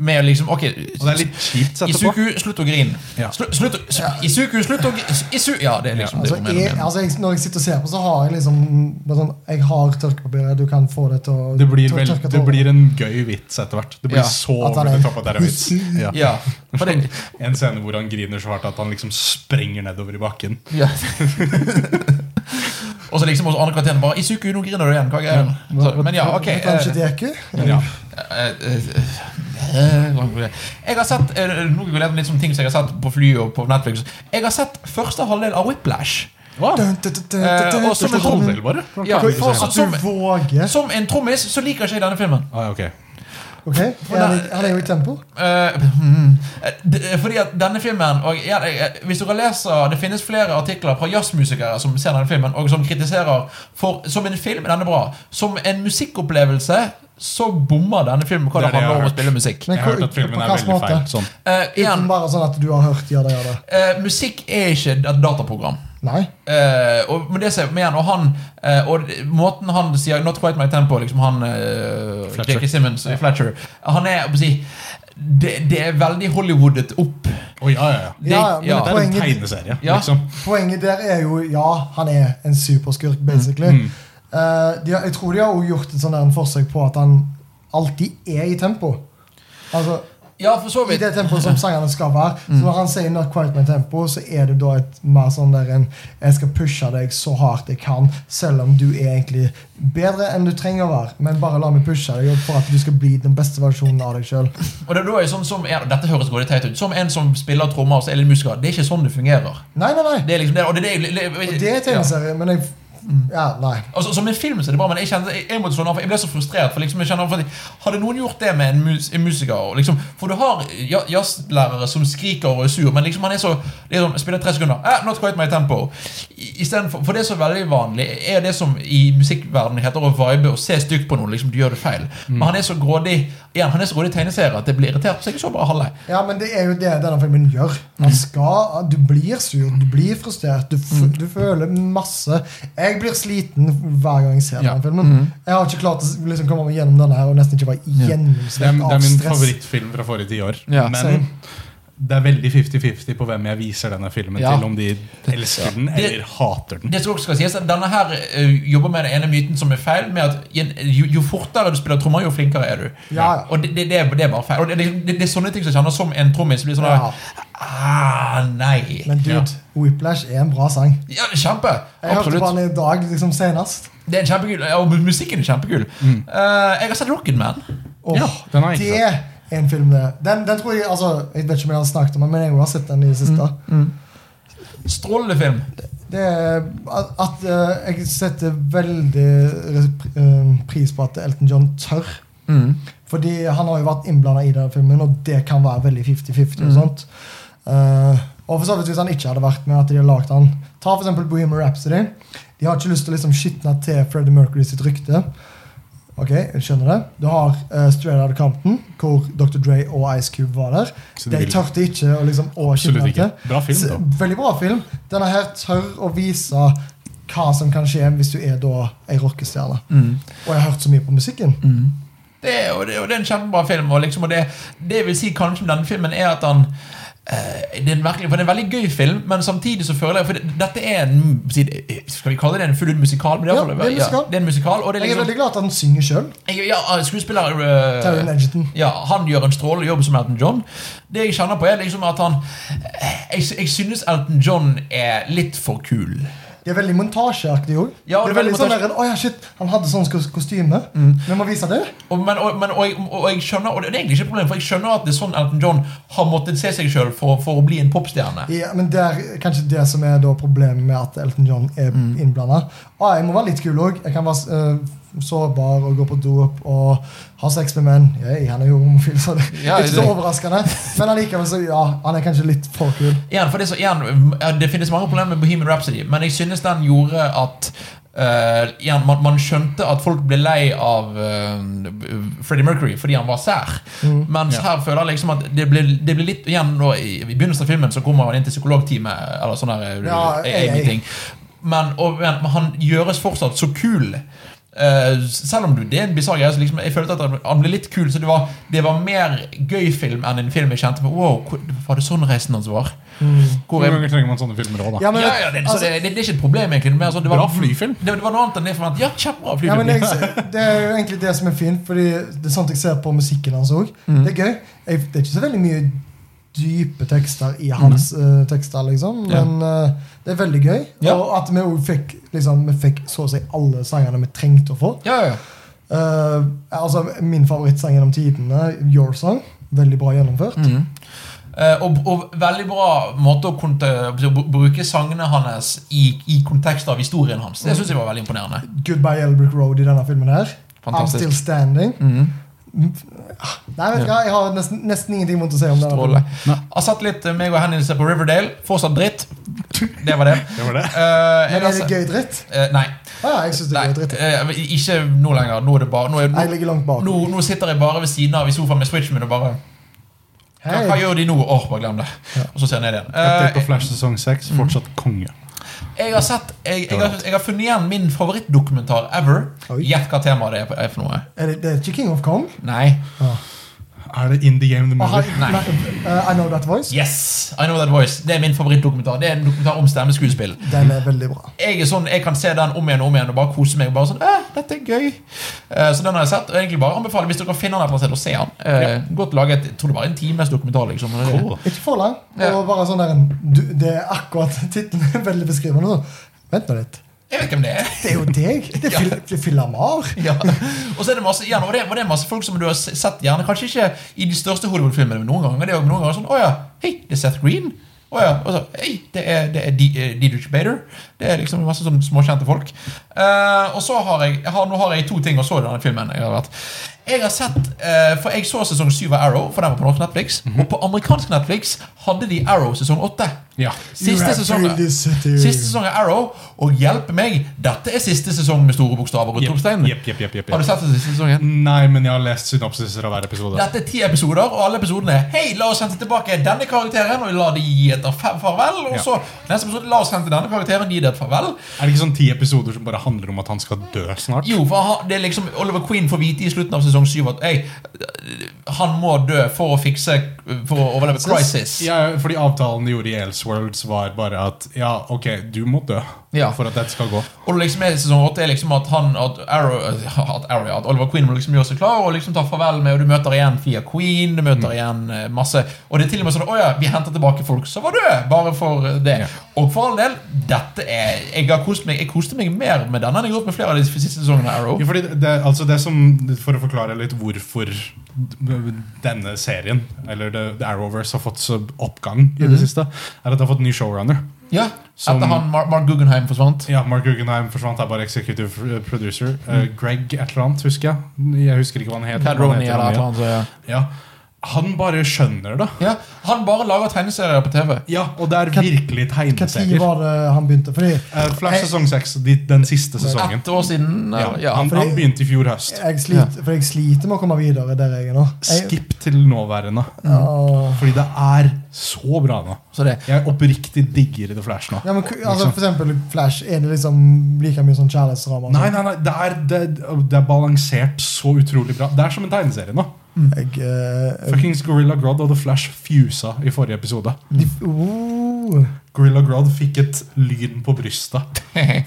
Speaker 1: Med liksom, ok
Speaker 2: Og det er litt kjipt sett på.
Speaker 1: Isuku, slutt å grine.
Speaker 2: Ja.
Speaker 1: Slu- Slutt, å- s- Isuku, slutt å grine Isu, Ja, det er liksom
Speaker 3: Altså,
Speaker 1: det
Speaker 3: jeg,
Speaker 1: problemet.
Speaker 3: altså jeg, når jeg sitter og ser på, så har jeg liksom bare sånn, Jeg har tørkepapiret. Du kan få det til å
Speaker 2: Det blir,
Speaker 3: til å
Speaker 2: vel,
Speaker 3: tørke
Speaker 2: det
Speaker 3: tårer.
Speaker 2: blir en gøy vits etter hvert. Det blir
Speaker 1: Ja.
Speaker 2: så
Speaker 3: At han
Speaker 2: over
Speaker 3: er-
Speaker 2: the top at det er en vits. Ja.
Speaker 1: Ja, for det,
Speaker 2: En scene hvor han griner så hardt at han liksom sprenger nedover i bakken.
Speaker 1: ja. Og så liksom hos andre kvarteren bare Isuku, nå griner du igjen. Hva er greien? Så, men ja, ok.
Speaker 3: Det kan ikke
Speaker 1: eh,
Speaker 3: deku.
Speaker 2: Men ja.
Speaker 1: eh, eh, eh, Jeg har sett eh, Nå går jeg litt som ting som jeg har sett på fly og på Netflix. Jeg har sett første halvdel av Whiplash.
Speaker 2: Wow.
Speaker 3: Dun, dun, dun, dun, dun, dun,
Speaker 1: Eh, og som
Speaker 3: dun,
Speaker 1: en
Speaker 3: dun, dun.
Speaker 2: Halvdel, bare?
Speaker 1: Ja,
Speaker 2: Kan vi
Speaker 1: for-
Speaker 2: se den?
Speaker 3: At du våger.
Speaker 1: Som en trommis så liker ikke jeg denne filmen.
Speaker 2: Ah, ja, ok.
Speaker 3: Ok, Han er, han er jo i tempo.
Speaker 1: Eh, hmm. Eh, d- Fordi at denne filmen og, ja, eh, Hvis dere leser Det finnes flere artikler fra jazzmusikere som ser denne filmen, og som kritiserer for Som en film er denne bra. Som en musikkopplevelse så bommer denne filmen hva
Speaker 2: Det
Speaker 1: det,
Speaker 2: er det jeg
Speaker 1: handler
Speaker 2: har
Speaker 1: om å
Speaker 2: hørt.
Speaker 1: spille musikk.
Speaker 3: Men
Speaker 2: Jeg har hørt
Speaker 3: hvor-
Speaker 2: at filmen
Speaker 3: på
Speaker 2: er
Speaker 3: hvilken
Speaker 2: veldig
Speaker 3: måte?
Speaker 2: feil. Sånn.
Speaker 1: Eh, igjen,
Speaker 3: Uten bare sånn at du har hørt 'gjør det, gjør det'.
Speaker 1: eh, musikk er ikke et dataprogram.
Speaker 3: Nei.
Speaker 1: Eh, og med det så, men igjen, og han eh, Og måten han sier 'Not quite my tempo' liksom Han eh,
Speaker 2: Fletcher.
Speaker 1: J.K. Simmons, eh, Fletcher Han er jeg må si, det, det er veldig Hollywoodet opp.
Speaker 2: Å, ja, ja, ja.
Speaker 1: Det-
Speaker 3: Ja, ja, men
Speaker 1: ja.
Speaker 2: Det er en
Speaker 3: Poenget-
Speaker 2: tegneserie,
Speaker 1: Ja.
Speaker 2: liksom.
Speaker 3: Poenget der er jo ja, han er en superskurk, basically.
Speaker 1: Mm.
Speaker 3: Eh, de har, jeg tror de har også gjort et sånn der en forsøk på at han alltid er i tempo. Altså,
Speaker 1: Ja, for så
Speaker 3: I
Speaker 1: vidt.
Speaker 3: det tempoet som sangerne skal være. Så når han sier 'not quite my tempo', så er det da et mer sånn der en 'jeg skal pushe deg så hardt jeg kan', selv om du er egentlig bedre enn du trenger å være. Men bare la meg pushe deg for at du skal bli den beste versjonen av deg sjøl.
Speaker 1: Og det er da jeg sånn som ja, Dette høres veldig teit ut. Som en som spiller trommer og så er litt musiker. Det er ikke sånn det fungerer.
Speaker 3: Nei, nei, nei.
Speaker 1: Det er liksom det, og det, er det, jeg-
Speaker 3: Og det er
Speaker 1: ja.
Speaker 3: tegneserie, men jeg Ja, nei.
Speaker 1: Altså, som en film så er det bra, men jeg, kjente, jeg, jeg måtte slå den av. for Jeg ble så frustrert. For liksom, jeg kjenner, for at- hadde noen gjort det med en, mus, en musiker og liksom, For du har ja- jazzlærere som skriker og er sur, men liksom han er så liksom, Spiller tre sekunder. Eh, not quite my tempo. I, i stedet for, for det som er veldig vanlig, er det som i musikkverdenen heter å vibe og se stygt på noen. liksom Du gjør det feil.
Speaker 3: Mm.
Speaker 1: Men han er så grådig igjen, han er så grådig tegneserie at det blir irritert. Så jeg så bare halve.
Speaker 3: Ja, men det er jo det denne filmen gjør.
Speaker 2: Mm.
Speaker 3: Han skal, du blir sur, du blir frustrert, du, f du føler masse. Jeg blir sliten hver gang jeg ser
Speaker 1: Ja.
Speaker 3: denne filmen.
Speaker 2: Mm.
Speaker 3: Jeg har ikke klart å s- liksom komme meg gjennom denne her og nesten ikke være
Speaker 1: Ja.
Speaker 2: Det er,
Speaker 3: gjennomsvett
Speaker 2: det er
Speaker 3: av
Speaker 2: min
Speaker 3: stress.
Speaker 2: favorittfilm fra forrige tiår.
Speaker 1: Ja.
Speaker 2: men
Speaker 3: Same.
Speaker 2: det er veldig 50-50 på hvem jeg viser denne filmen
Speaker 1: Ja.
Speaker 2: til, om de elsker den
Speaker 1: Det-
Speaker 2: eller hater den.
Speaker 1: Det som også skal sies er at Denne her eh, jobber med den ene myten som er feil, med at i en- jo, jo fortere du spiller trommer, jo flinkere er du.
Speaker 3: Ja, ja.
Speaker 1: Og det, det, det, er- det er bare feil. Og det, det, det er sånne ting som kjennes som en trommis. Blir sånn
Speaker 3: Ja.
Speaker 1: der, ah, nei.
Speaker 3: Men dude,
Speaker 2: Ja.
Speaker 3: Whiplash er en bra sang.
Speaker 1: Ja, kjempe!
Speaker 3: Jeg hørte på
Speaker 1: Absolutt.
Speaker 3: den i dag liksom senest.
Speaker 1: Det er en kjempekul, ja, Og musikken er kjempekul. Eh, jeg har sett Rocket Man.
Speaker 3: Åh,
Speaker 2: Ja, den har jeg ikke
Speaker 3: det er en film, det. Den, den tror jeg altså, Jeg vet ikke om jeg har snakket om den, men jeg har sett den i det siste.
Speaker 2: Mm.
Speaker 1: Strålende film.
Speaker 3: Det er at, at eh, jeg setter veldig res- eh, pris på at Elton John tør. Fordi han har jo vært innblanda i den filmen, og det kan være veldig 50-50.
Speaker 2: Mm.
Speaker 3: og sånt. Eh, og for så vidt hvis han ikke hadde vært med at de hadde lagd han. Ta for eksempel Bohemian Rhapsody. De har ikke lyst til å liksom skitne til Freddie Mercury sitt rykte. Ok, jeg skjønner det. Du har uh, Straight Outta Compton, hvor Dr. Dre og Ice Cube var der.
Speaker 2: Så de
Speaker 3: De
Speaker 2: vil-
Speaker 3: tørte ikke å liksom, å
Speaker 2: Absolutt
Speaker 3: skitne
Speaker 2: ikke.
Speaker 3: til.
Speaker 2: Bra film,
Speaker 3: Så-
Speaker 2: da.
Speaker 3: Veldig bra film. Denne her tør å vise hva som kan skje hvis du er da ei rockestjerne.
Speaker 2: Mm.
Speaker 3: Og jeg har hørt så mye på musikken.
Speaker 1: Det, er- og, det, og det er en kjempebra film. Og, liksom, og det, det jeg vil si kanskje om denne filmen, er at han eh, det, er en virkelig, for det er en veldig gøy film, men samtidig så føler jeg For det, dette er en Skal vi kalle det en full ut musikal? Men det, er
Speaker 3: Ja,
Speaker 1: iallfall-
Speaker 3: det
Speaker 1: det er
Speaker 3: er en musikal.
Speaker 1: en musikal og det er
Speaker 3: Jeg er
Speaker 1: liksom,
Speaker 3: veldig glad at han synger sjøl.
Speaker 1: jeg, ja, Skuespiller eh,
Speaker 3: Taron Edgerton.
Speaker 1: ja, han gjør en strålende jobb som Elton John. Det jeg kjenner på, er liksom at han eh, Jeg, jeg synes Elton John er litt for kul.
Speaker 3: Det er veldig montasjeaktig òg.
Speaker 1: Ja,
Speaker 3: det
Speaker 1: og
Speaker 3: er veldig
Speaker 1: det er
Speaker 3: sånn
Speaker 1: montasje- Mm.
Speaker 3: der, «Åja, shit, Han hadde sånn kos- kostyme. Vi må vise det.
Speaker 1: Og, men, og, men, og, jeg, og jeg skjønner Og det er egentlig ikke et problem, for jeg skjønner at det er sånn Elton John har måttet se seg sjøl for, for å bli en popstjerne.
Speaker 3: Ja, men det er kanskje det som er da problemet med at Elton John er
Speaker 1: Mm.
Speaker 3: innblandet innblanda. Ah, jeg må være litt kul òg. Jeg kan være eh, sårbar og gå på do opp og ha sex med menn. Yay, han er jo homofil, så det
Speaker 1: Ja,
Speaker 3: er ikke så
Speaker 1: det-
Speaker 3: overraskende. Men allikevel, så ja, han er kanskje litt for kul.
Speaker 1: Igjen, for det, er så, igjen, ja, det finnes mange problemer med Bohemian Rhapsody, men jeg synes den gjorde at eh, igjen, man, man skjønte at folk ble lei av eh, Freddie Mercury fordi han var sær.
Speaker 3: Mm.
Speaker 1: Mens
Speaker 2: Ja.
Speaker 1: her føler jeg liksom at det ble, det ble litt Igjen nå, i, i begynnelsen av filmen så kommer han inn til psykologtime eller sånn der, eh,
Speaker 3: Ja,
Speaker 1: eh,
Speaker 3: jeg-
Speaker 1: meeting. Men, og, men han gjøres fortsatt så kul. Eh, selv om du, det er en bisarr greie, så liksom, jeg følte at han- han ble litt kul. Så det var, det var mer gøy film enn en film jeg kjente på. Wow, hvor- var det sånn reisen hans var? Hvor
Speaker 2: Mm. Noen
Speaker 1: jeg,
Speaker 2: ganger trenger man sånne filmer òg, da.
Speaker 3: Ja, men,
Speaker 1: ja, ja, det, så
Speaker 3: altså,
Speaker 1: det, det, det er ikke et problem, egentlig. Men, altså, det var,
Speaker 2: Bra flyfilm.
Speaker 1: Det, det var noe annet enn det jeg forventet. Ja, kjempebra
Speaker 3: ja, men
Speaker 1: flyfilm.
Speaker 3: jeg, det er jo egentlig det som er fint, Fordi det er sånt jeg ser på musikken hans òg.
Speaker 1: Mm.
Speaker 3: Det er gøy. Jeg, det er ikke så veldig mye dype tekster i hans eh, tekster, liksom,
Speaker 1: Mm. Ja.
Speaker 3: men eh, det er veldig gøy.
Speaker 1: Ja.
Speaker 3: Og at vi også fikk, liksom, vi fikk så å si alle sangene vi trengte å få.
Speaker 1: ja, ja.
Speaker 3: Eh, altså, min favorittsang gjennom tidene, Your Song, veldig bra gjennomført.
Speaker 1: Mhm. Eh, og, og veldig bra måte å konte, å br- bruke sangene hans i, i kontekst av historien hans. Det syns jeg var veldig imponerende.
Speaker 3: Goodbye Elbrick Road i denne filmen her. I'm
Speaker 1: Fantastisk.
Speaker 3: Still Standing.
Speaker 2: Mm.
Speaker 1: Mhm.
Speaker 3: Nei, vet du hva, jeg har nesten, nesten ingenting mot å si om denne.
Speaker 1: Stråle.
Speaker 3: filmen.
Speaker 2: Nei.
Speaker 1: Har sett litt eh, meg og Henning på Riverdale. Fortsatt dritt. Det var det.
Speaker 2: Det var det.
Speaker 1: Eh, jeg
Speaker 3: Men
Speaker 1: har
Speaker 3: er det
Speaker 1: sett-
Speaker 3: gøy dritt?
Speaker 1: Eh, nei.
Speaker 3: Ja, jeg syns det
Speaker 1: nei
Speaker 3: er gøy dritt.
Speaker 1: eh, ikke nå lenger. Nå, er det bare, nå, er,
Speaker 3: Jeg
Speaker 1: nå,
Speaker 3: ligger langt bak.
Speaker 1: nå, nå sitter jeg bare ved siden av i sofaen med switchen min og bare Hva, hva
Speaker 3: Hei.
Speaker 1: gjør de nå? Åh, bare glem det.
Speaker 3: Ja.
Speaker 1: Og så ser jeg ned igjen.
Speaker 2: Update på
Speaker 1: Eh,
Speaker 2: Flash sesong 6, fortsatt konge.
Speaker 1: jeg har sett jeg, jeg, har, jeg har funnet igjen min favorittdokumentar ever.
Speaker 3: Oi.
Speaker 1: Gjett hva temaet det er for- er for noe.
Speaker 3: Er det, det er ikke King of Kong?
Speaker 1: Nei.
Speaker 2: Er det In the Game The
Speaker 3: Og har-
Speaker 2: Movie?
Speaker 1: Nei.
Speaker 3: nei, eh, I Know That Voice?
Speaker 1: Yes! I Know That Voice. Det er min favorittdokumentar. Det er en dokumentar om stemmeskuespill.
Speaker 3: Den er veldig bra.
Speaker 1: Jeg er sånn, jeg kan se den om igjen og om igjen og bare kose meg. og bare sånn, eh, dette er gøy. Eh, så den har jeg sett. og egentlig bare anbefaler Hvis dere finner den et eller annet sted, å se den. Eh, Godt laget. Jeg tror det var en times dokumentar. liksom. og det-
Speaker 2: Cool.
Speaker 3: Ikke for lang.
Speaker 1: Ja.
Speaker 3: Og bare sånn der, en- du, det er akkurat tittelen. er Veldig beskrivende. sånn. Vent nå litt.
Speaker 1: Jeg vet ikke om det er.
Speaker 3: Det er jo deg! Det er Phil- det er Phil Amar.
Speaker 1: Ja. Og så er det masse igjen, og det, og det er masse folk som du har s- sett gjerne Kanskje ikke i de største Hollywood-filmene, men noen ganger. Det er jo noen ganger sånn Å ja, hei, det er Seth Green. Å ja. Og så Hei, det er, det er D- eh, Dietrich Bader. Det er liksom masse sånn småkjente folk. Eh, og så har jeg, jeg har, Nå har jeg to ting og så denne filmen. Jeg har vært Jeg har sett eh, For jeg så sesong syv av Arrow, for den var på norsk Netflix. Og på amerikansk Netflix hadde de Arrow sesong åtte.
Speaker 2: Ja.
Speaker 1: Siste sesong, siste sesong av Arrow, og hjelpe meg, dette er siste sesong med store bokstaver og utropstegn.
Speaker 2: Jepp, jepp, jepp, jepp,
Speaker 1: Har du
Speaker 2: jepp.
Speaker 1: sett den siste sesongen?
Speaker 2: Nei, men jeg har lest synopsiser av hver episode.
Speaker 1: Dette er ti episoder, og alle episodene er Hei, la oss hente tilbake denne karakteren, og la de gi et fa- farvel. Og
Speaker 2: Ja.
Speaker 1: så neste episode, la oss hente denne karakteren, gi det et farvel.
Speaker 2: Er det ikke sånn ti episoder som bare handler om at han skal dø snart?
Speaker 1: Jo, for han, det er liksom Oliver Queen får vite i slutten av sesong syv at «Ei, han må dø for å fikse For å overleve Crisis.
Speaker 2: Ja, fordi avtalen de gjorde i Elseworlds, var bare at ja, ok, du må dø
Speaker 1: Ja.
Speaker 2: for at dette skal gå.
Speaker 1: Og det liksom er i sesong åtte er liksom at han at Arrow, at, Arrow, at Oliver Queen må liksom gjøre seg klar og liksom ta farvel med Og du møter igjen Fia Queen, du møter igjen eh, masse Og det er til og med sånn Å ja, vi henter tilbake folk som var døde, bare for eh, det.
Speaker 2: Ja.
Speaker 1: Og for all del, dette er Jeg har kost meg Jeg koste meg mer med denne enn jeg har gjort med flere av de siste sesongene av Arrow.
Speaker 2: Ja, fordi det, altså det som, For å forklare litt hvorfor denne serien, eller The, The Arrowverse, har fått så oppgang i det siste, er at det har fått ny showrunner.
Speaker 1: Ja,
Speaker 2: Som-
Speaker 1: Etter han Mark, Mark Guggenheim forsvant.
Speaker 2: Ja, Mark Guggenheim forsvant, er bare executive producer. Eh, Greg et eller annet, husker jeg. Jeg husker ikke hva han het.
Speaker 1: Ted
Speaker 2: men han
Speaker 1: Roney
Speaker 2: heter
Speaker 1: eller et
Speaker 2: han,
Speaker 1: eller annet. så ja.
Speaker 2: ja. Ja. Han bare skjønner det.
Speaker 1: Ja, han bare lager tegneserier på TV.
Speaker 2: Ja, og det er
Speaker 3: Hva-
Speaker 2: virkelig
Speaker 3: Når
Speaker 2: tegneserier.
Speaker 3: var det han begynte? Fordi
Speaker 2: Eh, Flash sesong seks, de- den siste sesongen.
Speaker 1: Ett år siden. eh, eller-
Speaker 2: Ja, han, han begynte i fjor høst.
Speaker 3: jeg sliter, for jeg sliter med å komme videre der jeg er nå. Jeg,
Speaker 2: Skipp til nåværende.
Speaker 3: ja,
Speaker 2: Fordi det er så bra nå.
Speaker 1: Så det.
Speaker 2: Jeg oppriktig digger The Flash nå.
Speaker 3: ja, men, ku- altså,
Speaker 2: Liksom.
Speaker 3: for eksempel Flash. Er det liksom like mye sånn kjærlighetsdrama?
Speaker 2: Nei, nei, nei, det er, det, det er balansert så utrolig bra. Det er som en tegneserie nå.
Speaker 3: Jeg, eh,
Speaker 2: Fuckings Gorilla Grodd og The Flash fusa i forrige episode.
Speaker 3: de, oh,
Speaker 2: Gorilla Grodd fikk et lyn på brystet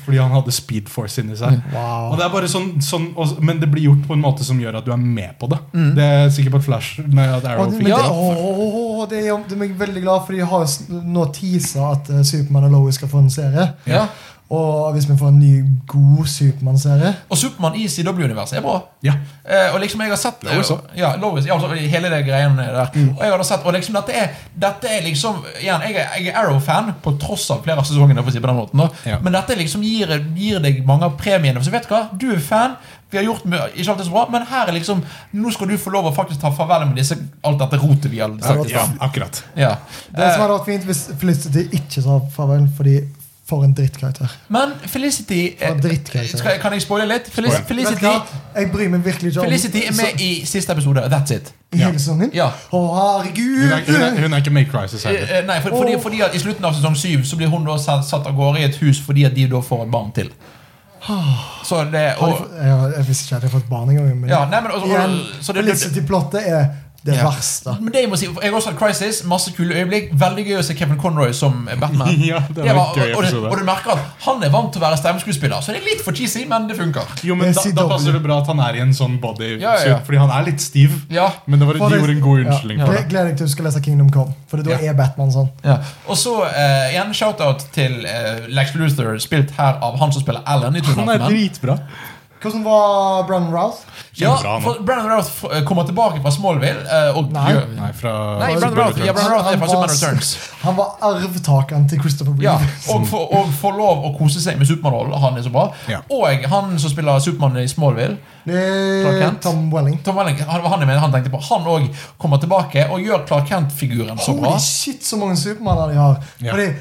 Speaker 2: fordi han hadde Speed Force inni seg. Og
Speaker 3: wow.
Speaker 2: det er bare sånn, sånn og, Men det blir gjort på en måte som gjør at du er med på det.
Speaker 3: Mm.
Speaker 2: Det er jeg sikker på at Flash nei, at
Speaker 3: Og,
Speaker 2: Arrow
Speaker 3: men
Speaker 2: fikk
Speaker 3: det,
Speaker 1: Ja.
Speaker 2: det.
Speaker 3: åh, åh, åh, det er jo- det er jeg veldig glad for de har jo s- nå teasa at eh, Supermann og Lois skal få en serie.
Speaker 1: Ja.
Speaker 3: Og hvis vi får en ny, god Supermann-serie
Speaker 1: Og Supermann i CW-universet er bra.
Speaker 2: Ja.
Speaker 1: Eh, og liksom jeg har sett
Speaker 2: Lois også.
Speaker 1: Ja, Lois, ja, altså, hele det greiene der. Og jeg har da sett, og liksom dette er, dette er liksom igjen, jeg, er- jeg er Arrow-fan, på tross av flere av sesongene, for å si det på den måten. Da.
Speaker 2: Ja.
Speaker 1: Men dette liksom gir, gir deg mange av premiene. Så vet du hva, du er fan. Vi har gjort mye- ikke alltid så bra, men her er liksom Nå skal du få lov å faktisk ta farvel med disse, alt dette rotet vi har sagt.
Speaker 2: Ja, akkurat.
Speaker 1: Ja.
Speaker 3: Det
Speaker 1: Eh.
Speaker 3: som hadde vært fint hvis Felicity ikke sa farvel, fordi for en drittkarakter.
Speaker 1: Eh, Men Felicity eh,
Speaker 3: Å, drittkarakter.
Speaker 1: skal, jeg- Kan jeg spoile litt? Felic
Speaker 2: Spoil.
Speaker 3: Vet du
Speaker 1: Felicity,
Speaker 3: hva? Jeg bryr meg virkelig ikke om
Speaker 1: Felicity er med i siste episode. That's it.
Speaker 3: i hele sesongen.
Speaker 1: Ja.
Speaker 3: Å,
Speaker 2: Hun er, hun er,
Speaker 3: herregud!
Speaker 2: hun er ikke med i Crisis
Speaker 1: Eh,
Speaker 2: heller.
Speaker 1: eh, Nei, for, fordi,
Speaker 3: Åh.
Speaker 1: fordi at I slutten av sesong 7 så blir hun da satt, satt av gårde i et hus fordi at de da får et barn til. Så det
Speaker 3: Har de
Speaker 1: og,
Speaker 3: fått- ja, jeg visste ikke at jeg hadde fått barn engang. Men
Speaker 1: Ja, nei, men altså-
Speaker 3: igjen,
Speaker 1: så det-
Speaker 3: Felicity-plottet er det
Speaker 2: Ja.
Speaker 3: verste.
Speaker 1: men det jeg må si, for jeg har også hatt Crisis. Masse kule øyeblikk. Veldig gøy å se Kevin Conroy som Batman.
Speaker 2: Ja, det var en
Speaker 1: og,
Speaker 2: gøy
Speaker 1: og,
Speaker 2: episode.
Speaker 1: og du merker at han er vant til å være stemmeskuespiller, så det er litt for cheesy, men det funker.
Speaker 2: Jo, men da, da passer det bra at han er i en sånn bodysuit,
Speaker 1: Ja, ja, ja.
Speaker 2: fordi han er litt stiv.
Speaker 1: Ja.
Speaker 2: Men det var,
Speaker 3: For
Speaker 2: de
Speaker 3: det-
Speaker 2: gjorde en god unnskyldning
Speaker 3: Ja,
Speaker 2: for
Speaker 3: det
Speaker 2: det.
Speaker 3: gleder jeg til du skal lese Kingdom Come, for da
Speaker 1: Ja.
Speaker 3: er Batman sånn.
Speaker 1: Ja. Og så eh, igjen shout-out til eh, Lex Luther, spilt her av han som spiller Alan. i Two and
Speaker 2: Han
Speaker 1: a
Speaker 2: er
Speaker 1: Half Men.
Speaker 2: dritbra.
Speaker 3: Hvordan var Brandon Routh?
Speaker 1: Ja,
Speaker 2: Kjempebra, han.
Speaker 1: for Brandon Routh eh, kommer tilbake fra Smallville. eh, og
Speaker 3: Nei.
Speaker 1: gjør-
Speaker 2: Nei, fra
Speaker 1: Nei, Brandon
Speaker 2: Superman
Speaker 1: Routh, ja,
Speaker 2: Returns.
Speaker 1: Brandon Routh er fra
Speaker 3: var-
Speaker 1: Superman Returns.
Speaker 3: han var arvtakeren til Christopher
Speaker 1: Ja,
Speaker 3: Reeve.
Speaker 1: og få og få lov å kose seg med Supermann-rollen. Han er så bra.
Speaker 2: Ja.
Speaker 1: Og han som spiller Supermann i Smallville, Clark
Speaker 3: Eh,
Speaker 1: Kent.
Speaker 3: Tom Welling.
Speaker 1: Tom Welling, han, han, er med, han tenkte på Han òg kommer tilbake og gjør Clark Kent-figuren så bra.
Speaker 3: Holy shit, så mange Supermanner de har.
Speaker 2: Ja.
Speaker 3: Fordi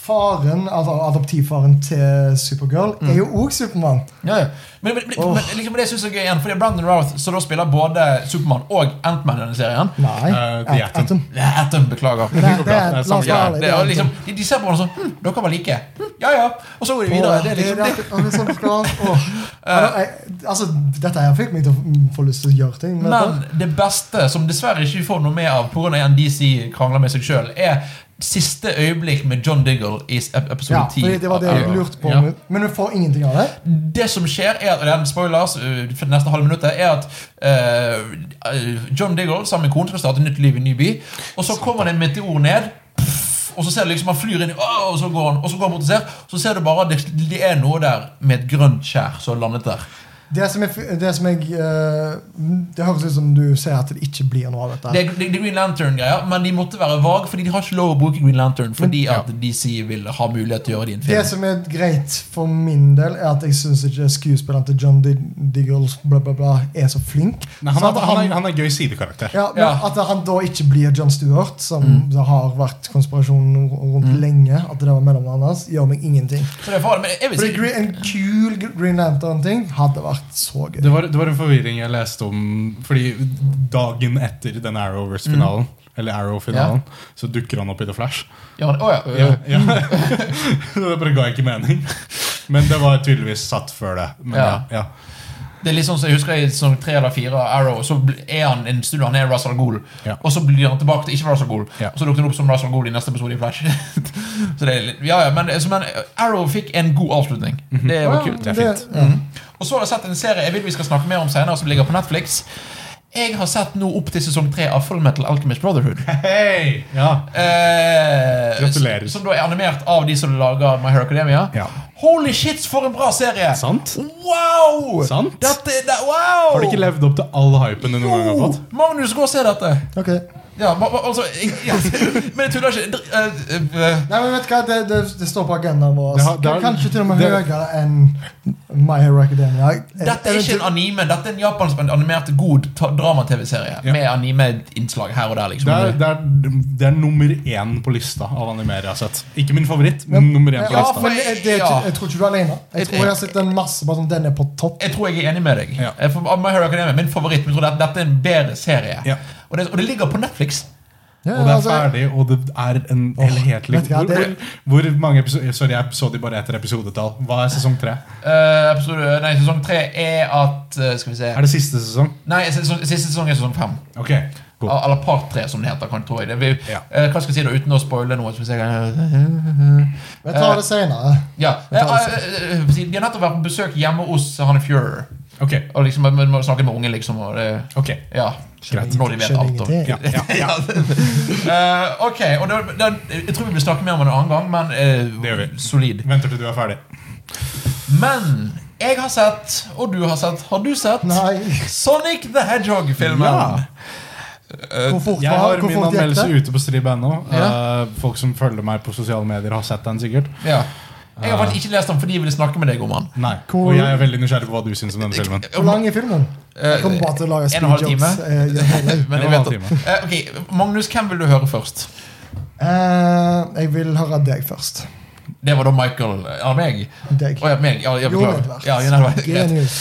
Speaker 3: faren, altså adoptivfaren til Supergirl,
Speaker 1: Mm.
Speaker 3: er jo òg Supermann.
Speaker 1: Ja, ja. Men, men, men,
Speaker 3: Åh.
Speaker 1: men liksom, det syns jeg er gøy igjen, fordi Brandon Routh, som da spiller både Supermann og Antman i denne serien
Speaker 3: Nei,
Speaker 2: Eh, The
Speaker 3: At-
Speaker 2: Atom.
Speaker 3: Atom.
Speaker 1: Nei, Atom, beklager.
Speaker 3: Det er,
Speaker 2: går
Speaker 3: det
Speaker 2: bra.
Speaker 3: er,
Speaker 2: Det er
Speaker 3: la
Speaker 2: samme
Speaker 3: oss være
Speaker 1: Ja,
Speaker 2: greie.
Speaker 3: ærlige,
Speaker 1: det
Speaker 3: det
Speaker 1: er
Speaker 3: er
Speaker 1: liksom,
Speaker 3: Atom.
Speaker 1: de, de ser på hverandre sånn hm, Dere var like. Hm, ja, ja. Og så går de videre. Eh.
Speaker 3: Åh,
Speaker 1: Det er liksom det.
Speaker 3: det- det er sånn plan. Åh. Altså, jeg- Altså, dette her fikk meg til å mm, få lyst til å gjøre ting. Men,
Speaker 1: Men det beste, som dessverre ikke vi får noe med av pga. DC krangler med seg sjøl, er siste øyeblikk med John Diggle i ep- episode
Speaker 3: ja,
Speaker 1: 10.
Speaker 3: fordi det var det
Speaker 1: av
Speaker 3: jeg
Speaker 1: Arrow.
Speaker 3: lurte på.
Speaker 2: Ja.
Speaker 3: Men du får ingenting av det?
Speaker 1: Det som skjer, er at, og det er en spoilers uh, for det neste halve minuttet, er at uh, uh, John Diggle sammen med konen skal starte nytt liv i en ny by, og så kommer det en meteor ned. pff, Og så ser du liksom han flyr inn i «Åh», Og så går han og så går han bort og ser. Så ser du bare at det, det er noe der med et grønt skjær som har landet der.
Speaker 3: Det som, jeg, f- det som jeg eh, Det høres ut som du ser at det ikke blir noe av dette.
Speaker 1: Det er, det er Green Lantern-greier, men de måtte være vag, fordi de har ikke lov å bruke Green Lantern fordi at DC vil ha mulighet til å gjøre det i en
Speaker 3: Det
Speaker 1: film.
Speaker 3: som er greit for min del, er at jeg syns ikke skuespilleren til John Dig Diggle bla, bla, bla, er så flink.
Speaker 2: Nei, han,
Speaker 3: Så at
Speaker 2: er, han, er, han er Mm. en gøy sidekarakter.
Speaker 3: ja, men
Speaker 1: Ja.
Speaker 3: At han da ikke blir John Stewart, som det har vært konspirasjonen rundt
Speaker 2: Mm.
Speaker 3: lenge, at det var mellomnavnet hans, gjør meg ingenting.
Speaker 1: Så det er farlig, men jeg vil
Speaker 3: For
Speaker 1: si
Speaker 3: det er gre- En kul gr- Green Lantern-ting hadde vært så gøy.
Speaker 2: Det var, det var en forvirring jeg leste om Fordi dagen etter den Arrowverse-finalen
Speaker 1: Mm.
Speaker 2: Eller Arrow-finalen Så dukker han opp i The Flash.
Speaker 1: ja, å, ja, ja.
Speaker 2: Ja, ja. det bare ga ikke mening. Men det var tydeligvis satt før det. Men ja.
Speaker 1: Ja.
Speaker 2: Ja,
Speaker 1: Det er litt sånn som jeg husker i sesong tre eller fire av Arrow, så bl- er han en stund han er Russell Gould,
Speaker 2: Ja.
Speaker 1: og så blir han tilbake til ikke Russell Gould,
Speaker 2: Ja.
Speaker 1: og så dukker han opp som Russell Gould i neste episode i Flash. så det er litt, ja, ja, men, så, men Arrow fikk en god avslutning.
Speaker 2: Mhm.
Speaker 1: Det var kult.
Speaker 2: det er
Speaker 3: ja.
Speaker 1: Og så har jeg sett en serie jeg vil vi skal snakke mer om senere, som ligger på Netflix. Jeg har sett nå opp til sesong tre av Full Metal Alchemist Brotherhood.
Speaker 2: Hei! Ja.
Speaker 1: Eh,
Speaker 2: Gratulerer.
Speaker 1: Som da er animert av de som lager My Hero Academia.
Speaker 2: Ja.
Speaker 1: Holy shit, for en bra serie!
Speaker 2: Sant?
Speaker 1: Wow!
Speaker 2: Sant?
Speaker 1: Dette, det, wow!
Speaker 2: Har du ikke levd opp til all hypen du noen gang har
Speaker 1: Jo!
Speaker 2: fått?
Speaker 1: Magnus, gå og se dette!
Speaker 3: Ok.
Speaker 1: Ja, ma, ma, altså jeg, ja, Men jeg tuller ikke. Dr- eh, eh,
Speaker 3: Nei, men vet du hva, det, det, det står på agendaen vår.
Speaker 2: Det har- det har-
Speaker 3: Kanskje til og med
Speaker 2: det-
Speaker 3: høyere enn My Hero Academia.
Speaker 1: Dette er ikke en anime, dette er en japansk men animert god ta- drama-TV-serie.
Speaker 2: Ja.
Speaker 1: Med anime-innslag her og der, liksom.
Speaker 2: Det er, det, er, det er nummer én på lista av animer jeg har sett. Ikke min favoritt, men nummer én på
Speaker 3: Ja,
Speaker 2: lista.
Speaker 3: for jeg, det, er ikke-
Speaker 1: Ja.
Speaker 3: jeg tror ikke du er alene. Jeg tror jeg har sett en masse bare sånn, den er på topp.
Speaker 1: Jeg tror jeg er enig med deg.
Speaker 2: Ja.
Speaker 1: Jeg får- My Hero Academia er min favoritt, men jeg tror dette, dette er en bedre serie.
Speaker 2: Ja.
Speaker 1: Og, det, og det ligger på Netflix.
Speaker 3: Ja,
Speaker 2: Og det er
Speaker 3: altså,
Speaker 2: ferdig, og det er en helhetlig
Speaker 3: vet du hva,
Speaker 2: hvor,
Speaker 3: det-
Speaker 2: hvor mange episoder Sorry, jeg så de bare etter episodetall. Hva er sesong tre?
Speaker 1: Eh, episode, nei, sesong tre er at eh, Skal vi se
Speaker 2: Er det siste sesong?
Speaker 1: Nei, sesong, siste sesong er sesong fem.
Speaker 2: Ok,
Speaker 3: Ah.
Speaker 2: cool.
Speaker 1: Eller part tre, som det heter. Kan, tror jeg. Det, vi,
Speaker 2: Ja.
Speaker 1: eh, hva skal jeg si da, uten å spoile noe? Skal vi se.
Speaker 3: Vi tar
Speaker 1: Eh,
Speaker 3: det senere.
Speaker 1: Ja.
Speaker 3: Vi tar det
Speaker 1: eh, eh, eh, de har nettopp vært på besøk hjemme hos han Fuhrer.
Speaker 2: Ok,
Speaker 1: Og liksom, man må snakke med ungen, liksom. Og det,
Speaker 2: ok
Speaker 1: ja,
Speaker 2: Greit.
Speaker 1: Når de vet
Speaker 3: Skjønner
Speaker 1: alt om
Speaker 3: ingenting.
Speaker 2: Ja, ja, ja.
Speaker 1: Eh, Ok, og da, da, jeg tror vi blir snakket mer om det en annen gang, men eh,
Speaker 2: Det gjør vi.
Speaker 1: solid.
Speaker 2: Venter til du er ferdig.
Speaker 1: Men jeg har sett, og du har sett, har du sett
Speaker 3: Nei.
Speaker 1: Sonic the Hedgehog-filmen?
Speaker 2: Ja.
Speaker 1: Eh,
Speaker 3: Hvor fort
Speaker 2: Jeg
Speaker 3: var
Speaker 2: har
Speaker 3: hvor
Speaker 2: min
Speaker 3: fort gikk
Speaker 2: anmeldelse
Speaker 3: det?
Speaker 2: ute på strib.no.
Speaker 1: Ja.
Speaker 2: Eh, folk som følger meg på sosiale medier, har sett den sikkert.
Speaker 1: Ja. Jeg har faktisk ikke lest den fordi jeg ville snakke med deg om den.
Speaker 2: Nei,
Speaker 3: Cool.
Speaker 2: Og jeg er veldig nysgjerrig på hva du syns om denne filmen.
Speaker 3: Hvor lang er filmen? Jeg kommer bare til å lage
Speaker 1: Eh, en og en halv
Speaker 3: speedjokes.
Speaker 1: time.
Speaker 3: eh, gjennom hele dagen.
Speaker 1: Men
Speaker 2: Det
Speaker 1: jeg
Speaker 2: var
Speaker 1: vet
Speaker 2: en
Speaker 1: at, Eh, ok, Magnus, hvem vil du høre først?
Speaker 3: Eh, Jeg vil høre deg først.
Speaker 1: Det var da Michael Ja, meg?
Speaker 3: Deg.
Speaker 1: Å ja, meg. Ja, jeg
Speaker 3: Jo,
Speaker 1: beklager. Ja, Jon Edvard. Greit.
Speaker 3: Genius.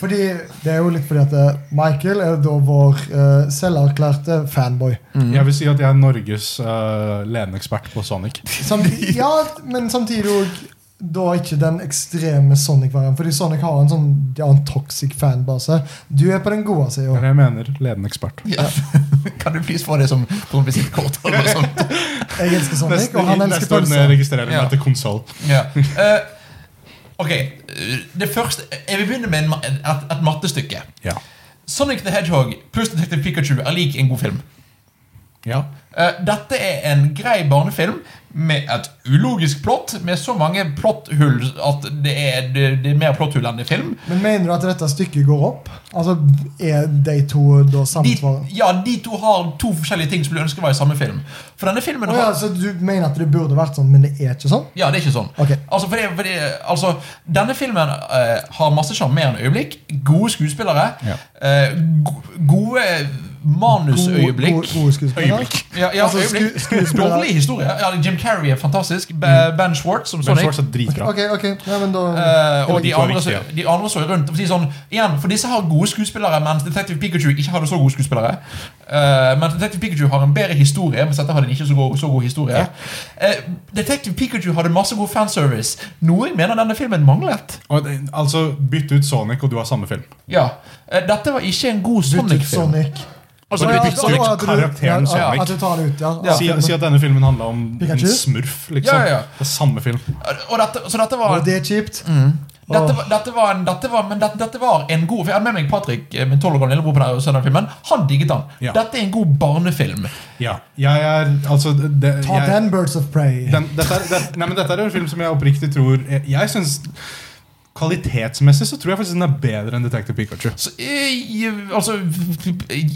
Speaker 3: Fordi det er jo litt fordi at eh, Michael er da vår eh, selverklærte fanboy.
Speaker 2: Jeg vil si at jeg er Norges uh, ledende ekspert på Sonic.
Speaker 3: Samtidig, ja, men samtidig òg da ikke den ekstreme Sonic-varianten. Fordi Sonic har en sånn ja, en toxic fanbase. Du er på den gode
Speaker 2: Det
Speaker 3: sida.
Speaker 2: er det jeg mener. Ledende ekspert.
Speaker 1: Ja. Kan du please få det som som visittkort? eller noe sånt?
Speaker 3: Jeg elsker Sonic,
Speaker 2: Neste,
Speaker 3: og han elsker
Speaker 2: neste år når jeg
Speaker 3: pølser.
Speaker 2: registrerer meg
Speaker 1: Ja.
Speaker 2: etter konsoll.
Speaker 1: Ja. Eh, ok, eh, det første Jeg vil begynne med en, ma- et, et mattestykke.
Speaker 2: Ja.
Speaker 1: Sonic the Hedgehog pluss Detective Pikachu er lik en god film.
Speaker 2: Ja.
Speaker 1: Eh, dette er en grei barnefilm med et ulogisk plott, med så mange plotthull at det er, det, det er mer plotthull enn det er film.
Speaker 3: Men mener du at dette stykket går opp? Altså, Er de to da
Speaker 1: De,
Speaker 3: samsvarende?
Speaker 1: ja, de to har to forskjellige ting som du ønsker var i samme film. For denne filmen
Speaker 3: Å ja,
Speaker 1: har
Speaker 3: så du mener at det burde vært sånn, men det er ikke sånn?
Speaker 1: Ja, det er ikke sånn.
Speaker 3: Ok.
Speaker 1: Altså, fordi, fordi, altså, denne filmen eh, har masse sjarmerende øyeblikk. Gode skuespillere.
Speaker 2: Ja.
Speaker 1: eh, go gode manusøyeblikk.
Speaker 3: God- Gode skuespillere.
Speaker 1: Ja, ja,
Speaker 3: Altså, sku-
Speaker 1: øyeblikk.
Speaker 3: skuespillere.
Speaker 1: Dårlig historie. Ja, Jim Carrey er fantastisk. Ba- Ben Schwartz som
Speaker 2: Mm. Ben
Speaker 1: Sonic.
Speaker 2: Schwartz er dritbra.
Speaker 3: Ok, ok, ja, men da
Speaker 1: Eh, og
Speaker 2: de
Speaker 1: de
Speaker 2: to er
Speaker 1: andre,
Speaker 2: viktige.
Speaker 1: så- de andre så jo rundt. For, å si sånn, igjen, for disse har gode skuespillere, mens Detective Pikachu ikke hadde så gode skuespillere. Eh, men Detective Pikachu har en bedre historie, mens dette hadde den ikke så god, så god historie. Eh, Detective Pikachu hadde masse god fanservice, noe jeg mener denne filmen manglet.
Speaker 2: Og, det- altså, bytte ut Sonic, og du har samme film.
Speaker 1: Ja, eh, Dette var ikke en god
Speaker 3: Bytt ut
Speaker 1: Sonic-film.
Speaker 3: Sonic.
Speaker 2: Altså,
Speaker 3: Å ja,
Speaker 2: bytte
Speaker 3: at- å, at
Speaker 2: ut
Speaker 3: du-
Speaker 2: karakteren
Speaker 3: ja, At
Speaker 2: Sonic.
Speaker 3: du tar det ut, ja.
Speaker 1: Ja.
Speaker 2: Si,
Speaker 3: Filmen.
Speaker 2: si at denne filmen handla om
Speaker 3: Pikachu?
Speaker 2: en smurf, liksom.
Speaker 1: Ja, ja, ja.
Speaker 2: Det er samme film.
Speaker 1: Og dette, så dette var
Speaker 3: Og det er kjipt.
Speaker 1: Dette,
Speaker 3: Åh.
Speaker 1: var- dette, var en, dette, var, men dette, dette var en god For Jeg hadde med meg Patrick, eh, min 12 år gamle lillebror, på denne søndagfilmen. Han digget den.
Speaker 2: Ja.
Speaker 1: Dette er en god barnefilm.
Speaker 2: Ja. Jeg er Altså, det,
Speaker 3: Ta
Speaker 2: jeg,
Speaker 3: den, Birds of Prey.
Speaker 2: den, dette, er, det, nei, men dette er en film som jeg oppriktig tror Jeg, jeg syns Kvalitetsmessig så tror jeg faktisk den er bedre enn Detective Pikachu.
Speaker 1: Så, eh, altså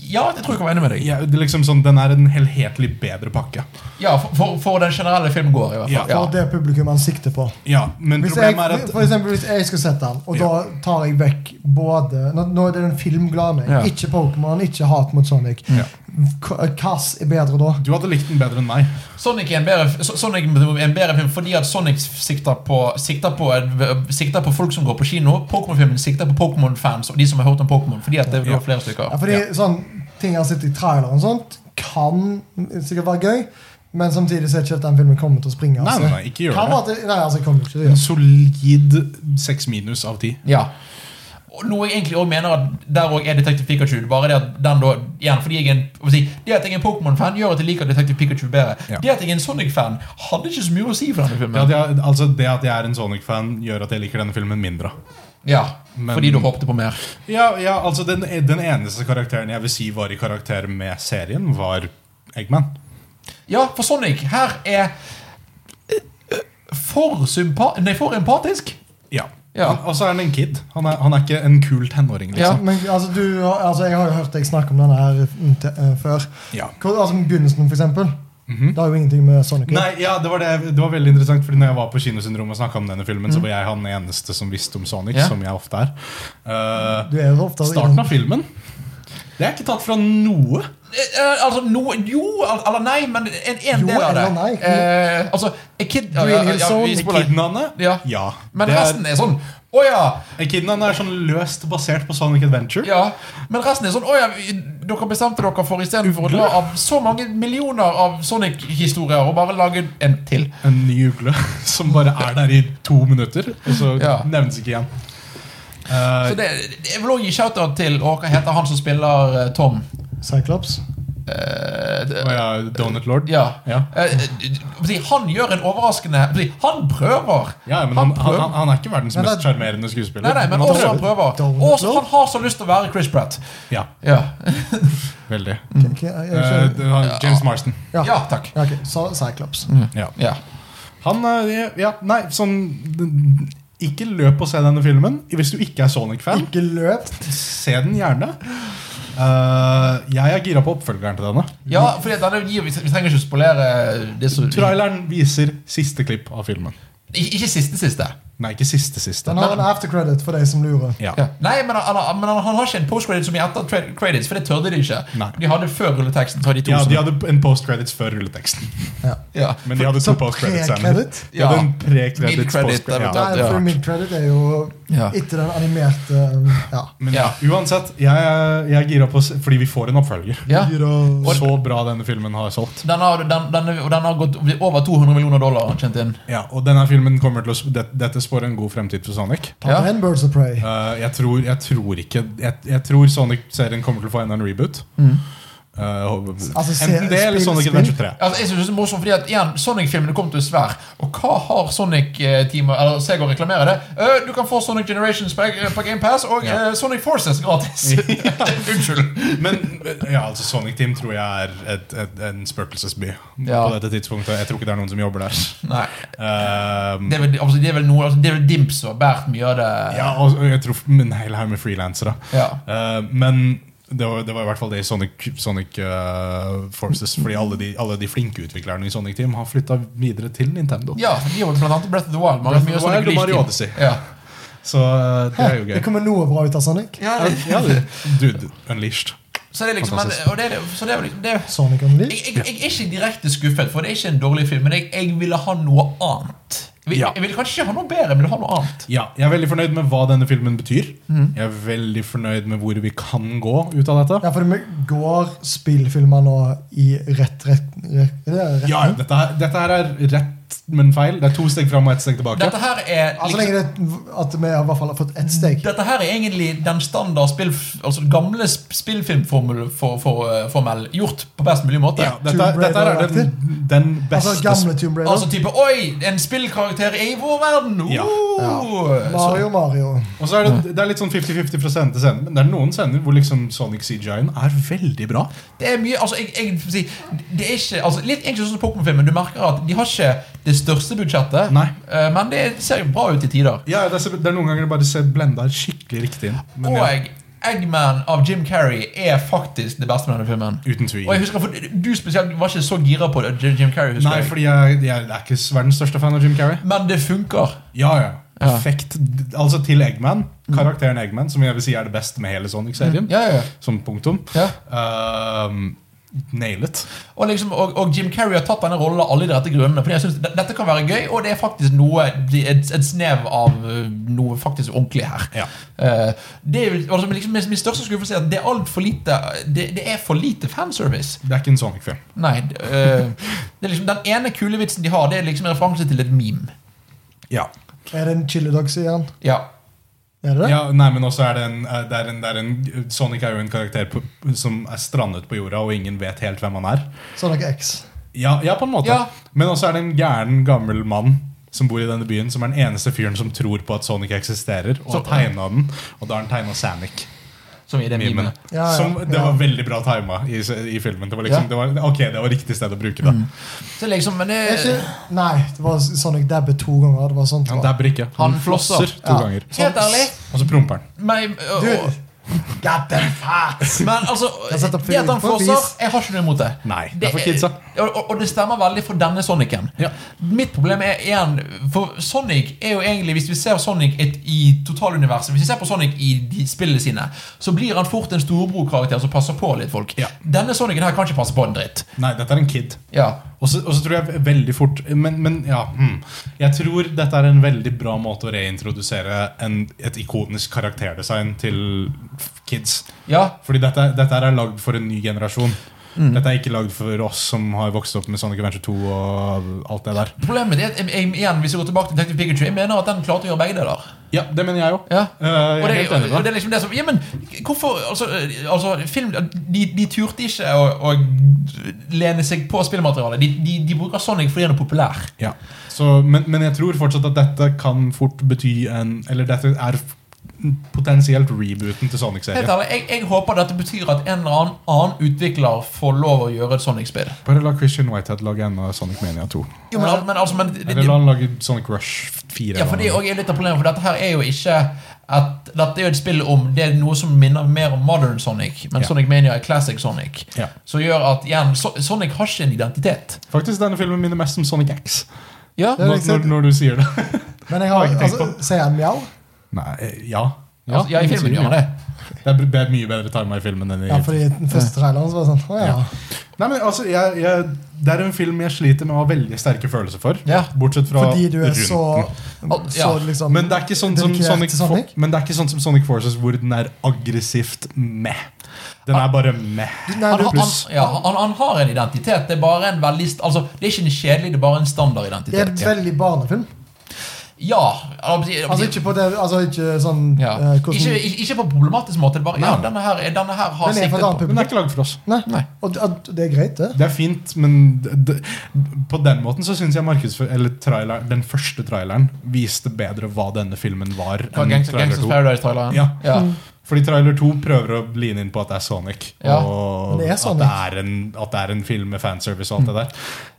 Speaker 1: Ja, jeg tror jeg kan være enig med deg.
Speaker 2: Ja, det er liksom sånn, Den er en helhetlig bedre pakke.
Speaker 1: Ja, for, for, for den generelle filmen går, i hvert fall.
Speaker 3: For det publikum han sikter på.
Speaker 2: Ja, men
Speaker 3: Hvis jeg,
Speaker 2: problemet er at
Speaker 3: for eksempel, hvis jeg skulle sett den, og da tar jeg vekk både Nå, nå er det den filmglade meg.
Speaker 1: Ja.
Speaker 3: Ikke Pokémon, ikke hat mot Sonic.
Speaker 2: Ja.
Speaker 3: Kass er bedre da.
Speaker 2: Du hadde likt den bedre enn meg.
Speaker 1: Sonic er en bedre, So- Sonic er en bedre film fordi at Sonic sikter på, sikter på, en- sikter på folk som går på kino. Pokémon-filmen sikter på Pokémon-fans og de som har hørt om Pokémon. Fordi at det det var flere stykker.
Speaker 3: Ja, fordi sånn ting han sitter i traileren og sånt, kan sikkert være gøy, men samtidig ser jeg ikke at den filmen kommer til å springe.
Speaker 2: Nei,
Speaker 3: altså.
Speaker 2: nei, nei, ikke gjør
Speaker 3: Kan
Speaker 2: det.
Speaker 3: være at det- nei, altså, jeg kommer ikke til å gjøre
Speaker 2: En
Speaker 3: det.
Speaker 2: solid seks minus av ti.
Speaker 1: Ja. Og noe jeg egentlig også mener at der òg er Detective Pikachu. Bare det at den da igjen, fordi jeg er en, hva skal jeg si, Det at jeg er en Pokémon-fan, gjør at jeg liker Detective Pikachu bedre.
Speaker 2: Ja.
Speaker 1: Det at jeg er en Sonic-fan, hadde ikke så mye å si for denne
Speaker 2: Det at
Speaker 1: filmen.
Speaker 2: jeg, altså det at jeg er en Sonic-fan, gjør at jeg liker denne filmen mindre.
Speaker 1: Ja,
Speaker 2: Men-
Speaker 1: Fordi du håpte på mer.
Speaker 2: Ja, ja altså den, den eneste karakteren jeg vil si var i karakter med serien, var Eggman.
Speaker 1: Ja, for Sonic her er eh, eh, for sympa... Nei, for empatisk.
Speaker 2: Ja.
Speaker 1: Ja.
Speaker 2: Han- Og så er han en kid. Han er, han er ikke en kul tenåring,
Speaker 1: Ja.
Speaker 2: liksom.
Speaker 3: Men altså, du, har- altså, jeg har jo hørt deg snakke om denne her mm, te, eh, før.
Speaker 2: Ja. Mhm.
Speaker 3: Hvor, altså, Begynnelsen, for eksempel. Det har jo ingenting med Sonic å gjøre.
Speaker 2: Nei, ja, det var, det, det var veldig interessant Fordi når jeg var på Kinosyndromet og snakka om denne filmen, så var jeg han eneste som visste om Sonic,
Speaker 1: Mm. Ja.
Speaker 2: som jeg ofte er. Eh,
Speaker 3: Du er jo ofte
Speaker 2: starten av filmen Det er ikke tatt fra noe.
Speaker 1: Eh, eh, altså, no, jo, al- eller nei, men en, en
Speaker 3: Jo,
Speaker 1: del av det.
Speaker 3: eller nei.
Speaker 1: Eh, altså, A Kid ja, ja,
Speaker 3: Green Hill
Speaker 1: ja, vi
Speaker 3: Zone,
Speaker 1: spoiler.
Speaker 2: Kidnane?
Speaker 1: Ja.
Speaker 2: ja.
Speaker 1: Men
Speaker 2: Det er-
Speaker 1: resten er sånn Å ja.
Speaker 2: Echidnaen er sånn løst basert på Sonic Adventure.
Speaker 1: ja. Men resten er sånn Å ja, vi- dere bestemte dere for istedenfor å dra av så mange millioner av Sonic-historier og bare lage en til.
Speaker 2: En ny ugle som bare er der i to minutter, og så
Speaker 1: Ja.
Speaker 2: nevnes ikke igjen. Eh,
Speaker 1: Så det, Jeg vil også gi shout-out til og Hva heter han som spiller eh, Tom?
Speaker 3: Cyclops.
Speaker 1: Eh, d-
Speaker 2: og ja, Donut Lord.
Speaker 1: ja.
Speaker 2: Ja.
Speaker 1: Eh, eh, d- Han gjør en overraskende Han prøver!
Speaker 2: Ja, men han, han, han, han er ikke verdens
Speaker 3: Men det-
Speaker 2: mest sjarmerende skuespiller.
Speaker 1: Nei, nei, men
Speaker 2: han
Speaker 1: også han
Speaker 2: prøver.
Speaker 1: prøver.
Speaker 3: Donald
Speaker 1: Også
Speaker 3: Trump.
Speaker 1: han har så lyst til å være Chris Pratt.
Speaker 2: Ja,
Speaker 1: Ja,
Speaker 2: veldig.
Speaker 1: Mm.
Speaker 3: Hvem- hvem- jeg- jeg-
Speaker 2: Eh, det var James Marston.
Speaker 3: Ja.
Speaker 1: ja takk.
Speaker 3: Ja, ok, så Cyclops.
Speaker 2: Ja.
Speaker 1: Ja.
Speaker 2: Han eh, Ja, nei, sånn Ikke løp og se denne filmen hvis du ikke er Sonic-fan.
Speaker 3: Ikke løp.
Speaker 2: Se den gjerne. Eh, jeg er gira på oppfølgeren til denne.
Speaker 1: ja fordi at denne gir, vi trenger ikke å spolere det som
Speaker 2: Traileren viser siste klipp av filmen.
Speaker 1: Ik- Ikke siste siste.
Speaker 2: Nei, ikke siste siste.
Speaker 3: Den har en aftercredit for deg som lurer.
Speaker 2: Ja.
Speaker 1: Ja. Nei, men, han, han, men han, han har ikke en postcredit som i etter tra- credits, for det tørde de ikke.
Speaker 2: Nei.
Speaker 1: De hadde før rulleteksten. Så de to
Speaker 2: ja,
Speaker 1: som-
Speaker 2: de hadde en post-credits før rulleteksten.
Speaker 3: Ja.
Speaker 1: ja.
Speaker 2: Men de hadde to
Speaker 3: Så
Speaker 2: post-credits senere.
Speaker 3: pre-credit?
Speaker 2: De hadde en
Speaker 1: Mid-credit,
Speaker 2: pre-credits post
Speaker 1: eventuelt.
Speaker 2: ja.
Speaker 3: Nei,
Speaker 1: det er
Speaker 3: for
Speaker 1: rart.
Speaker 3: mid-credit er jo
Speaker 1: Ja.
Speaker 3: etter den animerte um, Ja.
Speaker 2: Men
Speaker 1: Ja.
Speaker 2: uansett, jeg, er- jeg er gira på å se- fordi vi får en oppfølger.
Speaker 1: Ja.
Speaker 3: Og-
Speaker 2: Så bra denne filmen har solgt.
Speaker 1: Den har, den, den, og den har gått over 200 millioner dollar. Kjent inn
Speaker 2: Ja, og denne filmen kommer til å sp- det- Dette spår en god fremtid for Sonic.
Speaker 3: Ta
Speaker 1: Ja.
Speaker 3: med en Birds of Prey.
Speaker 2: Eh, jeg, tror, jeg tror ikke Jeg, jeg tror Sonic-serien kommer til å få enda en reboot. Eh, og-
Speaker 3: Mm. Altså, se-
Speaker 2: enten det eller
Speaker 3: spill-
Speaker 2: Sonic
Speaker 3: spill.
Speaker 2: Adventure 3.
Speaker 1: Altså, jeg synes det er morsomt fordi at igjen, Sonic-filmene kom til å svær. Og hva har Sonic-teamet Eller Sego reklamerer det? «Øh, du kan få Sonic Generations på, på GamePass og
Speaker 2: Ja.
Speaker 1: eh, Sonic Forces gratis. Unnskyld.
Speaker 2: Men ja, altså Sonic Team tror jeg er et, et, en spøkelsesby
Speaker 1: Ja.
Speaker 2: på dette tidspunktet. Jeg tror ikke det er noen som jobber der.
Speaker 1: Nei.
Speaker 2: Ehm,
Speaker 1: Det er vel, altså, det er vel noe altså, Det er vel Dimps som har båret mye av det.
Speaker 2: ja, og og jeg tror en hel haug med frilansere.
Speaker 1: Ja.
Speaker 2: Ehm, men det var, det var i hvert fall det i Sonic, Sonic eh, Forces. Fordi alle de, alle de flinke utviklerne i Sonic Team har flytta videre til Nintendo.
Speaker 1: Ja, de har vel blant annet Breath of the Wild. Man har
Speaker 2: Breath of the
Speaker 1: mye Sonic
Speaker 2: Wild og
Speaker 1: Leash
Speaker 2: Mario
Speaker 1: Team.
Speaker 2: Odyssey.
Speaker 1: Ja.
Speaker 2: Så eh, det er jo gøy.
Speaker 3: Det kommer noe bra ut av Sonic.
Speaker 2: Ja, det- Dude, unleashed.
Speaker 1: Så det er liksom, men,
Speaker 2: Fantastisk.
Speaker 1: og det er, så det er jo liksom det er,
Speaker 3: Sonic on
Speaker 1: jeg,
Speaker 3: Leash.
Speaker 1: jeg, jeg er ikke direkte skuffet, for det er ikke en dårlig film. Men jeg, jeg ville ha noe annet. Jeg vil,
Speaker 2: Ja.
Speaker 1: jeg vil kanskje ikke ha noe bedre, men jeg vil ha noe annet.
Speaker 2: Ja, Jeg er veldig fornøyd med hva denne filmen betyr.
Speaker 1: Mhm.
Speaker 2: Jeg er veldig fornøyd med hvor vi kan gå ut av dette.
Speaker 3: Ja, for det går spillfilmer nå i rett rett, rett, er det rett
Speaker 2: Ja, dette, her- dette her er rett, men feil. Det er to steg fram og ett steg tilbake.
Speaker 1: Dette her er
Speaker 3: Altså,
Speaker 1: liksom,
Speaker 3: lenge det, at vi i hvert fall har fått ett steg.
Speaker 1: Dette her er egentlig den standard spill, altså den gamle sp- spillfilmformel for, for, eh, formel, gjort på best mulig måte.
Speaker 2: Ja, dette,
Speaker 3: Tomb
Speaker 2: dette her er den, den beste
Speaker 3: Altså gamle Tomb Raider.
Speaker 1: Altså type Oi, en spillkarakter er i vår verden!
Speaker 2: Ja.
Speaker 1: Oh! Så,
Speaker 3: Mario, Mario.
Speaker 2: Og så er det, det er litt sånn 50-50 fra scene til scene, men det er noen scener hvor liksom Sonic CGI-en er veldig bra.
Speaker 1: det er mye Altså, jeg, jeg vil si Det er ikke altså, Litt egentlig sånn som Pokémon-filmen. Du merker at de har ikke det største budsjettet,
Speaker 2: Nei.
Speaker 1: eh, men det ser jo bra ut i tider.
Speaker 2: Ja, det er, det er noen ganger det bare ser blenda skikkelig riktig inn. Men ja,
Speaker 1: Og Eggman av Jim Carrey er faktisk det beste med denne filmen.
Speaker 2: uten
Speaker 1: Og jeg
Speaker 2: tvil.
Speaker 1: husker, for Du spesielt var ikke så gira på det, Jim Jim Carrey, husker
Speaker 2: Nei,
Speaker 1: jeg.
Speaker 2: fordi jeg, jeg er ikke verdens største fan av Jim Carrey.
Speaker 1: Men det funker.
Speaker 2: Ja, ja.
Speaker 1: Ja.
Speaker 2: Perfekt. D- Altså til Eggman. Karakteren Eggman, som jeg vil si er det beste med hele Sonic-serien.
Speaker 1: Mm. Ja, ja, ja.
Speaker 2: Som punktum.
Speaker 1: Ja.
Speaker 2: Ehm, nailet.
Speaker 1: Og, liksom, og, og Jim Carrey har tatt denne rollen av alle de rette grunnene. Fordi jeg synes de- dette kan være gøy, og det er faktisk noe et, et snev av øh, noe faktisk ordentlig her.
Speaker 2: Ja.
Speaker 1: Eh, det er jo, altså, men liksom, min- Min største skuffelse er at det er alt for lite det, det er for lite fanservice.
Speaker 2: Det er ikke en Sonic-film.
Speaker 1: Nei, d- øh, det er liksom, Den ene kule vitsen de har, det er liksom en referanse til et meme.
Speaker 2: Ja.
Speaker 3: Er det en chilidag, sier han?
Speaker 1: Ja,
Speaker 3: Er det det?
Speaker 2: ja. Nei, men også er det en, eh, det er en, det er en Sonic er jo en karakter på, som er strandet på jorda, og ingen vet helt hvem han er.
Speaker 3: Sonic X.
Speaker 2: Ja, ja på en måte.
Speaker 1: Ja.
Speaker 2: Men også er det en gæren, gammel mann som bor i denne byen, som er den eneste fyren som tror på at Sonic eksisterer, og
Speaker 1: Så-
Speaker 2: har tegna den. Og da har han tegna Sanic.
Speaker 1: Som i det
Speaker 2: Memen.
Speaker 1: memet.
Speaker 3: Ja, ja,
Speaker 2: Som, det
Speaker 3: ja.
Speaker 2: var veldig bra tima i, i filmen. Det var liksom,
Speaker 1: Ja.
Speaker 2: det var, ok, det var riktig sted å bruke det.
Speaker 3: Mm.
Speaker 1: Så liksom, men det,
Speaker 3: Er ikke, nei, det var Sonic Dabbe to ganger. Det var sånt. det
Speaker 2: Han
Speaker 3: var.
Speaker 2: dabber ikke.
Speaker 1: Han flosser.
Speaker 2: to
Speaker 3: Ja.
Speaker 2: ganger.
Speaker 1: Helt ærlig
Speaker 2: Og så promper han.
Speaker 1: meg, øh,
Speaker 3: Du,
Speaker 1: øh,
Speaker 3: God damn fat!
Speaker 1: Men altså,
Speaker 3: Jeg setter
Speaker 1: det at han
Speaker 3: pris på
Speaker 1: flosser,
Speaker 3: pris.
Speaker 1: jeg har ikke noe imot det.
Speaker 2: Nei, det er for kidsa.
Speaker 1: Og, og- og det stemmer veldig for denne Sonicen.
Speaker 2: Ja.
Speaker 1: Mitt problem er igjen For Sonic er jo egentlig Hvis vi ser Sonic et, i totaluniverset Hvis vi ser på Sonic i de spillene sine, så blir han fort en storebror-karakter som passer på litt folk.
Speaker 2: Ja.
Speaker 1: Denne Sonicen her kan ikke passe på en dritt.
Speaker 2: Nei, dette er en kid.
Speaker 1: Ja.
Speaker 2: Og så og så tror jeg veldig fort Men, men ja hmm. Jeg tror dette er en veldig bra måte å reintrodusere en, et ikonisk karakterdesign til f- kids.
Speaker 1: ja.
Speaker 2: Fordi dette, dette her er lagd for en ny generasjon. Dette er ikke lagd for oss som har vokst opp med Sonic Adventure 2 og alt det der.
Speaker 1: Problemet er at jeg, jeg, igjen, hvis jeg går tilbake til Detective Pikachu, jeg mener at den klarte å gjøre begge deler.
Speaker 2: Ja, det mener jeg òg.
Speaker 1: Ja.
Speaker 2: jeg
Speaker 1: Og
Speaker 2: er
Speaker 1: det,
Speaker 2: helt enig
Speaker 1: og
Speaker 2: med
Speaker 1: det
Speaker 2: deg.
Speaker 1: er liksom det som Ja, men hvorfor Altså, altså film de, de turte ikke å, å lene seg på spillmaterialet. De, de, de bruker Sonic fordi han er populær.
Speaker 2: Ja. Så, men, men jeg tror fortsatt at dette kan fort bety en Eller dette er f- potensielt rebooten til
Speaker 1: Helt
Speaker 2: Sonic-serien.
Speaker 1: ærlig, jeg, jeg håper dette betyr at en eller annen annen utvikler får lov å gjøre et Sonic-spill.
Speaker 2: Bare la Christian Whitehead lage enda Sonic Mania 2.
Speaker 1: Jo, men, al- men altså men, det,
Speaker 2: Eller la han lage Sonic Rush 4.
Speaker 1: ja, for Det er også litt av problemet, for dette her er jo ikke at, Dette er jo et spill om Det er noe som minner mer om modern Sonic, men
Speaker 2: Ja.
Speaker 1: Sonic Mania er classic Sonic.
Speaker 2: Ja.
Speaker 1: Som gjør at igjen, so Sonic har ikke en identitet.
Speaker 2: Faktisk denne filmen minner mest om Sonic X.
Speaker 1: Ja,
Speaker 3: er
Speaker 2: Når,
Speaker 3: riktig.
Speaker 2: når, når du sier det.
Speaker 3: Men jeg har,
Speaker 2: Har ikke tenkt
Speaker 3: altså, Sier han mjau?
Speaker 2: Nei, eh, ja.
Speaker 1: altså, ja i filmen gjør han det.
Speaker 2: Det er, det er mye bedre tima i filmen enn i
Speaker 3: Ja, fordi den første traileren så var det sånn Å ja.
Speaker 2: Ja. Nei, men altså, jeg, jeg, Det er en film jeg sliter med å ha veldig sterke følelser for.
Speaker 1: Ja.
Speaker 2: Bortsett fra
Speaker 3: Fordi du er
Speaker 2: rundt
Speaker 3: så,
Speaker 1: Al-
Speaker 3: så
Speaker 1: ja.
Speaker 3: liksom
Speaker 2: Men det er ikke sånn som
Speaker 3: dedikert
Speaker 2: Sonic,
Speaker 3: til Sonic?
Speaker 2: Men det er ikke sånn som Sonic Forces, hvor den er aggressivt meh. Den er bare meh.
Speaker 3: Nei,
Speaker 1: Han,
Speaker 3: du,
Speaker 1: han,
Speaker 2: pluss.
Speaker 1: ja, han, han har en identitet. Det er bare en veldig st- altså, Det er ikke en kjedelig, det er bare en
Speaker 3: det er en
Speaker 1: standardidentitet.
Speaker 3: veldig barnefilm.
Speaker 1: Ja. altså,
Speaker 3: Altså ikke på det Altså ikke sånn
Speaker 1: ja.
Speaker 3: eh, hvordan,
Speaker 1: Ikke, ikke, ikke på problematisk måte. det er Bare, ja,
Speaker 2: Nei.
Speaker 1: denne her, denne her har
Speaker 3: Den er
Speaker 1: siktet
Speaker 3: for et
Speaker 1: på
Speaker 2: Den er
Speaker 3: annet publikum.
Speaker 2: ikke lagd for oss.
Speaker 3: Nei.
Speaker 1: Nei.
Speaker 3: Og d- at det er greit, det.
Speaker 2: Det er fint, men d- d- på den måten så syns jeg markedsfør- eller trailer, den første traileren viste bedre hva denne filmen var.
Speaker 1: Fra
Speaker 2: enn
Speaker 1: Gangs-
Speaker 2: trailer
Speaker 1: Gangsters
Speaker 2: 2.
Speaker 1: Paradise-traileren.
Speaker 2: Ja.
Speaker 1: Ja.
Speaker 3: Mm.
Speaker 2: Fordi trailer 2 prøver å line inn på at det er Sonic.
Speaker 1: Ja,
Speaker 2: Og
Speaker 3: men det er Sonic.
Speaker 2: At, det er en, at det er en film med fanservice og alt det der.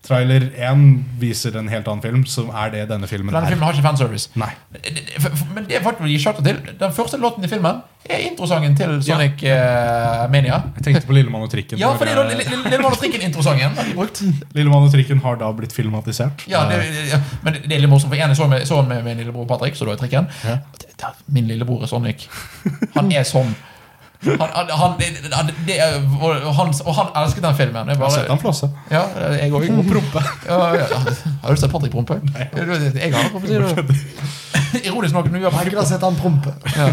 Speaker 2: Trailer 1 viser en helt annen film, som er det denne filmen
Speaker 1: Denne
Speaker 2: er.
Speaker 1: filmen har ikke fanservice.
Speaker 2: Nei.
Speaker 1: Det- det- Men det er faktisk å gi shotter til. Den første låten i filmen er introsangen til Sonic eh, Mania.
Speaker 2: Jeg tenkte på Lillemann og trikken.
Speaker 1: Ja,
Speaker 2: hvor,
Speaker 1: for det er
Speaker 2: eh,
Speaker 1: da Lille- Lille- Lillemann og trikken-introsangen.
Speaker 2: Lillemann og trikken eh, har da blitt filmatisert.
Speaker 1: Ja, det,
Speaker 2: Eh,
Speaker 1: ja, men det er litt morsomt, for en jeg så med, så med min lillebror Patrick, så da i trikken.
Speaker 2: Ja.
Speaker 1: Det- det- Min lillebror er Sonic. Han er sånn. Han, han, han, det- han, det er, og, han, og han elsket den filmen. Jeg
Speaker 2: jeg har
Speaker 1: bare,
Speaker 2: sett han flosse.
Speaker 1: ja, Altså, jeg òg.
Speaker 2: Og prompe.
Speaker 1: Ja, ja, ja. Har du sett Patrick prompe? Jeg har prompe, sier du. Ironisk nok. Når vi har
Speaker 3: Jeg har ikke
Speaker 1: prompe.
Speaker 3: sett han prompe.
Speaker 1: Ja,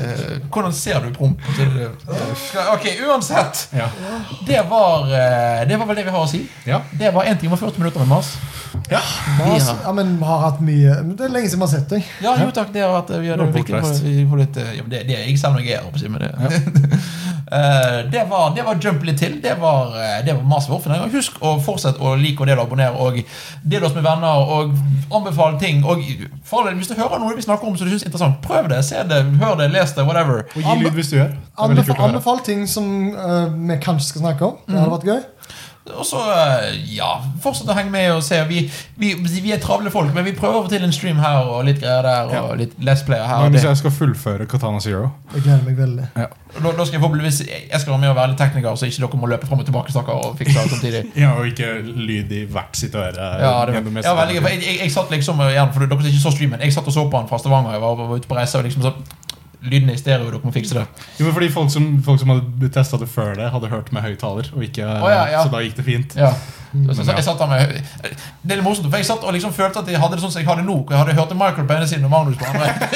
Speaker 1: eh, hvordan ser du prompe? sier du? Ok, uansett.
Speaker 2: Ja.
Speaker 1: Det var, eh, det var vel det vi har å si.
Speaker 2: Ja.
Speaker 1: Det var 1 time og 40 minutter med Mars.
Speaker 2: ja.
Speaker 3: Men, altså,
Speaker 1: Ja.
Speaker 3: ja, men vi har hatt mye Det er lenge siden vi har sett deg.
Speaker 1: Ja, jo takk, det har vært eh, vi har-
Speaker 2: Nå er
Speaker 1: det er viktig
Speaker 2: bortreist.
Speaker 1: for- vi får litt, eh, ja, men det, det er jeg selv når jeg er her, men det. Eh, det, var, det var Jump litt til. Det var, eh, det var maset vårt for denne gang. Husk å fortsette å like og dele og abonnere, og del oss med venner, og anbefale ting. Og for all del, hvis du hører noe vi snakker om som du syns er interessant, prøv det. Se det, hør det, les det, whatever.
Speaker 2: Og gi lyd hvis du gjør. Det er veldig
Speaker 3: Anbefal,
Speaker 2: kult å høre.
Speaker 3: anbefal ting som eh, vi kanskje skal snakke om. Det hadde vært gøy.
Speaker 1: Og så, eh, ja, fortsett å henge med og se. Vi, vi, vi er travle folk, men vi prøver å få til en stream her og litt greier der. Og litt Let's Player her. Og
Speaker 2: Men hvis
Speaker 1: det.
Speaker 2: jeg skal fullføre Katana Zero
Speaker 3: Jeg gleder meg veldig.
Speaker 1: Da, da skal jeg forhåpentligvis Jeg skal være med og være litt tekniker, så ikke dere må løpe frem og tilbake stakkar, og fikse alt samtidig.
Speaker 2: Ja, og ikke lyd i hvert sitt øre.
Speaker 1: Ja, det,
Speaker 2: gjennom mest-
Speaker 1: ja, veldig, gøy, for jeg, jeg, jeg satt liksom eh, igjen, for dere som ikke så streamen Jeg satt og så på han fra Stavanger. Jeg var, var ute på reise og liksom så Lyden er i stereo, dere må fikse det.
Speaker 2: Jo, men fordi folk som, folk som hadde testa det før det, hadde hørt med høyttaler, og ikke-
Speaker 1: ja, ja.
Speaker 2: så da gikk det fint.
Speaker 1: Ja. Så, så,
Speaker 2: Mm, ja.
Speaker 1: jeg satt der med eh, Det er litt morsomt, for jeg satt og liksom følte at jeg hadde det sånn som jeg hadde nå. hvor Jeg hadde hørt Michael på ene siden og Magnus på andre.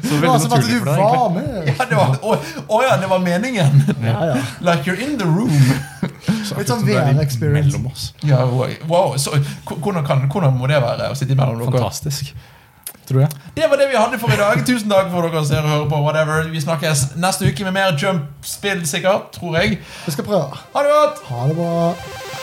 Speaker 2: Så
Speaker 3: Det var altså at du
Speaker 2: deg, egentlig.
Speaker 3: var med.
Speaker 1: Ja, det var, å, å ja, det var meningen!
Speaker 3: Ja, ja.
Speaker 1: Like you're in the room.
Speaker 2: Så
Speaker 3: Litt
Speaker 2: akkurat
Speaker 3: sånn
Speaker 2: som det er litt
Speaker 3: VR-experience.
Speaker 2: Mellom oss.
Speaker 1: Ja, wow, så, hvordan, kan, hvordan må det være å sitte imellom dere?
Speaker 2: Fantastisk. Tror jeg.
Speaker 1: Det var det vi hadde for i dag. Tusen takk for dere som ser og hører på. whatever Vi snakkes neste uke med mer jump-spill, sikkert. Tror jeg.
Speaker 3: Vi skal prøve.
Speaker 1: Ha det godt!
Speaker 3: Ha det bra.